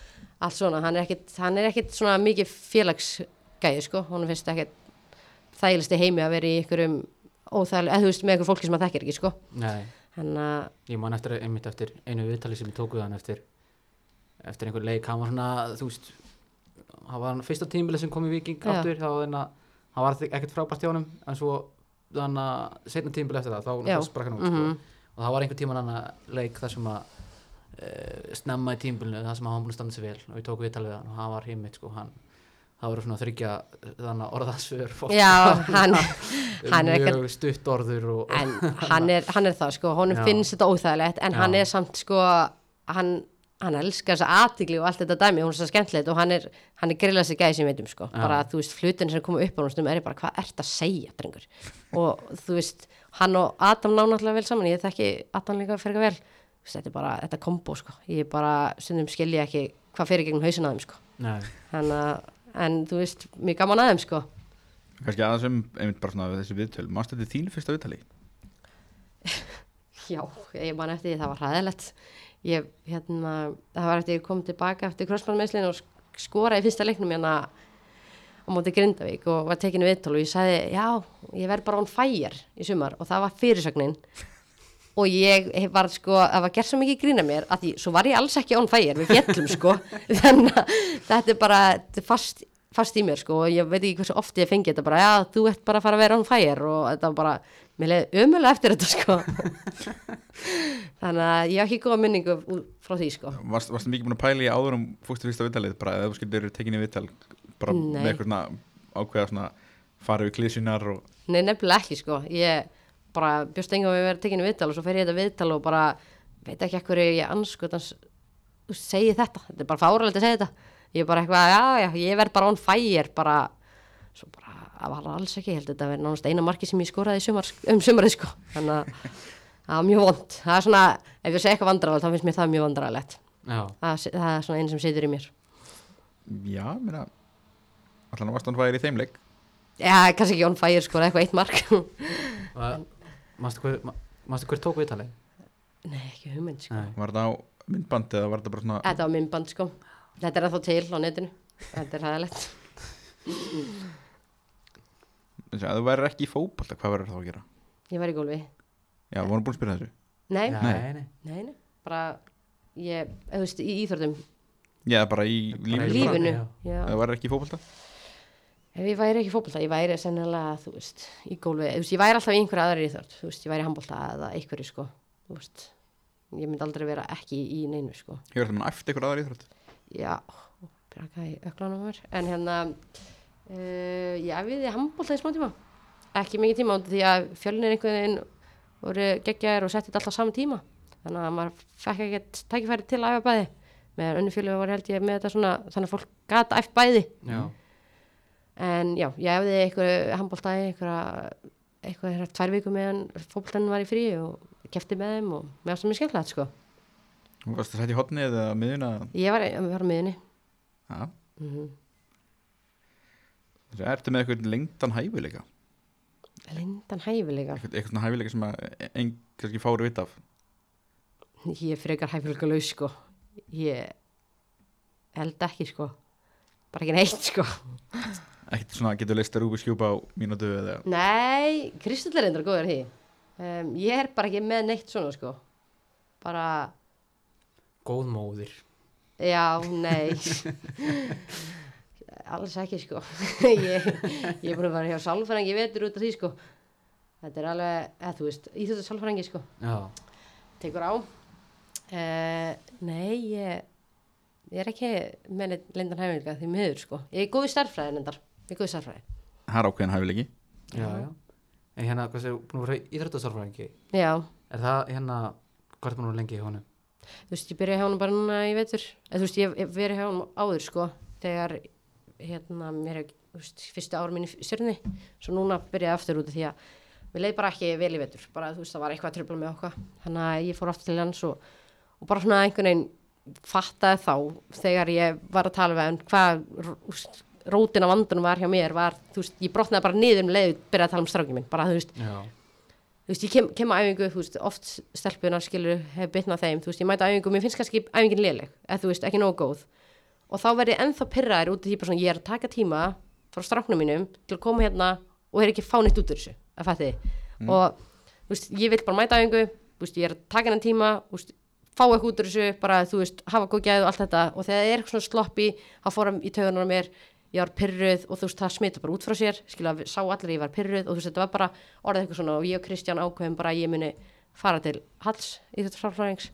S4: allt svona, hann er ekkit, hann er ekkit svona mikið félagsgæði sko, hún finnst ekkit þægilegst í heimi að vera í einhverjum óþægileg, eða þú veist, með einhver fólki sem maður þekkir ekki sko,
S1: Nei,
S4: hann uh, að
S1: ég man eftir einmitt eftir einu viðtali sem ég tók við hann eftir eftir einhver leik, hann var svona þú veist, hann var hann fyrsta tímbilið sem kom í Viking
S4: Já.
S1: aftur, þá var hann að hann var ekkert frábært hjá honum, en svo þannig að seinna tímbilið eftir það, þá
S4: Já. Mhm.
S1: hann sprakk hann út sko. og það var einhver tíman hann að leik þar sem að uh, snemma í tímbilinu, þar sem hann var búin að standa sér vel og ég tók viðtalið við hann og hann var heimitt sko, hann það voru svona þryggja þannig að orðasvör
S4: Já, hann- hann er
S1: mjög
S4: ekkert-
S1: stutt orður og,
S4: en hann er, hann er það sko, honum
S1: Já.
S4: finnst þetta óþægilegt en
S1: Já.
S4: hann er samt sko hann, hann elskar þessa aðtigli og allt þetta dæmi hún er svo skemmtilegt og hann er hann er grillað sér gæði sem veitum sko bara þú veist, flutin sem koma upp á hún stundum er ég bara hvað ert að segja, drengur og þú veist, hann og Adam ná náttúrulega vel saman, ég þekki Adam líka fyrir vel Þú veist, þetta er bara, þetta er kombo sko ég bara, stundum skilja ekki hvað fyrir gegnum hausin að þeim sko
S1: Nei.
S4: Þannig að, en þú veist, mjög gaman aðeim sko
S2: kannski aðeins um einmitt bara svona við þessi viðtöl mannst þetta þín fyrsta viðtali
S4: Já, ég man eftir því, það var hræðilegt. Ég, hérna, það var eftir ég kom tilbaka eftir krossmannmeinslinu og sk- skoraði í fyrsta leiknum hérna á móti Grindavík og var tekinu viðtal og ég sagði, já, ég verð bara on fire í sumar og það var fyrirsögnin og ég var sko, það var gert svo mikið grína mér að því, svo var ég alls ekki on fire, við fjallum sko, þannig að þetta er bara þetta er fast, fast í mér sko og ég veit ekki hversu oft ég fengi þetta bara, já, þú ert bara að fara að vera on fire og þetta var bara, mér leiði ömulega eftir þetta sko þannig að ég hef ekki góða minningu úr- frá því sko
S2: varst, varstu mikið búin að pæla í áður um fústu fyrsta viðtalið bara eða þú skildir tekinni viðtal bara
S4: Nei.
S2: með eitthvað svona ákveða svona fara við klísunar og
S4: nei nefnilega ekki sko ég bara bjóst engum að við verið tekinu viðtal og svo fer ég í þetta viðtal og bara veit ekki ekkur ég anskotans segi þetta, þetta er bara fáralegt að segja þetta ég er bara eitthvað, já já, ég verð bara on fire bara, svo bara það var alls ekki, ég held að þetta verði nánast eina marki sem ég skoraði í sumar, um sumarið sko þannig að það var mjög vond það er svona, ef ég segi eitthvað vandrarlegt þá finnst mér það mjög vandrarlegt
S1: já,
S4: það, það er svona einn sem situr í mér
S2: já, meina allan varst hann væri í þeim leik
S4: Já, kannski ekki on fire sko, eitthvað eitt mark
S1: mannstu hver, ma- manstu hver tók viðtalið?
S4: Nei, ekki hugmynd sko
S1: Nei.
S2: var það á myndbandi eða var það bara svona
S4: Þetta var myndband sko Þetta er að þá til á netinu Þetta er hæðilegt
S2: eða þú væri ekki í fótbolta, hvað verður þá að gera
S4: Ég var í gólfi
S2: já, við vorum búin að spyrja þessu
S4: Nei,
S1: Nei,
S4: nei,
S1: nei,
S4: nei, bara Ég, eða þú veist, í íþörðum
S2: já, bara í
S1: Bara
S2: lífinu
S1: í
S2: bara.
S4: Lífinu,
S1: já.
S4: já
S2: eða þú væri ekki í fótbolta
S4: Ef ég væri ekki í fótbolta, ég væri sennilega, þú veist, í gólfi Þú veist, ég væri alltaf í einhverja aðra íþörð Þú veist, ég væri í handbolta eða einhverju sko Þú veist, ég myndi aldrei vera ekki í neinu sko
S2: hefur það mann æft eitthvað aðra íþrótt
S4: já, braka í öklanum á mér en hérna uh, ég æfiði handbólta í smá tíma ekki mikið tíma út af því að fjölnir einhvern veginn voru geggjaðir og settið alltaf saman tíma þannig að maður fekk ekkert tækifæri til að æfa bæði meðan önnu fjölum var held ég með þetta svona þannig að fólk gata æft bæði
S1: já,
S4: en já, ég æfiði einhverju handbólta í einhverja eitthvað hérna tvær viku meðan fótboltann var í frí og kefti með þeim og mér varst það mjög skemmtilegt sko.
S2: varst það sætt í hotnið eða miðuna
S4: Ég var, ég var á Mhm. miðunni.
S2: já ertu með eitthvað lengdan hæfileika
S4: Lindan hæfilega.
S2: eitthvað, eitthvað svona hæfileika sem að einn kannski fári vitt af
S4: Ég er frekar hæfileikalaus sko. Ég held ekki sko. Bara ekki neitt sko.
S2: ekkert svona getur leist að rúbi skjúpa á mínútu eða
S4: Nei, Kristoll er reyndar góður í því. Um, ég er bara ekki með neitt svona sko. Bara,
S1: góð móðir
S4: já, nei. Alls ekki sko. ég, ég er búin að vera hjá sálfræðingi í vetur út af því sko. Þetta er alveg, eða þú veist, íþjóttu sálfræðingi sko.
S1: já,
S4: tekur á uh, nei ég, ég er ekki með neitt lindan hæfileika því miður sko ég er góð í starfræði lindar ég er góð í starfræði
S2: það er ákveðin hæfileiki
S1: já, já en hérna, hvað séu, búin að vera íþróttasálfræðingi
S4: já
S1: er það hérna, hvað er búin að vera lengi í honum?
S4: þú veist ég byrja hjá hann bara núna í vetur eða þú veist ég hef verið hjá hann áður sko þegar hérna mér hef þú veist, fyrstu ára mín í stjörni svo núna byrja ég aftur út af því að við leið bara ekki vel í vetur bara þú veist það var eitthvað tröfla með okkar þannig að ég fór aftur til hans og, og bara svona einhvern veginn fattaði þá þegar ég var að tala við hann hvað ró- þú veist, rótin af vandunum var hjá mér var þú veist ég brotnaði bara niður um leiðu byrjaði að tala um strákið minn bara þú veist
S1: já,
S4: þú veist, ég kem, kem að æfingu, þú veist, oft stelpunar skilur hefur bitnað þeim, þú veist, ég mæta æfingu, mér finnst kannski æfingin léleg, eða þú veist, ekki nógu góð og þá verði ég ennþá pyrraður út af því bara svona, ég er að taka tíma frá stráknum mínum til að koma hérna og er ekki að fá neitt út úr þessu, að fætti mm. og, þú veist, ég vil bara mæta æfingu þú veist, ég er að taka hennan tíma þú veist, fá eitthvað út úr þessu, bara, þú veist, hafa góð gæðu og allt þetta og þegar það er eitthvað svona sloppi þá fór hann í taugunar mér, ég var pyrruð og þú veist, það smita bara út frá sér skilja, við- sá allir að ég var pyrruð og þú veist, þetta var bara orðið eitthvað svona og ég og Kristján ákveðum bara að ég muni fara til Halls í þetta sálfræðings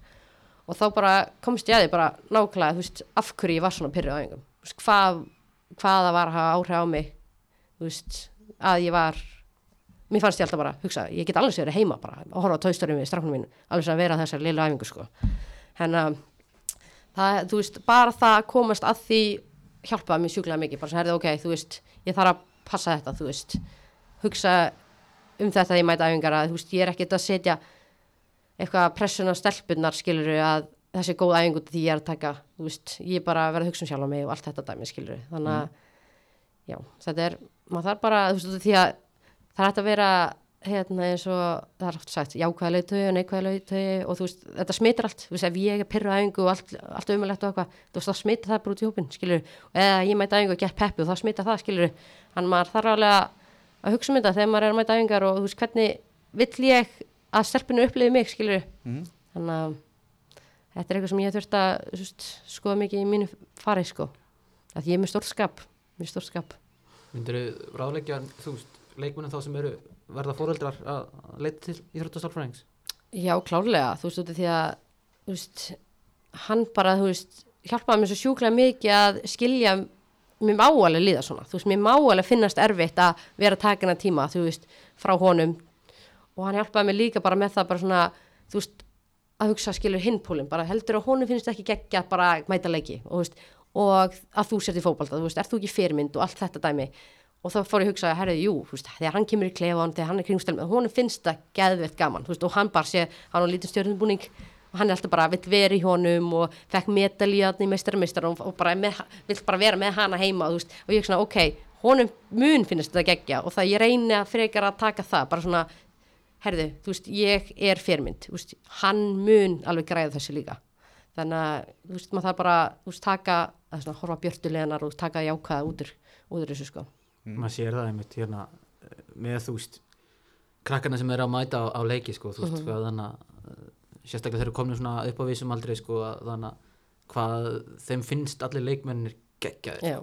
S4: og þá bara komst ég að því bara nákvæmlega, þú veist, af hverju ég var svona pyrruð á engum, þú veist, hvað hvaða var að hafa áhrif á mig þú veist, að ég var mér fannst ég alltaf bara, hugsa, ég get alveg sér heima bara, að horfa á tóðstörum við strafnum mín alveg sem að vera á þessari lilu æfingu sko en að það, þú veist, bara það að komast að því hjálpaði mér sjúklega mikið, bara svo herði ok, þú veist ég þarf að passa þetta, þú veist hugsa um þetta þegar ég mæta æfingar að þú veist, ég er ekkert að setja eitthvað pressun á stelpunnar skiluru að þessi er góð æfingu því ég er að taka, þú veist, ég er bara að vera að hugsa um sjálf á mig og allt þetta dæmi skiluru, þannig að já, þetta er, maður þarf bara þú veist, því að það er hægt að vera hérna eins og, það er oft sagt jákvæða leiðtögi og neikvæða leiðtögi og þú veist þetta smitir allt, þú veist, ef ég er pyrra æfingu og allt, allt umulegt og eitthvað, þú veist, þá smita það bara út í hópin, skilur, eða ég mæta æfingu og get peppi og þá smita það, skilur hann maður þarf alveg að, að hugsa um þetta þegar maður er að mæta æfingar og þú veist, hvernig vill ég að stelpinu upplifi mig, skilur þannig að þetta er eitthvað sem ég hef þurft að þú veist, skoða mikið í mínu fari, sko að ég er með stórskap, með stórskap
S1: Myndir þú ráðleggja þú veist, leikmunum þá sem eru verða fóreldrar að að leita til íþróttastálfræðings?
S4: Já, klárlega, þú veist, út af því að þú veist, hann bara, þú veist hjálpaði mér svo sjúklega mikið að skilja mér má alveg líða svona, þú veist, mér má alveg finnast erfitt að vera takina tíma, þú veist, frá honum og hann hjálpaði mér líka bara með það bara svona, þú veist, að hugsa skilur hinpúlin, bara heldur að honum finnst ekki geggja bara að mæta leiki og, þú veist, og að þú sért í fótbalta, þú veist, er þú ekki fyrirmynd og allt þetta dæmi og þá fór ég að hugsa, herrið, jú, þú veist, þegar hann kemur í klefan, þegar hann er kringstælum, honum finnst það geðveitt gaman, þú veist, og hann bara sé, hann á lítið stjórnbúning og hann er alltaf bara, vill vera í honum og fekk medalíðan í meistarmeistar og, og bara með, vill bara vera með hana heima, þú veist, og ég hugsa, ok, honum mun finnst þetta geggja og það ég reyni að frekar að taka það, bara svona, herðu, þú veist, ég er fyrirmynd, þú veist, hann mun alveg græða þessu líka. Þannig að, þú veist, maður það bara, þú veist, taka, að svona, horfa björtuleganar og taka jákvæða út úr, út úr þessu, sko.
S1: Maður sér það einmitt hérna eh, með þú veist krakkarna sem eru að mæta á, á leiki sko, þú veist, mm þannig að eh, sérstaklega þeir eru komin svona upp á vissum aldrei sko, að þannig að hvað þeim finnst allir leikmennir geggjaðir
S4: Já,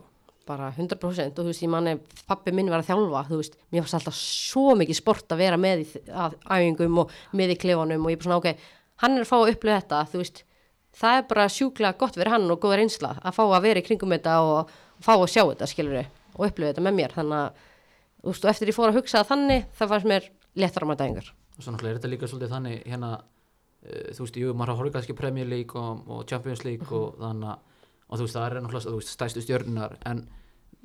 S4: bara 100% og þú veist, ég manni, pappi minn var að þjálfa, þú veist, mér fannst alltaf svo mikið sport að vera með í þ- að æfingum og með í klefanum og ég bara svona, ok, hann er að fá að upplifa þetta, þú veist, það er bara sjúklega gott fyrir hann og góð reynsla að fá að vera í kringum þetta og fá að sjá þetta, skilur og upplifa þetta með mér, þannig að, þú veist, og eftir ég fór að hugsa það þannig, það fannst mér léttar að mæta æfingar.
S1: og svo náttúrulega er þetta líka svolítið þannig hérna, uh, þú veist, jú, maður horfði kannski Premier League og, og Champions League
S4: Mhm.
S1: og þannig að- og þú veist, það er náttúrulega, þú veist, stæstu stjörnunar en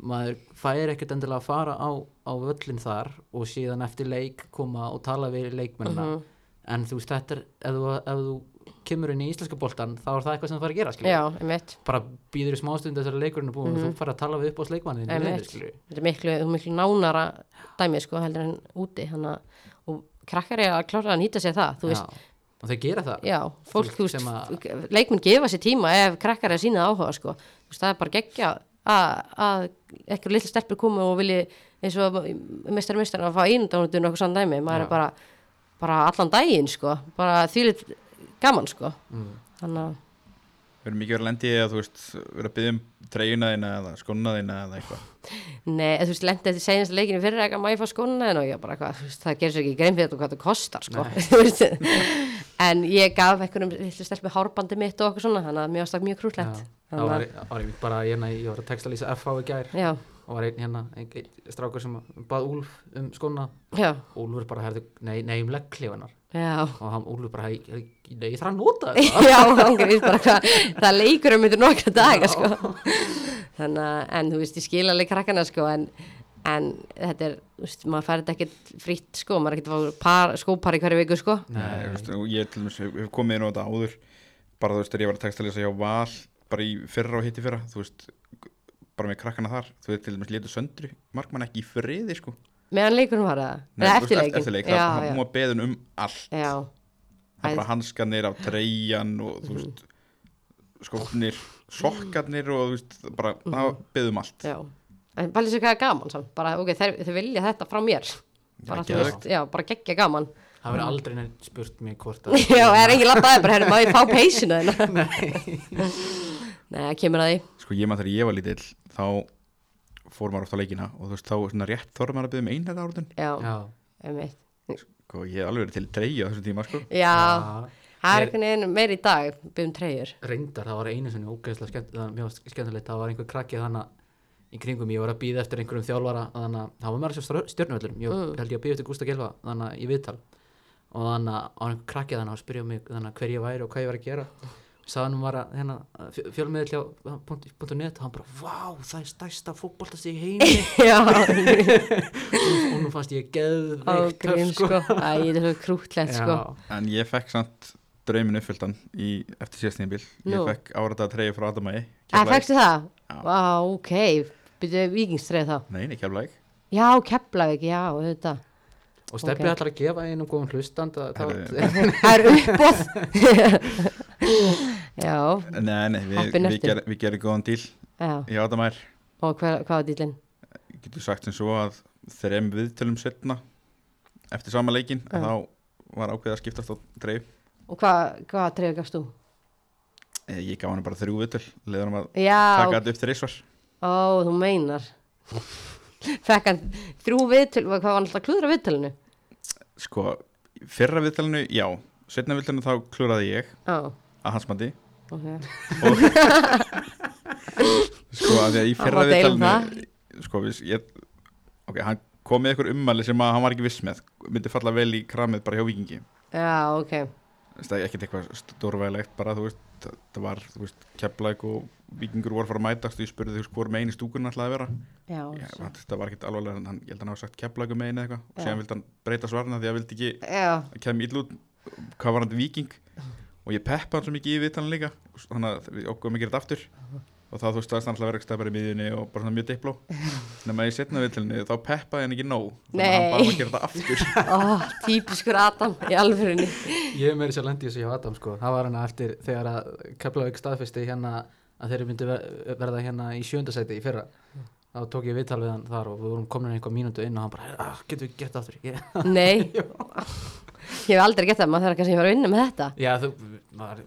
S1: maður fær ekkert endilega að fara á, á völlin þar og síðan eftir leik koma og tala við leikmennina
S4: Mhm.
S1: en þú veist, þetta er, ef þú, ef þú kemur inn í íslenska boltan, þá er það eitthvað sem það fara að gera, skilju
S4: Já, einmitt.
S1: bara býður í smástund þessari leikurinn er búin og þú fara að tala við upp á sleikmannin
S4: Einmitt. þetta er miklu, þú er miklu nánara dæmi sko heldur en úti hana, og krakkar er að klára að nýta sér það þú veist,
S1: og þau gera það
S4: já, fólk,
S1: Fólk
S4: þú veist
S1: sem að-
S4: leikmenn gefa sér tíma ef krakkar er að sína áhuga sko, þú veist, það er bara geggja að- að ekkur litla stelpur komi og vilji eins og mestari mestari að fá einu dánutun og eitthvað sann dæmi, maður
S1: Já.
S4: er bara bara allan daginn sko, bara þvílitt gaman sko
S1: Mm.
S4: þannig að
S2: Við erum mikið verið að lendi í að þú veist vera að byggja um treyjuna þína eða skóna þína eða eitthvað
S4: Nei, eða þú veist, lendi eftir segjast leikinu fyrir eitthvað má ég fá skóna en og ég bara hvað, þú veist, það gerir sér ekki grein fyrir þetta og hvað það kostar, sko. Þú veist, en ég gaf einhverjum litlu stelpu hárbandi mitt og okkur svona, þannig að mér ástæk mjög krútlegt.
S1: Já, það var, e- það var einmitt bara hérna, ég var að textalýsa FH í gær
S4: Já,
S1: og var einn hérna, einn ein strákur sem bað Úlf um skona
S4: já,
S1: Úlfur bara herði, nei, nei um leggklifanar
S4: já.
S1: og hann Úlfur bara, "Ég- ég- nei, ég þarf að nota þetta
S4: já, hann grýst bara hvað, það leikur um þetta nokkra daga, sko. Þannig að, en þú veist, ég skil alveg krakkana, sko, en, en þetta er, þú veist, maður fær þetta ekkert fritt, sko, maður er ekkert að fá par, skópar í hverju viku, sko.
S2: Nei, þú veist, og Ég til dæmis hef- hef komið inn á þetta áður bara þú veist þegar ég var að texta hjá Val bara í fyrra og hitti fyrra þú veist bara með krakkana þar þú veist til dæmis létu söndru markmann ekki í friði sko
S4: Meðan leikunum var það,
S2: Nei, þú
S4: eða
S2: veist,
S4: eftirleikin.
S2: eftirleik,
S4: já,
S2: það hann
S4: já.
S2: múa beðin um allt
S4: Já,
S2: það er bara
S4: Æ.
S2: hanskanir af treyjan og þú veist skóknir, sokkarnir og þú veist bara,
S4: Mhm.
S2: það beðið um allt
S4: já. En bara lýsa hvað er gaman samt, bara ok, þeir, þeir vilja þetta frá mér. Bara, þú
S2: geðveikt.
S4: veist, já, bara geggja gaman.
S1: það verður aldrei neitt spurt mig hvort að
S4: já, það er engin lappaði bara, herri, má ég fá peysinu þeirna?
S1: Nei.
S4: Nei, það kemur að því.
S2: sko ég maður þegar ég var lítill þá fór maður oft á leikina og þú veist þá svona rétt þorði maður að byggja um einhverja árðun
S4: Já,
S1: já,
S4: einmitt.
S2: sko ég hef alveg verið til treyja á þessum tíma sko
S4: Já,
S1: Já.
S4: það er
S1: Ég-
S4: einhvern veginn meir í dag, byggum treyjur.
S1: reyndar, það var einu sinni ógeðslega skemmt, það var mjög skemmtilegt, það var einhver krakki þannig í kringum, ég var að býða eftir einhverjum þjálfara þannig að það var meira sér stjórnvöllum ég
S4: Mm.
S1: held ég að býða eftir Gústa Gilva þannig að ég viðtal og þannig að á einhver krakki þannig að spyrja mig þannig að hver ég væri og hvað ég var að gera og sagði hann var að hérna, fjölmiðil hjá punkt- punktur .net og hann bara, vá, það er stærsta fótboltast í heimi
S4: já,
S1: og nú fannst ég geðveikt
S4: ágrím,
S1: töff,
S4: sko. Æ, þetta er svo krútlegt, sko.
S1: Já.
S2: en ég fekk samt draumin uppfylltan í, eftir síðast nýjum bíl ég
S4: Nú. Ah,
S2: fekk árata treyja frá Adamæi
S4: Æ, fækstu það?
S2: Já.
S4: Vá, ok, byrju vikingstreið þá
S2: Nei, nei, keflæk
S4: já, Keflavík, já, auðvitað
S1: og stefni
S4: Ok.
S1: ætlar að gefa einum góðum hlustand að, þá,
S2: Herðu.
S4: það er uppbóð já,
S2: Nei, nei, við,
S4: Heppin
S2: við,
S4: eftir.
S2: ger, við gerum góðan díl
S4: já
S2: Já, það mær
S4: og hver, hvað var dýlinn?
S2: Getur sagt sem svo að þrem viðtölum setna Eftir sama leikin
S4: Já.
S2: Þá var ákveðið að skiptast á dreif
S4: og hvað, hvað treyðu gafst þú?
S2: Eh, Ég gaf hann bara þrjú viðtöl Leður hann að
S4: já,
S2: taka þetta upp þrísvar
S4: Ó, þú meinar Fekk hann þrjú viðtöl Hvað var hann alltaf að klúðra viðtölinu?
S2: Sko, fyrra viðtölinu, já Setna viðtölinu þá klúraði ég
S4: Á,
S2: að hans mati
S4: ok
S2: og sko að því að í
S4: Hann má
S2: fyrra
S4: deila um
S2: viðtalinu sko við ég, ok, hann kom með ykkur ummæli sem að hann var ekki viss með myndi falla vel í kramið bara hjá vikingi
S4: Já, ok
S2: það er ekkert eitthvað stórvælegt bara þú veist, það það var þú veist, keplæk og vikingur voru að fara að mætast og ég spurði þú veist hvort megin í stúkunni ætlaði að vera
S4: Já,
S2: ég,
S4: svo-
S2: það var ekkert alvarlega en hann, ég held að hann hafa sagt keplæku megin eða eitthvað og
S4: Já.
S2: síðan vildi hann breyta svarna því að hann vildi ekki
S4: já,
S2: að kemja illa út hvað var hann viking og ég peppa hann svo mikið í vitanum líka og s- þannig að við okkur mikið þetta aftur og þá þú veist það er alltaf verið ekki stafar í miðjunni og bara svona mjög dipló nema í setna vitanum þá peppaði hann ekki nóg þannig að hann
S4: Nei.
S2: bara að gera þetta aftur
S4: ó, típiskur Adam í alvörunni
S1: ég er meiri sér lendi þessu hjá Adam sko. það var hérna eftir þegar að Keflavík staðfesti hérna að þeirri myndi ver- verða hérna í sjöndasæti í fyrra þá tók ég viðtal við hann þar og við vorum komin einhver mínútu inn og hann bara, "Ah, getum við gert aftur ég,
S4: Nei Ég hef aldrei gett það, maður þarf kannski að fara að vinna með þetta
S1: já, þú, maður,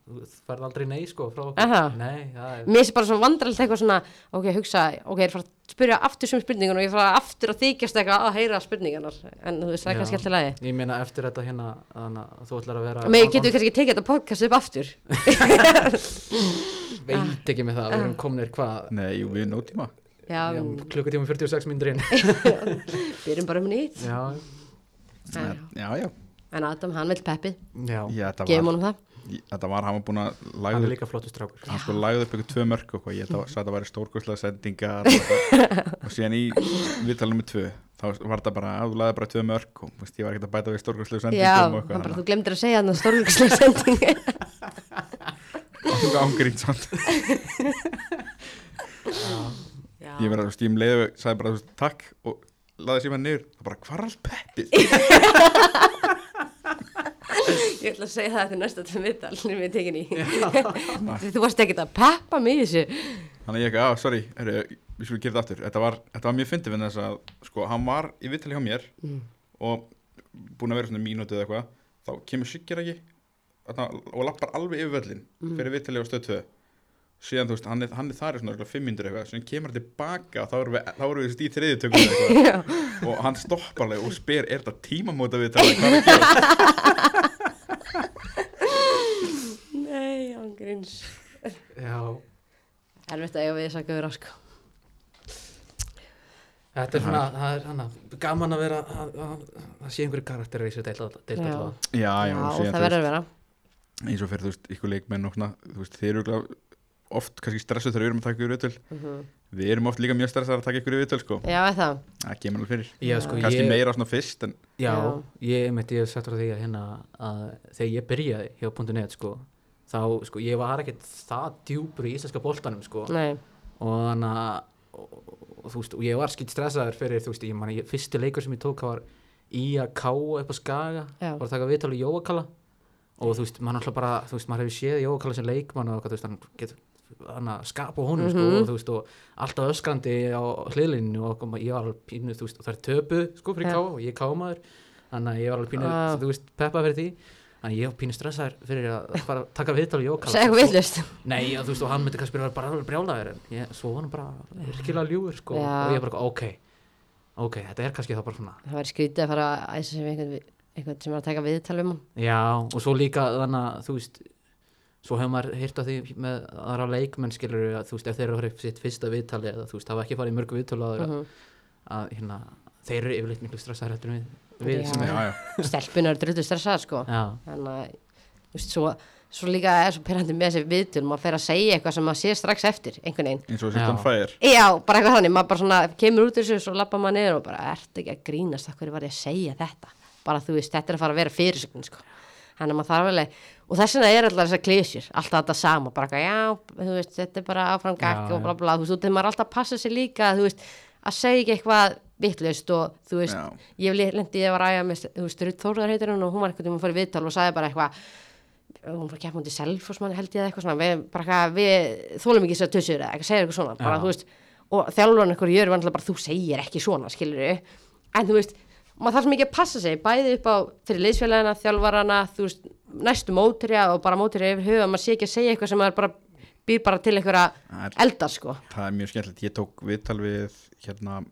S1: þú færð aldrei nei sko frá okkur
S4: Aha.
S1: nei, það er
S4: Mér sé bara svona vandralegt eitthvað svona Ok, hugsa, ok, ég er fara að spyrja aftur sem spurningun og ég er fara aftur að þykjast eitthvað að heyra spurningunar En þú veist, það
S1: Já.
S4: er kannski alltaf lægi
S1: ég meina eftir þetta hérna þannig að þú ætlar að vera
S4: Mér getum við kannski ekki tekið þetta podcast upp aftur
S1: veit ekki með það, við erum kominir hvað
S2: nei, jú, við erum nótíma
S4: Já,
S1: já, klukkutíma og 46 myndur inn
S4: byrjum bara um nýtt
S1: já,
S4: Já.
S2: já, já,
S4: En Adam, hann vil peppið,
S1: já,
S2: já þetta var,
S4: gefum honum það
S2: ég- þetta var hann var búin að
S1: hann er
S2: lagði,
S1: líka flottur strákur
S2: hann sko lagði upp ykkur tvö mörg og hvað, ég þetta var- sagði að það væri stórkoslega sendingar og, þetta. og síðan í vitalum með tvö þá var þetta bara, að þú lagði bara tvö mörg og veist, ég var ekkert að bæta við stórkoslega
S4: Já,
S2: sendingum og
S4: hann
S2: eitthvað
S4: bara,
S2: þannig
S4: þú glemdir að segja hann að stórvíkslega sending
S2: að- ángríns hann
S4: Já,
S2: ég verði að þú veist, ég um leiðu sagði bara þú veist, takk og laði síma niður og bara hvar er allt peppið
S4: ég ætla að segja það eftir næsta til viðtal sem við tekin í Þú varst ekkert að peppa mig í þessu
S2: þannig að ég ekki, að sorry, heru, við skulum gera þetta aftur þetta var, þetta var mjög fyndið fyrir þess að sko, hann var í vittali hjá mér og búin að vera svona mínútið eða eitthvað þá kemur Siggir ekki þarna, og lappar alveg yfir völlin fyrir vittali á stöð 2 síðan þú veist, hann er, hann er þar í svona örugglega fimm mínútur eitthvað, síðan kemur hann tilbaka og þá erum við, þá erum við þú veist, í þriðju tökum eða eitthvað
S4: Já,
S2: og hann stoppar alveg og spyr er þetta tímamóta við þetta
S4: nei, hann grins
S1: já
S4: Erfitt að eiga við þess að gauður sko
S1: Þetta er svona, það er hana, gaman að vera að, að, að sé einhverju karakterar í þessu deilt alltaf deild
S4: Já.
S1: allavega.
S2: já, já, og
S4: Já,
S2: síðan,
S4: það
S2: þú veist,
S4: verður að vera
S2: eins og fyrir þú veist, ykkur leikmenn og svona, þú veist, þeir eru örugglega oft kannski stressuð þegar við erum að taka ykkur viðtöl
S4: Mhm.
S2: við erum oft líka mjög stressaðar að taka ykkur viðtöl sko,
S4: Já, er það
S2: það kemur alveg fyrir
S1: Já, sko,
S2: kannski
S1: ég,
S2: meira svona fyrst en
S1: já,
S4: Já.
S1: ég mitt, ég hef sagt frá því að hérna að þegar ég byrjaði hjá .net sko, þá, sko, ég var ekkert það djúpur í íslenska boltanum sko,
S4: Nei,
S1: og þannig að og, og, þú veist, og ég var skilt stressaður fyrir, þú veist, ég man, ég, fyrsti leikur sem ég tók var í að káa upp á skaga
S4: Já.
S1: var að taka viðtal við Jóakala og þú veist, mann alltaf bara, þú veist, maður hefur séð Jóakala sem leikmann og eitthvað, þú veist, hann getur hann að skapa honum,
S4: Mhm.
S1: sko, og þú veist og alltaf öskrandi á hliðlinni og kom- ég var alveg pínu, þú veist, og það er töpu sko, fyrir
S4: Já.
S1: káa og ég er kámaður þannig að ég var alveg pínu,
S4: Ah.
S1: þú veist, peppa fyrir því þannig að ég var pínu stressaður fyrir að fara að taka viðtal við Jóakala
S4: segja eitthvað villust
S1: Nei, já, þú veist, og hann myndi kannski vera bara alveg brjálæður en ég, svo var hann bara virkilega ljúður sko,
S4: Já.
S1: og ég bara, ok ok, þetta er kannski þá bara svona
S4: Það verður skrítið að fara að æsa sem einhvern, við- einhvern sem er að taka viðtal um hann
S1: já, og svo líka þannig að, þú veist svo hefur maður heyrt að því með aðra leikmenn skilur að, þú veist, ef þeir eru að fara upp sitt fyrsta viðtali eða, þú veist, hafa ekki farið í mörg viðtölu að,
S4: Mhm.
S1: að hérna, þeir eru yfirleitt miklu stressaðar heldur en við, við
S4: Já.
S1: sem-
S2: já, já,
S4: Stelpunar er drullu stressað sko
S1: já,
S4: þannig að þú veist, svo, svo líka er svo pyrrandi með þessi viðtöl maður fer að segja eitthvað sem maður sé strax eftir einhvern veginn,
S2: eins
S1: Já.
S2: og sérstann fæðir
S4: já, bara eitthvað þannig maður bara svona kemur út úr þessu og svo lappa maður niður og bara, ertu ekki að grínast, það hverju var ég að segja þetta bara þú veist, þetta er að fara að vera fyrirsögnin sko þannig að maður þarf alveg og þess vegna er alltaf þessar klísjur alltaf þetta sama, bara eitthvað, já, þú veist þetta er bara áfram gakk
S1: Já,
S4: og
S1: já.
S4: bla bla þú veist, þú veist, maður er alltaf að passa sig líka þú veist, að segja ekki eitthvað vitlaust og þú veist,
S2: Já.
S4: ég lendi ég var að ræða með, þú veist, Rutt Þórðar heitir hún og hún var einhvern veginn að fara í viðtal og sagði bara eitthvað Eh, hún var kemur til selfosmann held ég eða eitthvað svona við, bara eitthvað, við þólum ekki þessar tussur eða eitthvað segir eitthvað svona, bara
S1: Já.
S4: þú veist og þjálfurinn ykkur jörg vantilega bara þú segir ekki svona skilur en þú veist maður þarf mikið að passa sig, bæði upp á fyrir liðsfélagina, þjálfarana, þú veist næstu móturja og bara móturja yfir huga maður sé ekki að segja eitthvað sem maður bara býr bara til
S2: Það er-
S4: einhverja eldar sko
S2: það er mjög skemmtilegt, ég tók viðtal við hérna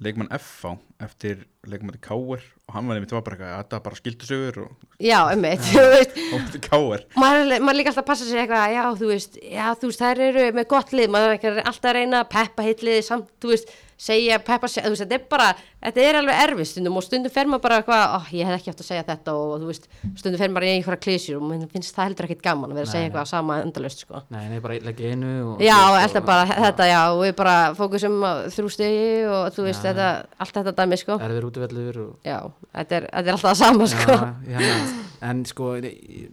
S2: leikmann FH eftir leikmann K.R. og hann var nefnir, það var bara eitthvað að þetta bara skildu sögur og
S4: já, emmitt, þú veist
S2: hótti K.R.
S4: maður, er alveg- maður er líka alltaf að passa sig eitthvað já þú veist, já þú veist, þær eru með gott lið maður er ekki alltaf að reyna að peppa heitlið samt, þú veist, segja peppa se- þú veist, þetta er bara, þetta er alveg erfið stundum og stundum fer maður bara eitthvað, oh, ég hef ekki átt að segja þetta og, þú veist, stundum fer maður í einhverja klísjur og mér finnst það heldur ekkit gaman að vera að
S1: Nei,
S4: segja
S1: nei.
S4: eitthvað sama endalaust sko
S1: Nei, nei, bara leggja einu og
S4: Já,
S1: og-
S4: alltaf bara
S1: Já.
S4: þetta, já, og við bara fókusum á þrjú stegi og þú veist,
S1: Já.
S4: þetta, allt þetta dæmi, sko.
S1: Erfir útvellur og
S4: Já, þetta er, þetta er alltaf það sama, sko.
S1: Já, hérna, en sko í-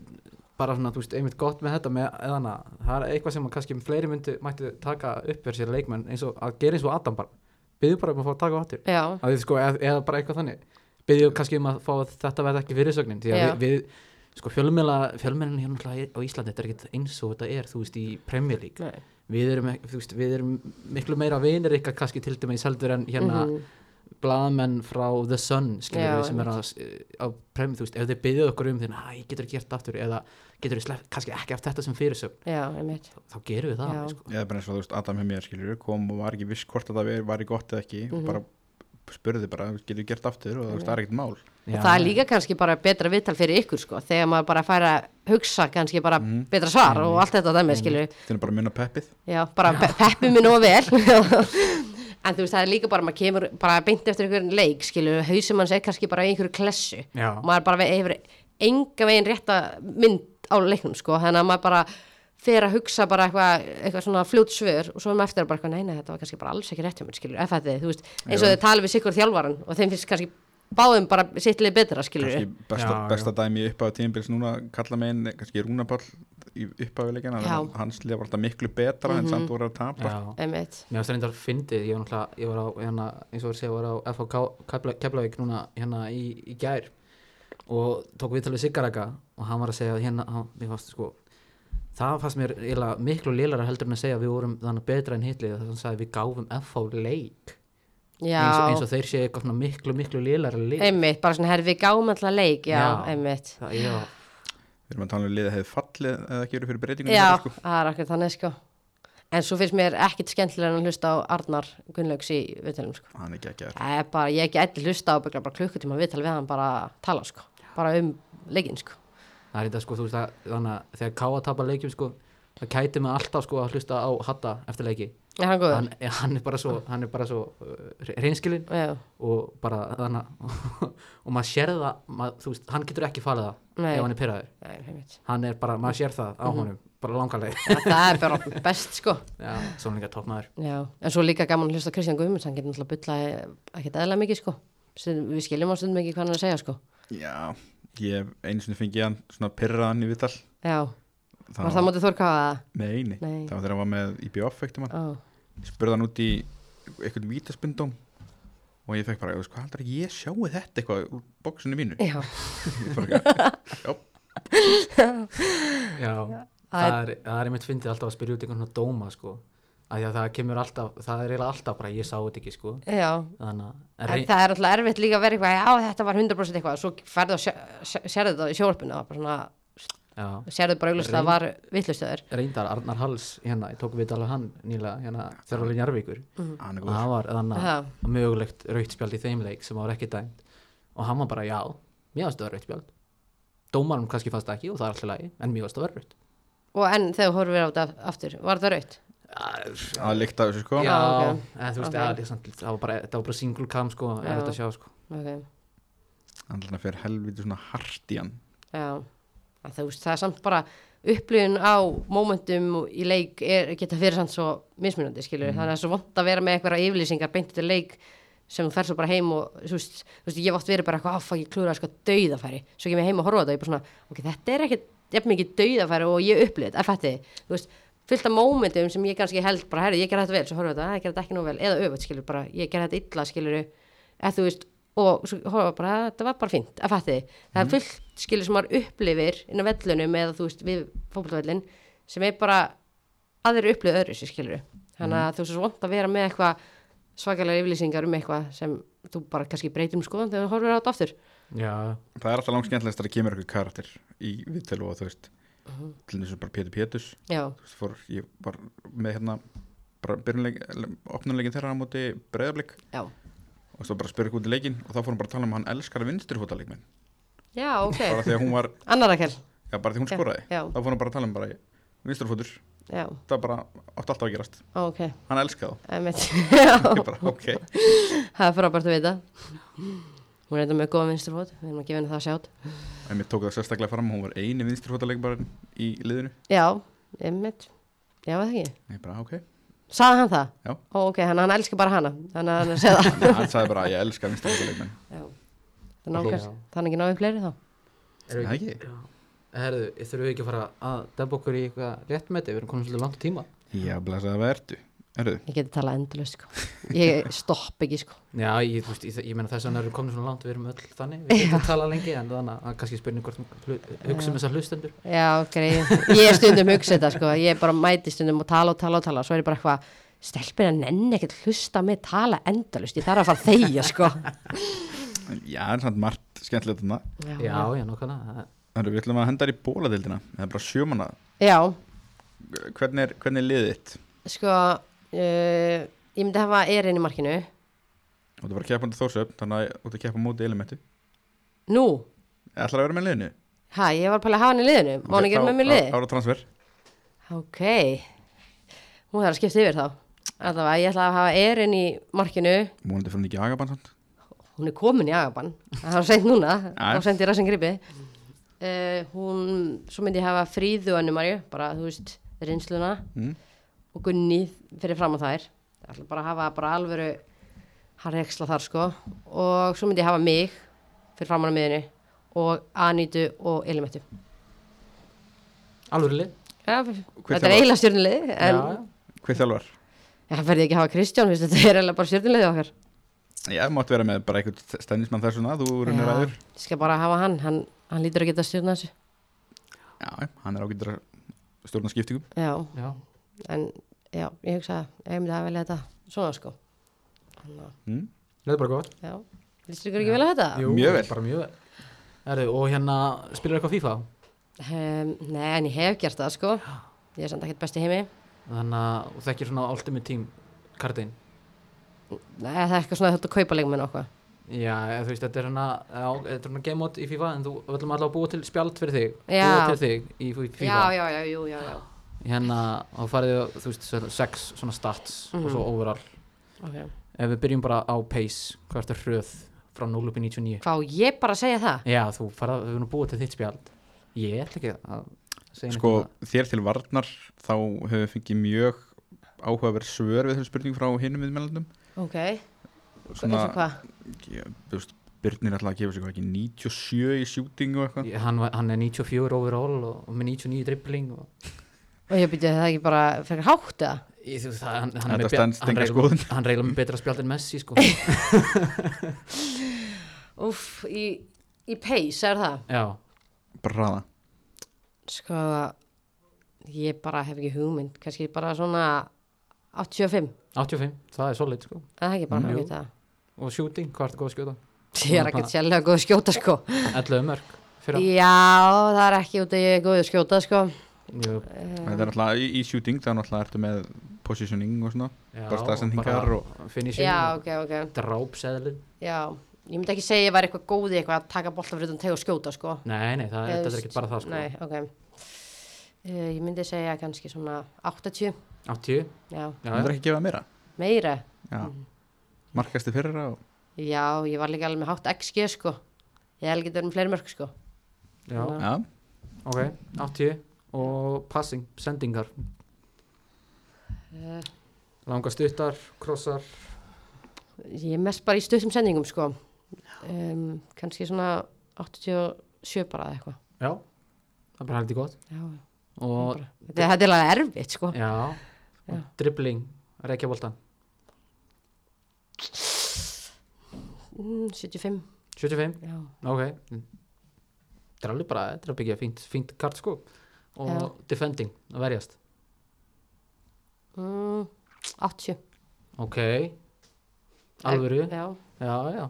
S1: bara svona, þú veist, einmitt gott með þetta með eðana, það er eitthvað sem að kannski fleiri myndu mættu taka upp fyrir sér leikmenn eins og að gera eins og Adam bara byggðu bara um að fá að taka á hattur
S4: Já,
S1: að þið sko, eða, eða bara eitthvað þannig byggðu kannski um að fá að þetta verði ekki fyrirsögnin því að
S4: Já.
S1: við, við sko fjölmjöla fjölmjölin hérna náttúrulega á Íslandi þetta er ekkert eins og þetta er, þú veist, í Premier League
S4: nei,
S1: við erum, ekki- þú veist, við erum miklu meira vinir ykkar kannski til dæmis heldur en hérna mm
S4: Mhm.
S1: blaðamenn frá The Sun skilur
S4: Já,
S1: við sem er að, eh, á prem, þú veist, ef þið byggðu okkur um því, næ, getur þið gert aftur eða getur þið kannski ekki haft þetta sem fyrirsögn
S4: já, einmitt.
S1: þá gerum við það
S4: Já.
S1: alveg, sko.
S2: eða bara eins og þú veist, Adam hefði mér skilur kom og var ekki viss hvort að það væri- væri gott eða ekki
S4: Mhm.
S2: og bara spurði bara, getur við gert aftur og þú veist, það er ekkert mál
S4: og
S1: Já,
S4: það er líka kannski bara betra viðtal fyrir ykkur sko, þegar maður bara fær að hugsa kannski bara
S1: Mhm.
S4: betra svar og allt þetta dæmið skilur,
S2: til að bara munna peppið
S4: já, bara pe peppi mig nóg vel en þú veist, það er líka bara, maður kemur bara beint eftir einhverjum leik skilur, hausum hans er kannski bara í einhverju klessu,
S1: Já.
S4: maður bara ve- hefur enga veginn rétta mynd á leiknum sko, þannig að maður bara fer að hugsa bara eitthvað, eitthvað svona fljótt svör og svo er maður eftir að bara eitthvað, nei, nei, þetta var kannski bara alls ekki rétt hjá mér, skilur, ef þetta, þú veist eins og
S2: Jú.
S4: þau tala við sikkur þjálfaran og þeim finnst kannski báðum bara sitt leið betra, skilur
S2: kannski besta,
S1: Já, já.
S2: besta dæmi upp á tímbils núna kalla megin, kannski Rúnapall upp á leikina,
S4: Já. Mhm.
S2: hans lið var alltaf miklu betra en samt voru að tapa
S1: Já.
S4: Einmitt.
S1: Mér varst reyndar fyndið, ég var náttúrulega, ég var á, hérna, eins og voru að segja, var á FH Keflavík núna hérna í, í gær og tók viðtal við Siggaraka og hann var að segja hérna, hann, mér fannst sko, það fannst mér eila, miklu lélara heldur en að segja við vorum þannig betra en hitlið þess að hann sagði við gáfum FH leik
S4: Já,
S1: eins og, eins og þeir séu eitthvað svona miklu, miklu lélara leik.
S4: einmitt, bara svona herfi gáum alltaf leik, já,
S1: Já.
S4: einmitt.
S1: Það, já,
S2: við erum að tala um liðið hefði fallið eða ekki verið fyrir breytingunum
S4: Já,
S2: þeirra, sko.
S4: það er akkur þannig sko. En svo finnst mér ekkit skemmtilega en að hlusta á Arnar Gunnlaugs í viðtalum sko.
S2: hann er ekki ekki að
S4: Það er bara, ég ekki eitthvað hlusta á byggja bara klukkutíma viðtal við hann bara að tala sko. Bara um leikinn sko.
S1: það er þetta sko, þú veist að, þannig að þegar Káa tapar leikjum sko, það kæti mig alltaf sko að hlusta á Hatta eftir leiki.
S4: Er hann góður?
S1: Hann, hann er bara svo, hann er bara svo uh, reynskilinn
S4: Já,
S1: og bara þannig og maður sér það, maður, þú veist, hann getur ekki falið það
S4: Nei.
S1: ef hann er pyrraður,
S4: já, einmitt.
S1: hann er bara, maður sér það á honum, bara langarleg
S4: Já, Það er bara best sko.
S1: já, svona líka toppmaður
S4: Já, en svo líka gaman að hlusta á Kristján Guðmunds, hann getur náttúrulega byllað ekkert eðla mikið sko. Stundum- Við skiljum á stundum ekki hvað hann er að segja sko.
S2: já, ég hef einu sinni fengið hann svona pyrraðan í vital
S4: Já, var það mótið þórkáða?
S2: Nei, nei,
S4: Nei.
S2: það var þegar hann var með í bjóffektum hann
S4: Ó,
S2: Ég spurði hann út í eitthvað vítaspindum og ég fekk bara, "Þú veist, hvað heldur að ég sjáu þetta eitthvað úr bóksinu mínu
S4: já.
S2: Ég bara eitthvað,
S1: já, það er, það er einmitt fyndið alltaf að spyrja út einhvern svona dóma sko, af því að það kemur alltaf það er eiginlega alltaf bara, ég sá þetta ekki sko
S4: Já,
S1: þannig að, en
S4: En
S1: rey-
S4: það er alltaf erfitt líka að vera eitthvað, já þetta var 100% eitthvað, svo færðu og sérðu þetta í sjálfinu, það var bara svona,
S1: já,
S4: sérðu bara auglust að það var vittlustaður.
S1: reyndar Arnar Hals hérna, ég tók við alveg hann nýlega hérna, þjárfæli Njarvíkur
S2: hann er
S1: og
S2: góð
S1: það var þannig
S4: Já.
S1: að mögulegt rautspjald í þeim leik sem var ekki dæmt og hann var bara já, mér varst að vera rautspjald dómarum kannski fannst það ekki og það er alltaf lægi en mér varst að vera raut
S4: Og en þegar þú horfir á þetta aftur, var það raut?
S2: að líkta þessu sko
S1: já,
S4: ok.
S1: en þú veist
S4: Ok.
S1: okay. að, það var bara, það var bara single cam sko,
S4: Já.
S1: er þetta að sjá sko
S4: Ok,
S2: hann er fyrir helviti svona hart í hann
S4: já, En þú veist það er samt bara upplifun á momentum og í
S1: Mm.
S4: leik er, geta fyrir samt svo mismunandi skilur, þannig að það er svo vond að vera með einhverja yfirlýsingar beintið til leik sem þú fer svo bara heim og þú veist, þú veist ég hef oft verið bara eitthvað, áfæk, ég klúraði sko dauðafæri svo kem ég heim og horfa á þetta og ég bara svona, ok, þetta er ekkit jafn mikið dauðafæri og ég upplýð þetta, fætti, þú veist, fullt af mómentum sem ég kannski held bara, herru, ég gerði þetta vel svo horfa á þetta, að ég gerði þetta ekki nú vel, eða öfut, skilur bara, ég gerði þetta illa, skilur eða þú veist, og svo horfa bara, þetta var bara fínt, að fætti, það er fullt skilur sem maður upplifir inn á vellunum eða þú veist, við fótboltavellin sem er bara aðrir upplifið öðru sér skilur þannig
S2: Mhm.
S4: að þú veist, svo vant að vera með eitthvað svakalega yfirlýsingar um eitthvað sem þú bara kannski breytum skoðan þegar þú horfir á þetta aftur
S1: já,
S2: það er alltaf langt skemmtilegast að það kemur eitthvað karakter í viðtölu og þú veist
S4: Mhm.
S2: til þess að bara Pétur Péturs
S4: já,
S2: þú veist, fór, ég var með hérna bara byrjunleik, opnuleikin þeirra á móti breyðablík
S4: já,
S2: og þú veist, bara spyrir út í leikin og þá fór hún bara að tala um að hann elskar vinsturfótaleikmenn
S4: já,
S2: bara
S4: ok
S2: því að hún var,
S4: annar akkel,
S2: já bara því að hún
S4: Já,
S2: skoraði
S4: já.
S2: þá fór hún bara að tala um bara vinsturfótur
S4: já,
S2: það bara átti alltaf að gerast
S4: ok
S2: hann elskaði
S4: emitt,
S2: þá
S4: já
S2: Ég bara, ok,
S4: það er frábært að vita hún er þetta með góða vinsturfót við erum að gefa henni það sjátt
S2: en mér tók það sérstaklega fram hún var eini vinsturfótaleikbarinn í liðinu
S4: já, emitt, já, eða ekki
S2: ég bara, ok,
S4: sagði hann það?
S2: Já.
S4: Ó, ok, hann, hann elskar bara hana þannig að hann er að segja það
S2: hann sagði bara ég elska vinsturfótaleikmenn
S4: já, það er nákvæmst,
S1: Já.
S4: þannig ekki náðum fleiri þá
S1: erum
S2: Það
S1: við
S2: ekki?
S1: já. Herðu, þurfum við ekki að fara að debba okkur í eitthvað réttmeti, við erum komin svolítið langt tíma
S2: já, blæsaði að verðu Erðu,
S4: ég geti talað endalaust sko. ég stopp ekki sko.
S1: Já, ég, þú veist, ég, ég meina þess að við erum komin svona langt, við erum öll þannig, við getum að tala lengi en þannig að- að kannski spurning hvort hlu- hugsa um þessar hlustendur
S4: já, greið, ég er stundum hugsa þetta sko. ég bara mæti stundum og tala og tala og tala svo er ég bara eitthvað, stelpina nenni ekkert hlusta með tala endalaust, ég þarf að fara að þegja sko.
S2: já, en samt margt skemmtilegt þarna
S1: Já, já, nokkana, það
S2: Erðu, við ætlum að henda þér í bóladildina Það er bara sjömanna
S4: já
S2: Hvernig er, hvernig er liðið þitt?
S4: sko uh, ég myndi hafa erinn í markinu
S2: Þú ert að fara að keppa undir Þórsöfn, þannig að þú ert að keppa á móti elementu.
S4: nú,
S2: Ætlar að vera með í liðinu?
S4: hæ, ég var bara að hafa hann í liðinu má hann ekki vera með mér í liði
S2: Ára transfer.
S4: Ok, hún þarf að skipta yfir þá. Allavega, ég ætla að hafa Erin í markinu,
S2: Mónandi fyrir hún ekki í agabann samt.
S4: hún er komin í Agaban, það var seint núna,
S2: Já.
S4: þá sendi ég rassin gripi. Uh, hún, svo myndi ég hafa Fríðu og Annumarju, bara, þú veist, reynsluna
S2: Mm.
S4: og Gunni fyrir fram á þær. Ég ætla bara að hafa bara alvöru harreksla þar, sko. Og svo myndi ég hafa mig fyrir fram á miðinu og Anítu og Elimettu.
S1: alveg lið
S4: Já,
S2: Hver
S4: þetta er
S2: þjálfar?
S4: eiginlega stjórnulegi, en...
S1: Já, já.
S2: Hver þjálfar?
S4: Já, verði ekki að hafa Kristján, veist, þetta er eiginlega bara stjórnilegðið okkar.
S2: Já, máttu vera með bara einhvern stennismann þess vegna, þú
S4: Já,
S2: runir aður.
S4: Ég skal bara hafa hann, hann, hann lítur að geta stjórna þessu.
S2: Já, já, hann er ágættur að stjórna skiptingum.
S4: Já,
S1: Já,
S4: en já, ég hugsa að ég myndi að velja þetta svona sko. Þannig að,
S2: Mm.
S1: það er bara gott
S4: já, lístur ykkur ekki vel að þetta?
S1: Jú,
S2: Mjög vel.
S1: Bara mjög vel Herðu, og hérna, spilar eitthvað FIFA?
S4: Um, nei, en ég hef gert það sko. Ég er samt ekkert best í heimi.
S1: Þannig að þú þekkir svona Ultimate Team kartin
S4: Nei, það er eitthvað svona þetta kaupa leikmenn og eitthvað.
S1: Já, eða þú veist, þetta er hérna, já, þetta er hérna game mode í FIFA en þú við ætlum alltaf að búa til spjald fyrir þig
S4: Já.
S1: búa til þig í í FIFA
S4: Já, já, já, jú, já, já.
S1: hérna og farið og, þú veist, svona sex svona stats
S4: Mhm.
S1: og svo overall
S4: Ok.
S1: ef við byrjum bara á pace hvert er hröð frá 0 upp í 99
S4: Fá ég bara að segja það?
S1: já þú farað, við erum búið til þitt spjald ég ætla ekki að segja neitt
S2: Sko,
S1: um það.
S2: þér til varnar, þá höfum við fengið mjög áhugaverð svör við þessum spurningum frá hinum viðmælandum.
S4: Ok. Svona... Eins og hvað?
S2: ég- þú veist, Birnir er alltaf að gefa sig hvað ekki 97 í shooting og eitthvað.
S1: Ég- hann, var- hann er 94 overall og, og með 99 dribbling og
S4: Og ég byrja það ekki bara fyrir hátt eða?
S1: Ég, þú, veist, það, hann, hann, er
S2: Þetta
S1: með be-
S2: stenst
S1: hann
S2: enga
S1: reyla-
S2: skoðun.
S1: hann reyla með betra spjald en Messi sko.
S4: Úff, í, í pace, er það?
S1: já,
S2: Braða.
S4: Sko, ég bara hef ekki hugmynd, kannski bara svona 85,
S1: 85, það er solid sko.
S4: eða það ekki bara
S1: Mm,
S4: mm,
S1: jú.
S4: hugmynd það.
S1: og shooting, hvað ertu góð að skjóta
S4: Ég er ekkert sérlega góð að skjóta sko.
S1: 11 mörg fyrir hann.
S4: Já, það er ekki út að ég er góð að skjóta sko.
S1: Jú,
S2: Þetta er alltaf í, í shooting, það er alltaf ertu með positioning og svona.
S1: já,
S2: Bara staðsendingar
S1: bara
S2: og-
S1: finishing
S4: Já,
S1: og
S4: ok, ok.
S1: drápseðlin
S4: Já, ég myndi ekki segja að ég væri eitthvað góð í eitthvað að taka bolta fyrir utan teg og skjóta sko.
S1: nei, nei, það,
S4: Eða,
S1: þetta er
S4: veist,
S1: ekki bara það sko.
S4: Nei, ok. Uh, ég myndi segja kannski svona 80,
S1: 80,
S4: já,
S1: já, Mm.
S2: Það er ekki að gefa meira.
S4: meira.
S2: Já. Markasti fyrra og
S4: Já, ég var líka alveg með hátt XG sko. Ég hef ekki verið með fleiri mörg sko.
S1: já.
S2: Já,
S1: Ok, 80 og passing, sendingar
S4: Uh, Eh.
S1: Langar stuttar, krossar
S4: ég er mest bara í stuttum sendingum sko um, kannski svona 87 bara eða eitthvað
S1: já, það er bara heldur gott
S4: já,
S1: og,
S4: bara. Þetta, er- þetta er alveg erfitt sko
S1: já, og dribbling, reykja voltan
S4: mm, 75
S1: 75,
S4: já.
S1: ok þetta er alveg bara, þetta er að byggja fínt, fínt kart sko og
S4: Já.
S1: defending, að verjast
S4: Mm, 80
S1: ok,
S4: Eh.
S1: alvöru já,
S4: já.
S1: já,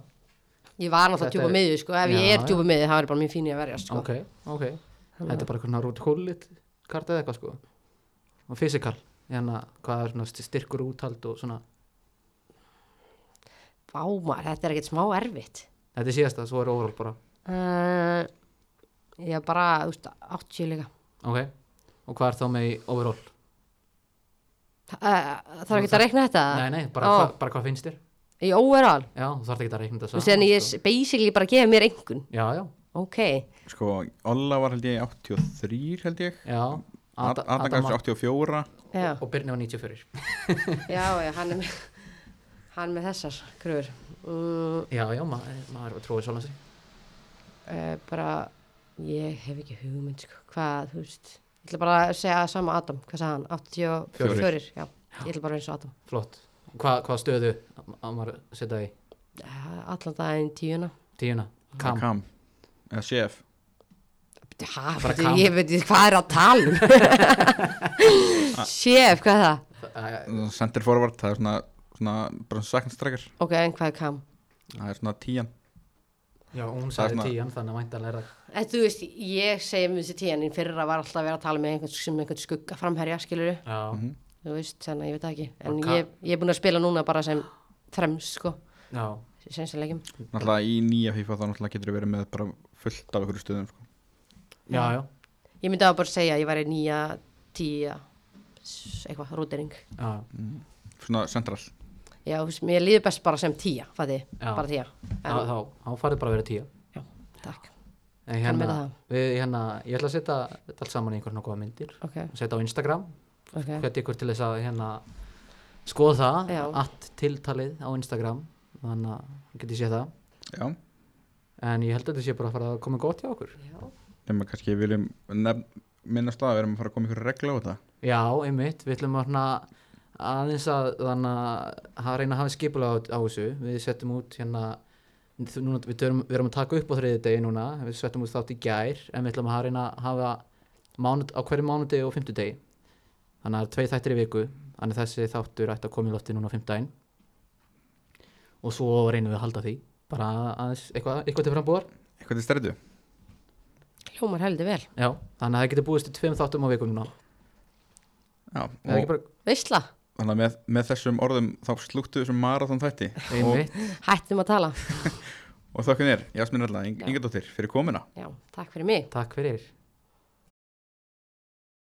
S4: ég var náttúrulega
S1: Þetta
S4: djúpa
S1: er-
S4: miðju sko ef ég
S1: Já,
S4: er
S1: já.
S4: djúpa miðju það er bara mjög fín í að verja sko
S1: ok, ok þetta er bara svona rút húlit kart eða eitthvað sko og fysikal, hérna, hvað er svona styrkur úthald og svona,
S4: vámar, þetta er ekkert smá erfitt
S1: þetta er síðasta, svo er overall bara
S4: uh, ég er bara þú veist, 80 líka
S1: ok, og hvað er þá með í overall
S4: Þa- uh, þarf ekki að reikna þetta
S1: Nei, nei, bara,
S4: Ó.
S1: hva, bara hvað finnst þér?
S4: í overall
S1: Já, þú þarf ekki að reikna þetta
S4: þú
S1: saman.
S4: veist en ég
S1: sko.
S4: s- basically bara gefa mér einhvern
S1: Já, já,
S4: ok,
S2: Sko, Olla var held ég 83 held ég
S1: já.
S2: Ad- Adam
S1: Adam-
S2: kannski 84
S4: já,
S1: og Birni var 94.
S4: já, já hann er með hann er með þessar kröfur mm,
S1: Já, já, ma maður er að tróði svolans sig.
S4: uh, bara ég hef ekki hugmynd sko, hvað, þú veist ég ætla bara að segja sama Adam, hvað sagði hann 84,
S2: Fjórir.
S4: já, ég ætla bara að vera eins og Adam
S1: Flott. Hva, hvað stöðu að maður setja í
S4: Eh, allan daginn tíuna
S1: tíuna? Kam.
S2: Kam Eða Chef
S4: Bíddu, ha,
S1: Bara
S4: bíddu,
S1: kam.
S4: ég veit ekki hvað er að tala um séf, hvað er það
S1: Æ,
S2: Center forward, það er svona, svona bara saknstrækar,
S4: ok, en hvað er kam
S2: það er svona tían
S1: Já, hún
S2: Það er
S1: sagði
S2: svona-
S1: tíjan, þannig að væntanlega er það.
S4: En Eh, þú veist, ég segi mjög þessi tíðan en fyrir að var alltaf að vera að tala með einhvern sem einhvern skugga framherja, skilur
S1: Já,
S4: þú veist, þannig að ég veit það ekki en
S1: Og Ka-
S4: ég, ég er búin að spila núna bara sem frems, sko,
S1: já.
S4: senst að leikjum
S2: Náttúrulega í nýja FIFA þá náttúrulega getur verið með bara fullt af ykkur stöðum sko.
S1: Já, já,
S4: ég myndi að bara segja að ég væri nýja, tíja s- eitthvað, rútering
S1: já,
S2: Svona central
S4: já, þú veist, mér líður best bara sem tíja, fæði,
S1: Já.
S4: bara tíja
S1: já,
S4: en,
S1: þá, þá farið bara að vera tíja.
S4: já, takk,
S1: En hérna,
S4: Kann meira það.
S1: við, hérna, ég ætla að setja þetta allt saman í einhvern og góða myndir.
S4: ok,
S1: Setja á Instagram,
S4: ok
S1: hvet ykkur til þess að hérna, skoða
S4: Já.
S1: það allt tiltalið á Instagram þannig að þú getur séð það
S2: Já, en
S1: en ég held að þetta sé bara að fara að koma gott hjá okkur
S4: já,
S2: við kannski viljum nefn, minnast það að við erum að fara að koma ykkur regla á þetta
S1: já, einmitt, við ætlum að svona aðeins að þannig að hafa- reyna að hafa skipulega á, á þessu við settum út hérna þú- núna, við, törum, við erum að taka upp á þriði degi núna við settum út þátt í gær en við ætlum að hafa- reyna að hafa mánut, á hverju mánudegi og fimmtudegi þannig að það er tvei þættir í viku þannig að þessi þáttur ætti að koma í lofti núna á fimmtudaginn og svo reynum við að halda því bara aðeins eitthvað, eitthvað til frambúðar
S2: Eitthvað til strætu
S4: hljómar heldur vel
S1: já, þannig að það getur búist til tveim þáttum á viku núna
S2: Já,
S1: Er það
S2: og
S1: ekki bara
S4: veistla,
S2: þannig að með, með þessum orðum þá slúttu þessum marathon þætti og,
S1: einmitt
S4: hættum að tala
S2: og þökkum þér, Jasmin Rella, Inga Dóttir fyrir komuna
S4: já, takk fyrir mig
S1: takk fyrir